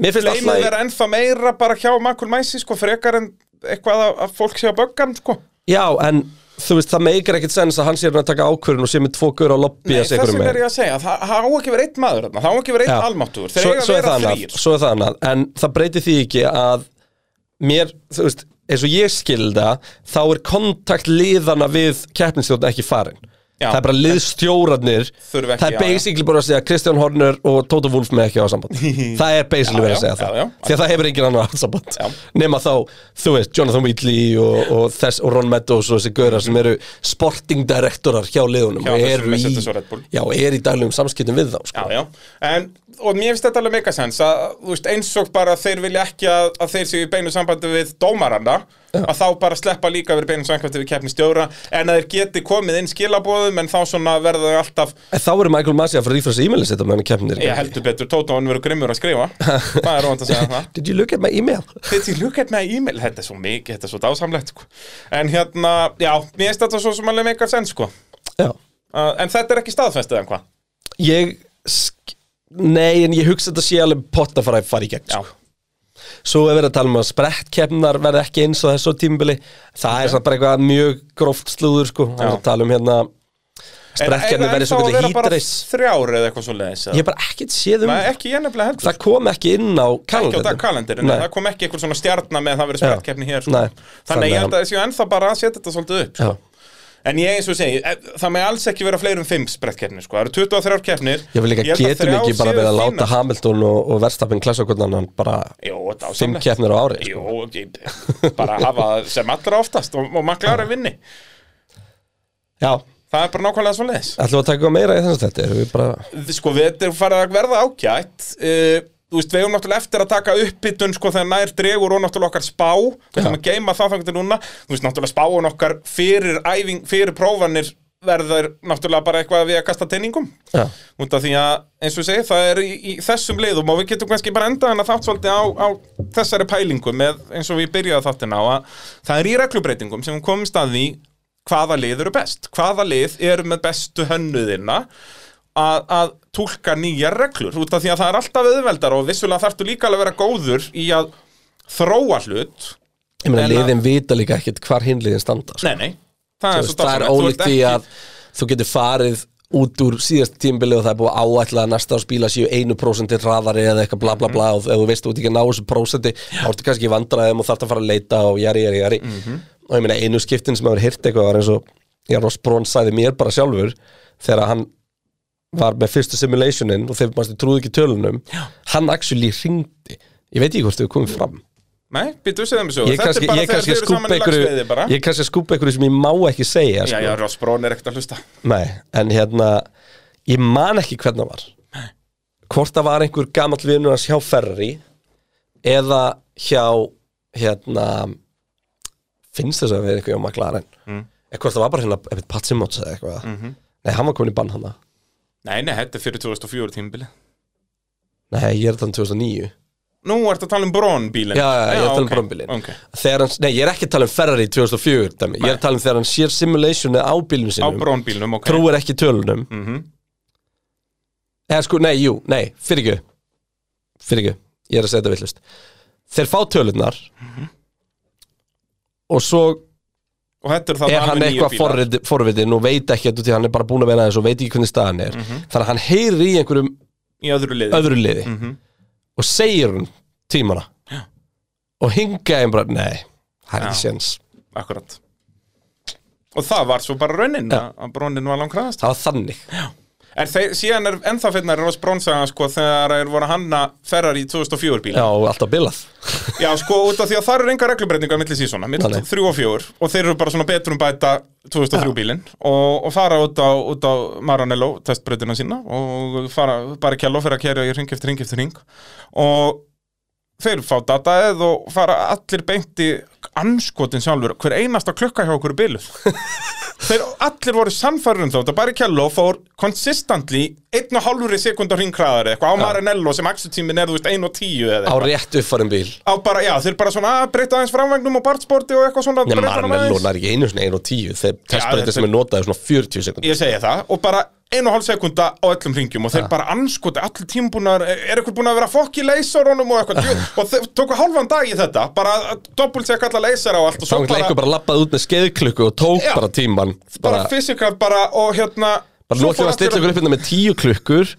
A: Mér finnst
B: leimið
A: alltaf
B: vera ennþá meira bara hjá Makul Mæsi, sko, frekar en eitthvað að, að fólk sé að bögga hann, sko.
A: Já, en þú veist, það meikar ekkert sens að hann sé hérna að taka ákvörðun og sé með tvo gaur á lobby að
B: Nei,
A: segja
B: þess
A: einhverjum
B: vegna er
A: með
B: ég að segja, það, það á ekki verið einn maður þarna, það á ekki verið einn almáttugur, þeir
A: svo,
B: eiga að
A: svo er
B: vera sko.
A: það annað,
B: þrýr.
A: Svo er það annað, en það breytir því ekki að mér, þú veist, eins og ég skilda þá er kontakt liðana við keppnistjórn ekki farin
B: Já.
A: Það er bara liðstjórarnir
B: Þurfa ekki,
A: Það er
B: já, já.
A: basically bara að segja Kristján Horner og Tóta Wolf með ekki á samband
B: [LAUGHS]
A: Það er basically
B: Já,
A: verið
B: já,
A: að segja
B: já,
A: það
B: já.
A: Því að það hefur engin annar átt samband
B: Já.
A: nema þá, þú veist, Jonathan Wheatley og, og, þess, og Ron Meadows og þessi gaurar sem eru sporting direktorar hjá liðunum
B: Hjá
A: og
B: þessum
A: eru í,
B: Mercedes og Red Bull.
A: já, eru í daglegum samskiptum við þá sko.
B: Já, já, en, og mér finnst þetta alveg meikasens að, þú veist, eins og bara þeir vilja ekki að, að þeir séu í beinu sambandi við dómaranda, að þá bara sleppa líka að vera í beinu sambandi við keppni stjóra, en að þeir geti komið inn skilabóðum, en þá svona verða þau alltaf,
A: En þá eru Michael Masi að fara að rífrasa e-mailið sitt á meðan keppnir
B: ég heldur betur, Tóta hann verður grimmur
A: [LAUGHS]
B: að skrifa, það er rónd að segja það.
A: Did you look at my email?
B: Did you look at my email? Þetta er svo mikið, þetta er svo dásamlegt, sko. En hérna, já, mér finnst þetta svo sem alveg meikasens, sko.
A: Já
B: Uh, en þetta er ekki staðfestið en hvað?
A: Ég, sk- nei, en ég hugsa þetta sé alveg pott að fara, fara í gegn
B: Já,
A: sko. Svo er verið að tala um að sprettkeppnar verði ekki eins og þessu tímubili Það er samt bara eitthvað mjög gróft slúður sko Það er
B: Já.
A: að tala um hérna
B: En- en-
A: Sprettkeppni
B: en
A: verði
B: þá
A: svo
B: að
A: kallið
B: vera bara
A: hítreis
B: Þrjár eða eitthvað svo leiðis
A: Ég hef bara ekkert séð um
B: Nei, ekki ég nefnilega heldur
A: það kom ekki inn á
B: ekki á
A: kalendarinn
B: dag kalendirin,
A: Nei.
B: það kom ekki eitthvað svona stjarnar með að það verið sprettkeppni hér sko.
A: Nei.
B: þannig að
A: Þannig að-
B: ég held að það séu ennþá bara að setja þetta svolítið upp
A: Já.
B: sko. en ég eins og segi, e- það með alls ekki vera fleiri en 5 sprettkeppnir, sko. það eru 23 keppnir
A: ég vil líka
B: held að
A: getum
B: þrjár
A: ekki bara
B: séu
A: verið að
B: fínar.
A: láta Hamilton og, og Verstappen klasa okkur annan bara
B: Jó, þetta á
A: fimm
B: samlegt.
A: keppnir á ári sko.
B: Jó, ég- bara hafa það sem allra oftast og, og maklar að vinni
A: já,
B: það er bara nákvæmlega svo leiðis
A: ætlum við að taka eitthvað meira í þess að þetta erum við bara
B: sko við þetta er farið að verða ágætt uh, þú veist, við eigum náttúrulega eftir að taka uppbytun sko þegar nær dregur og náttúrulega okkar spá við ætlum að geima það þangar til núna þú veist, náttúrulega spáun okkar fyrir æfing, fyrir prófanir verður náttúrulega bara eitthvað við að kasta teiningum
A: Já.
B: út af því að, eins og ég segi, það er í, í þessum leiðum og við getum kannski bara endað hennar þátt svolítið á, á þessari pælingu með, eins og við byrjaði þáttin á að það er í reglubreitingum sem við komum stað í hvaða lið eru best hvaða lið eru með bestu hönnuðina að, að túlka nýjar reglur út af því að það er alltaf auðveldar og vissulega þarftu líka alveg að vera góður í að þróa hlut
A: Ég meina,
B: En að-
A: liðin vita líka ekkert hvar hinliðin standa sko.
B: Nei, nei, það er
A: Þú
B: svo
A: veist, það er
B: dásamlegt. Þú
A: ólíkt
B: ert
A: því
B: ekki-
A: að þú getur farið út úr síðast tímbilið og það er búið að áætla að næsta árs bíla séu einu prósenti hraðari eða eitthvað bla bla bla og ef þú veist þú ert ekki að ná þessu prósenti þá ertu kannski í vandræðum og þarf að fara að leita og jari, jari, jari og ég meina einu skiptin sem hefur hirt eitthvað var eins og já, Ross Brón sæði mér bara sjálfur þegar hann var með fyrstu simulationin og þegar maður trúði ekki tölunum já. hann actually ringdi ég veit ekki hvort þau komið fram
B: Nei, býttu segðum þessu
A: ég kannski, ég kannski skúpa
B: bara.
A: einhverju ég kannski skúpa einhverju sem ég má ekki segja
B: Já,
A: sko.
B: já, Ross Brown er ekkert að hlusta
A: Nei, en hérna ég man ekki hvernig það var hvort það var einhver gamall vinur hans hjá Ferrari eða hjá hérna finnst þess að vera eitthvað hjá McLaren mm. eða hvort það var bara hérna einhvern Pat Simmons eða eitthvað Nei, hann var komin í bann hana
B: Nei, nei, þetta er fyrir 2004 tímabili
A: Nei, ég er um þannig 2009
B: Nú ertu að tala um Brown bílinn
A: Já, já, ég er að tala um
B: ok,
A: Brown bílinn.
B: ok.
A: Þegar hann, nei, ég er ekki að tala um Ferrari 2004 dæmi. Ég er að tala um þegar hann sér simulationið á bílum
B: Á
A: sínum
B: Brown bílnum, ok
A: trúir ekki tölunum
B: Mhm.
A: eða sko, nei, jú, nei, fyrir ekki fyrir ekki, ég er að segja þetta villust þeir fá tölunar og svo
B: Og þetta er það
A: er hann eitthvað forrit- forvitinn og veit ekki að hann er bara búin að vera aðeins og veit ekki hvernig staðan er
B: Mhm.
A: þannig að hann heyrir í einhverjum
B: Í öðru liði
A: öðru liði
B: Mhm.
A: og segir hún tímana
B: Já.
A: og hinga einn bara, nei, það er ekki séns
B: Akkurat Og það var svo bara raunin að að Bronin var langkraðast
A: það var þannig
B: En þeir, síðan er ennþá finnar Ross Brónsaga sko þegar þeir voru að hanna Ferrari 2004 bíl
A: já, og alltaf bilað
B: Já sko út af því að það eru enga reglubreiningar milli sísona, milli
A: Nei.
B: 3 og 4 og þeir eru bara svona betrum bæta 2003 bílinn og, og fara út á, út á Maranello testbreytina sína og fara bara kjalló fyrir að kæra í ring eftir ring eftir ring og þeir fá dataðið og fara allir beint í anskotin sjálfur hver einasta klukka hjá okkur er biluð þeir allir voru sannfærum þá þetta bara Kjelló fór consistently einn og hálfri sekund á hringkraðar eitthvað á Maranello sem axutímin er þú veist 1 og 10 eða
A: á
B: eitthvað.
A: rétt uppfærum bíl
B: á bara, já, þeir bara svona að breyta aðeins framvagnum og bartsporti og eitthvað svona
A: Nei,
B: breyta honum
A: Marmel
B: aðeins.
A: lónar ekki einu svona 1 og 10 þegar
B: þetta
A: testbreytir sem er notaði svona 40 sekund
B: Ég segi það, og bara ein og hálf sekunda á öllum ringjum og þeir bara anskoti allir tímbúnar, er eitthvað búin að vera fokk í leysorunum og eitthvað djú- og þeir tóku hálfan dag í þetta, bara doppult sekk alla leysara og allt
A: Þá
B: og svo
A: einhvern
B: bara,
A: leikur bara labbað út með skeiðklukku og tók
B: Já.
A: bara tíman
B: bara
A: bara,
B: fysikal bara og hérna
A: bara
B: svo
A: lokið
B: fór
A: var að stilla
B: allir
A: ykkur upp hérna með 10 klukkur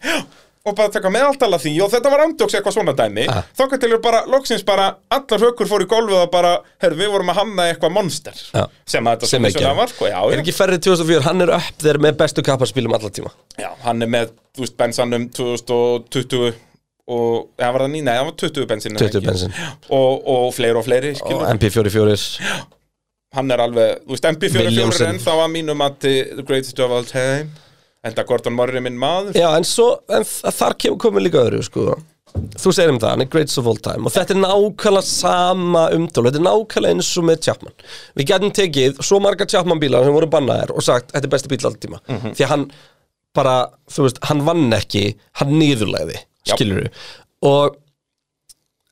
B: og bara taka meðaldala því og þetta var andjóks eitthvað svona dæmi
A: Ah.
B: þá til eru bara, loksins bara, allar hökur fór í golfið og bara, herru, við vorum að hamna eitthvað monster
A: Já.
B: sem að þetta
A: sem ekki
B: vissulega var, sko, já,
A: er
B: já.
A: ekki ferrið 2004, hann er upp þeir með bestu kapparspilum alla tíma
B: já, hann er með, þú veist, bensanum 2020 og, eða var það nýna, eða var 20 bensin
A: 20 bensin
B: og, og fleiri og fleiri,
A: og
B: skilur
A: MP44
B: hann er alveg, þú veist, MP44 er
A: Williamson.
B: ennþá að mínum að the greatest of all time enda Gordon Murray er minn maður
A: Já, en svo, en þ- þar kemur komið líka öðru, sko Þú segir um það, hann er greatest of all time og þetta er nákvæmlega sama umtölu þetta er nákvæmlega eins og með Chapman Við gætum tekið svo marga Chapman bílar sem voru bannaðir og sagt, þetta er besti bíl alltaf tíma
B: Mhm.
A: því að hann bara, þú veist, hann vann ekki hann niðurlegði,
B: Já.
A: skilur og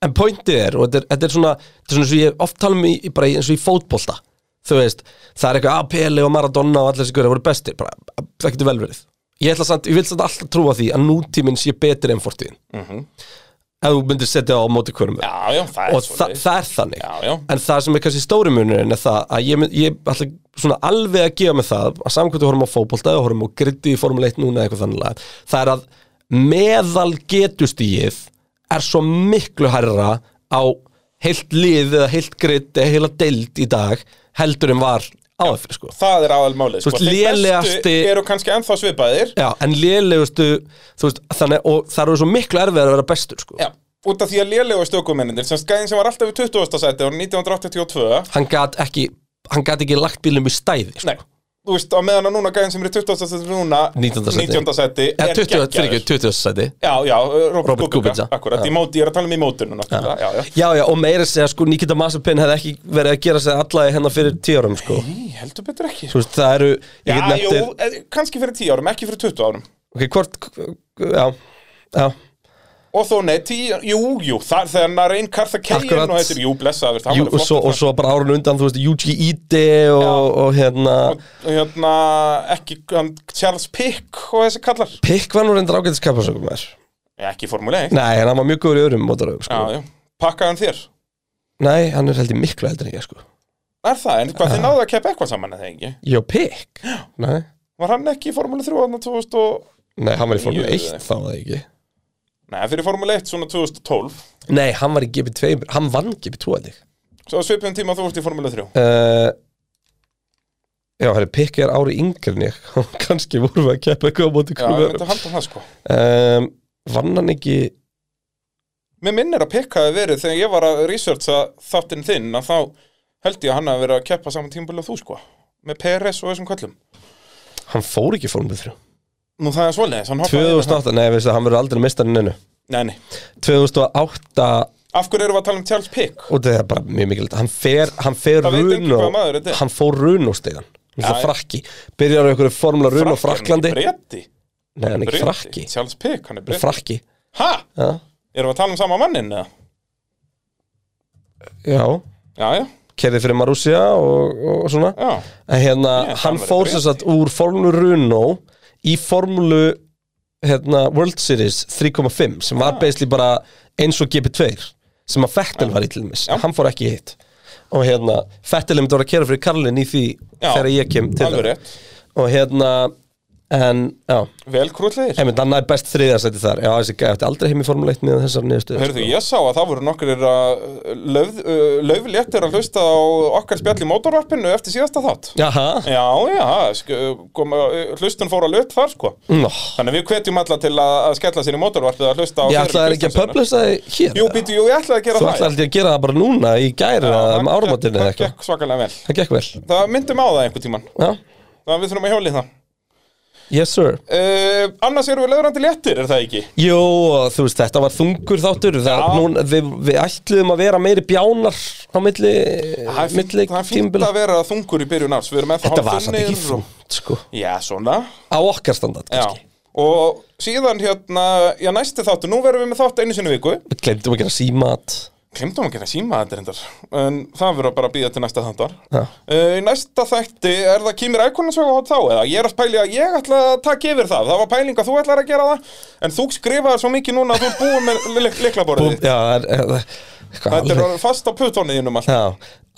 A: en pointið er, og þetta er, þetta er svona þetta er svona eins og ég oft tala um í, í- bara í- eins og í fótbolta þú veist, það er eitthvað að Pele og Maradona og allir þessi guður voru bestir bara, að- það getur vel verið ég, ætla samt, ég vil samt alltaf trúa því að nútíminn sé betur en fortíðin ef þú myndir setja það á móti hverjum öðrum.
B: Mhm. já, já, það er
A: og þa
B: svolítið
A: það er þannig
B: já, já,
A: en það sem er kannski stóri munurinn er það að ég, mynd- ég ætla svona alveg að gefa mig það að samkvæmt við horfum á fótbolta og horfum á gritti í Formule 1 núna eða eitthvað þannig lagað, það er að meðal getustíið er svo miklu hærra á heilt lið eða heilt gritti eða heila deild í dag heldur en var áður sko.
B: það er aðal málið
A: Þú veist, lélegasti-
B: eru kannski ennþá svipaðir
A: Já, en liðlegustu þú veist, þannig, og það eru svo miklu erfið að vera bestur sko.
B: Já, út af því að lélegu stökumennindir sem skæðin sem var alltaf í 20. sæti á 1982
A: hann gat ekki hann gat ekki lagt bílum í stæði sko.
B: Nei, þú veist, á meðan að núna gæðin sem er í 20. seti núna
A: 19. sæti.
B: 19. sæti
A: Ja,
B: er
A: 20, fyrir
B: geggjaður.
A: ekki, 20. sæti
B: Já, já, Robert,
A: Robert Kubica.
B: Akkurat,
A: Já.
B: í móti, ég er að tala um í mótinu náttúrulega, já, já
A: Já, já, og meira segja, sko, Nikita Masapin hefði ekki verið að gera sig alla í hennar fyrir tíu árum, sko
B: Nei, heldur betur ekki
A: Þú veist, það eru, ég
B: Já,
A: get
B: jú,
A: neftir
B: eh, kannski fyrir 10 árum, ekki fyrir 20 árum
A: Ok, hvort, já, já
B: Og þó, nei, 10, jú, jú, þar þegar hann reyn Karthakegin
A: Akkurat.
B: og heitir, jú, blessaður það
A: Jú,
B: var
A: og, svo, og
B: flott
A: svo bara árun undan, þú veist, Yuji Ide og, og, hérna
B: og hérna, ekki, hann, Charles Pick og þessi kallar
A: Pikk var nú reyndir ágætis kapasökum er
B: Nei, Ekki formule 1
A: Nei, en hann var mjög góður í öðrum mótaröfum, sko
B: Já, já, pakkaði hann þér
A: Nei, hann er heldur miklu heldur en ég, sko
B: Er það, en hvað þið náðu að keppa eitthvað saman eða ekki?
A: Jó, Pikk? Nei,
B: Var hann ekki í Formule 3 þarna 2000 og...
A: nei, hann var í
B: Jú,
A: Formule 1
B: nei.
A: þá var það ekki
B: Nei, fyrir Formule 1 svona 2012
A: Nei, hann var í GP2, hann vann GP2 held ég
B: Svo á svipum tíma þú ert í Formule 3
A: uh, Já, herri, Pikk er ári yngri en ég [LAUGHS] Kanski vorum við að keppa eitthvað á móti
B: Já, ég
A: klubur
B: myndi að halda það sko
A: um, Vann hann ekki
B: Mér minnir að pikkaði verið þegar ég var að researcha þáttinn þinn að þá held ég að hann hafi verið að keppa saman tímabili og þú sko með PRS og þessum köllum
A: Hann fór ekki í Formule 3
B: Nú það er svoleiðis, hann hoppaði yfir það.
A: 2008, nei, veistu, hann verður aldrei mistarinn innu
B: Nei, nei
A: 2008
B: Af hverju erum við að tala um Charles Pick?
A: og það er bara mjög mikilvægt hann fer, hann fer
B: Það veit enginn
A: Runo
B: hvaða maður þetta er.
A: hann fór Runo stiðan hann
B: Já,
A: er
B: já.
A: frakki, byrjar á einhverju formula Runo
B: Frakki, hann
A: fraklandi,
B: er ekki breyti
A: nei hann er ekki frakki
B: Breyti. Charles Pick, hann er
A: Hann er
B: breyti
A: frakki,
B: Ha?
A: já,
B: Erum við að tala um sama mannin eða?
A: já
B: Já, já,
A: kerði fyrir Marussia og, og svona
B: já
A: en hérna,
B: Ég, hann
A: hann
B: var í
A: fór
B: Breyti.
A: sem sagt úr formulu Runo í formulu hérna, World Series 3.5 sem var basically bara eins og GP2 sem að Fettel var í til dæmis,
B: Já.
A: hann fór ekki í hitt og hérna, Fettel er myndi að kera fyrir Karlin í því
B: Já.
A: þegar ég kem til
B: Alveg
A: þeirra.
B: rétt
A: og hérna en, já,
B: Vel krútlegir
A: einmitt, hann er best þriðarsætti þar já, þessi gæði átti aldrei heim í formuleitt með þessar sko. niðurstöð
B: Heyrðu, ég sá að það voru uh, nokkur löfléttir að hlusta á okkar spjall í mótorvarpinu eftir síðasta þátt.
A: Jaha,
B: Já, já, sk- kom, uh, hlustun fór að lut þar, sko.
A: Nó.
B: Þannig að við hvetjum alla til að, að skella sér í mótorvarpið að hlusta á...
A: ég
B: fyrri
A: ætlaði ekki að
B: hlustansöguna.
A: publisa þið hér
B: Jú, býtu, jú, ég ætlaði að gera
A: Þú
B: það.
A: ætlaði að gera það bara núna í gæri eða um áramatinn eða
B: Það
A: eitthvað
B: gekk svakalega vel.
A: Það gekk vel
B: Það myndum á það einhvern tíman.
A: Já,
B: Það við þurfum að hjóli það.
A: yes sir
B: Uh, annars erum við löðrandi léttir, er það ekki?
A: Jú, og þú veist, þetta var þungur þáttur það,
B: Já.
A: núna, við, við ætluðum að vera meiri bjánar á milli,
B: Það er fínt-
A: milli
B: það er fínt
A: tímbila
B: að vera þungur í byrjun árs. Við erum ennþá
A: Þetta var samt
B: hálfþunnir
A: ekki
B: og-
A: þungt, sko
B: Já, svona.
A: Á okkar standart,
B: Já,
A: kannski
B: og síðan hérna, já næsti þáttu, nú verðum við með þátt einu sinni í viku
A: Við glemdum að gera símat
B: Glemdum að gera síma þetta reyndar, en það verður bara að býða til næsta þáttar
A: Já.
B: Uh, Í næsta þætti, er það kýmir ækonasögu hát þá, eða ég er að pæli að ég ætla að taka yfir það Það var pæling að þú ætlar að gera það, en þú skrifaði svo mikið núna að þú er búin með lik
A: Búm,
B: liklaborðið
A: Já, er, er, er, hvað
B: Þetta er
A: alveg-
B: orðið fast á putóniðinum allt
A: Já,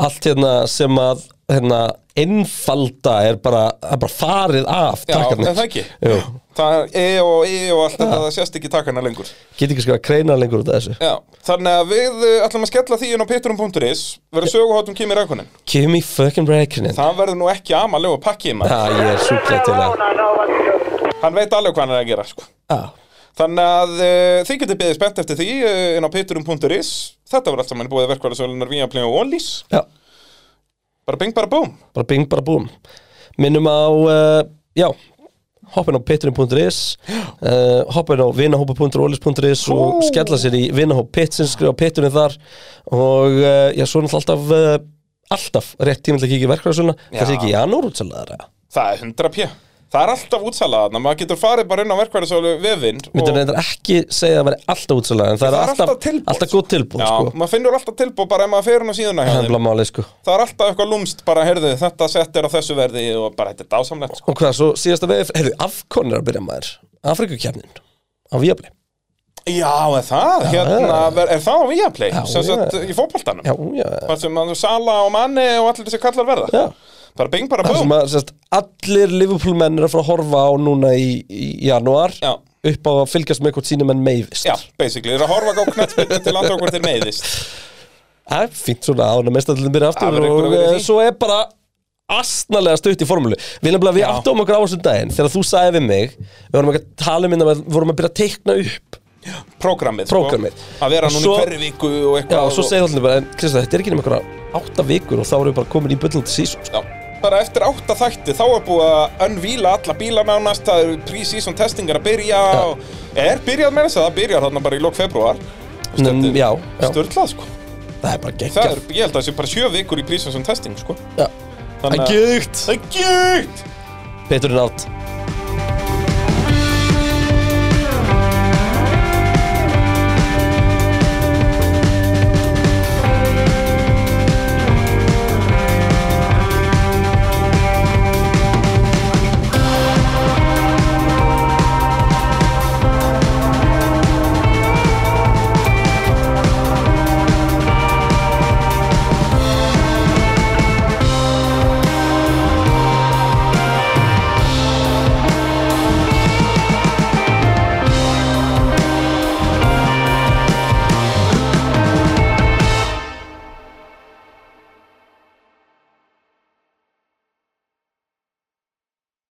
A: allt hérna sem að hérna, einfalda er bara, það er bara farið af
B: Já,
A: takkarnir.
B: er það ekki
A: Jú,
B: Það er e og e og allt þetta, það sést ekki takana lengur
A: get ekki skrifa kreina lengur út af þessu
B: Já, þannig að við uh, ætlum að skella því inn á pitturum.is Verður söguhátum kýmir ækonin
A: Kimi fucking Räikkönen
B: Það verður nú ekki amalegu pakki maður.
A: Já, ég er sjúklega til að
B: Hann veit alveg hvað hann er að gera sko.
A: Já,
B: Þannig að uh, þið getur beðið spennt eftir því uh, inn á piturum.is Þetta var allt saman búið verkvæðarsölunar Víaplay og Onlys
A: já
B: Bara bing bara búm
A: bara bing bara búm minnum á, uh, já hoppin á pitturinn.is uh, hoppin á vinahópa.olis.is og
B: Ó.
A: skella sér í vinahóp pitsin skrifa pitturinn þar og uh, já, svo er náttúrulega alltaf uh, alltaf rétt tíma til að kíkja í verkvæðarsöluna það sé
B: Já.
A: ekki í janúr útsalðar
B: Það er 100 p Það er alltaf útsalaðna, maður getur farið bara inn á verkvæðarsölu vefinn og
A: myndur reyndar ekki segja að það veri alltaf útsalðar en það, er alltaf, alltaf,
B: tilboð,
A: góð tilbúð
B: Já,
A: sko.
B: maður finnur alltaf tilbúið bara ef maður fer hann á síðuna hjá
A: það er
B: þeim
A: bara málið sko
B: Það er alltaf eitthvað lúmst bara, heyrðu, þetta sett er á þessu verði og bara, þetta er dásamlegt sko.
A: og hvað, svo síðasta veið, heyrðu, afkonir að byrja maður Afrikukefnin á Víabli
B: Já, er það, hérna, er það á Víaplay,
A: Já,
B: sem sagt
A: já.
B: í fótboltanum
A: já, já,
B: Það sem mann Sala og Manni og allir þessi kallar verða
A: já
B: Bara bing bara
A: Það
B: búm
A: sem að sérst, allir Liverpool menn er að fara að horfa á núna í, í januar
B: Já.
A: upp á að fylgjast með hvort sínum menn meifist
B: Já, basically, er að horfa á knættspilni til að okkur til meiðist
A: Það er fínt svona án að mestallin byrja
B: Það
A: aftur
B: verður einhver
A: og
B: að vera í
A: eh,
B: því.
A: svo er bara astnalega stutt í formúlu Við nefnilega við
B: Já.
A: áttum okkur á þessum daginn þegar þú sagði við mig við vorum ekki að tala um hérna við vorum að byrja að teikna upp
B: Prógrammið
A: Prógrammið.
B: sko. Að vera
A: Og
B: núna
A: svo-
B: í hverri viku og
A: Já,
B: eitthvað
A: og svo segði allir bara, en Kristján, þetta er ekki nema einhverja átta vikur og þá erum við bara komin í bullandi sko." sísón
B: Já, bara eftir átta þætti þá er búið að unvíla alla bíla nánast það eru pre-season testingar að byrja og, er byrjað með þess að það byrjar þarna bara í lok februar
A: Nú, já, já.
B: störtlað sko
A: það er bara
B: það er,
A: geggjað
B: ég held að það sé bara sjö vikur í pre-season testing sko
A: Já. Það
B: þannig
A: er
B: að
A: gægt
B: það er gjögt
A: Betur en allt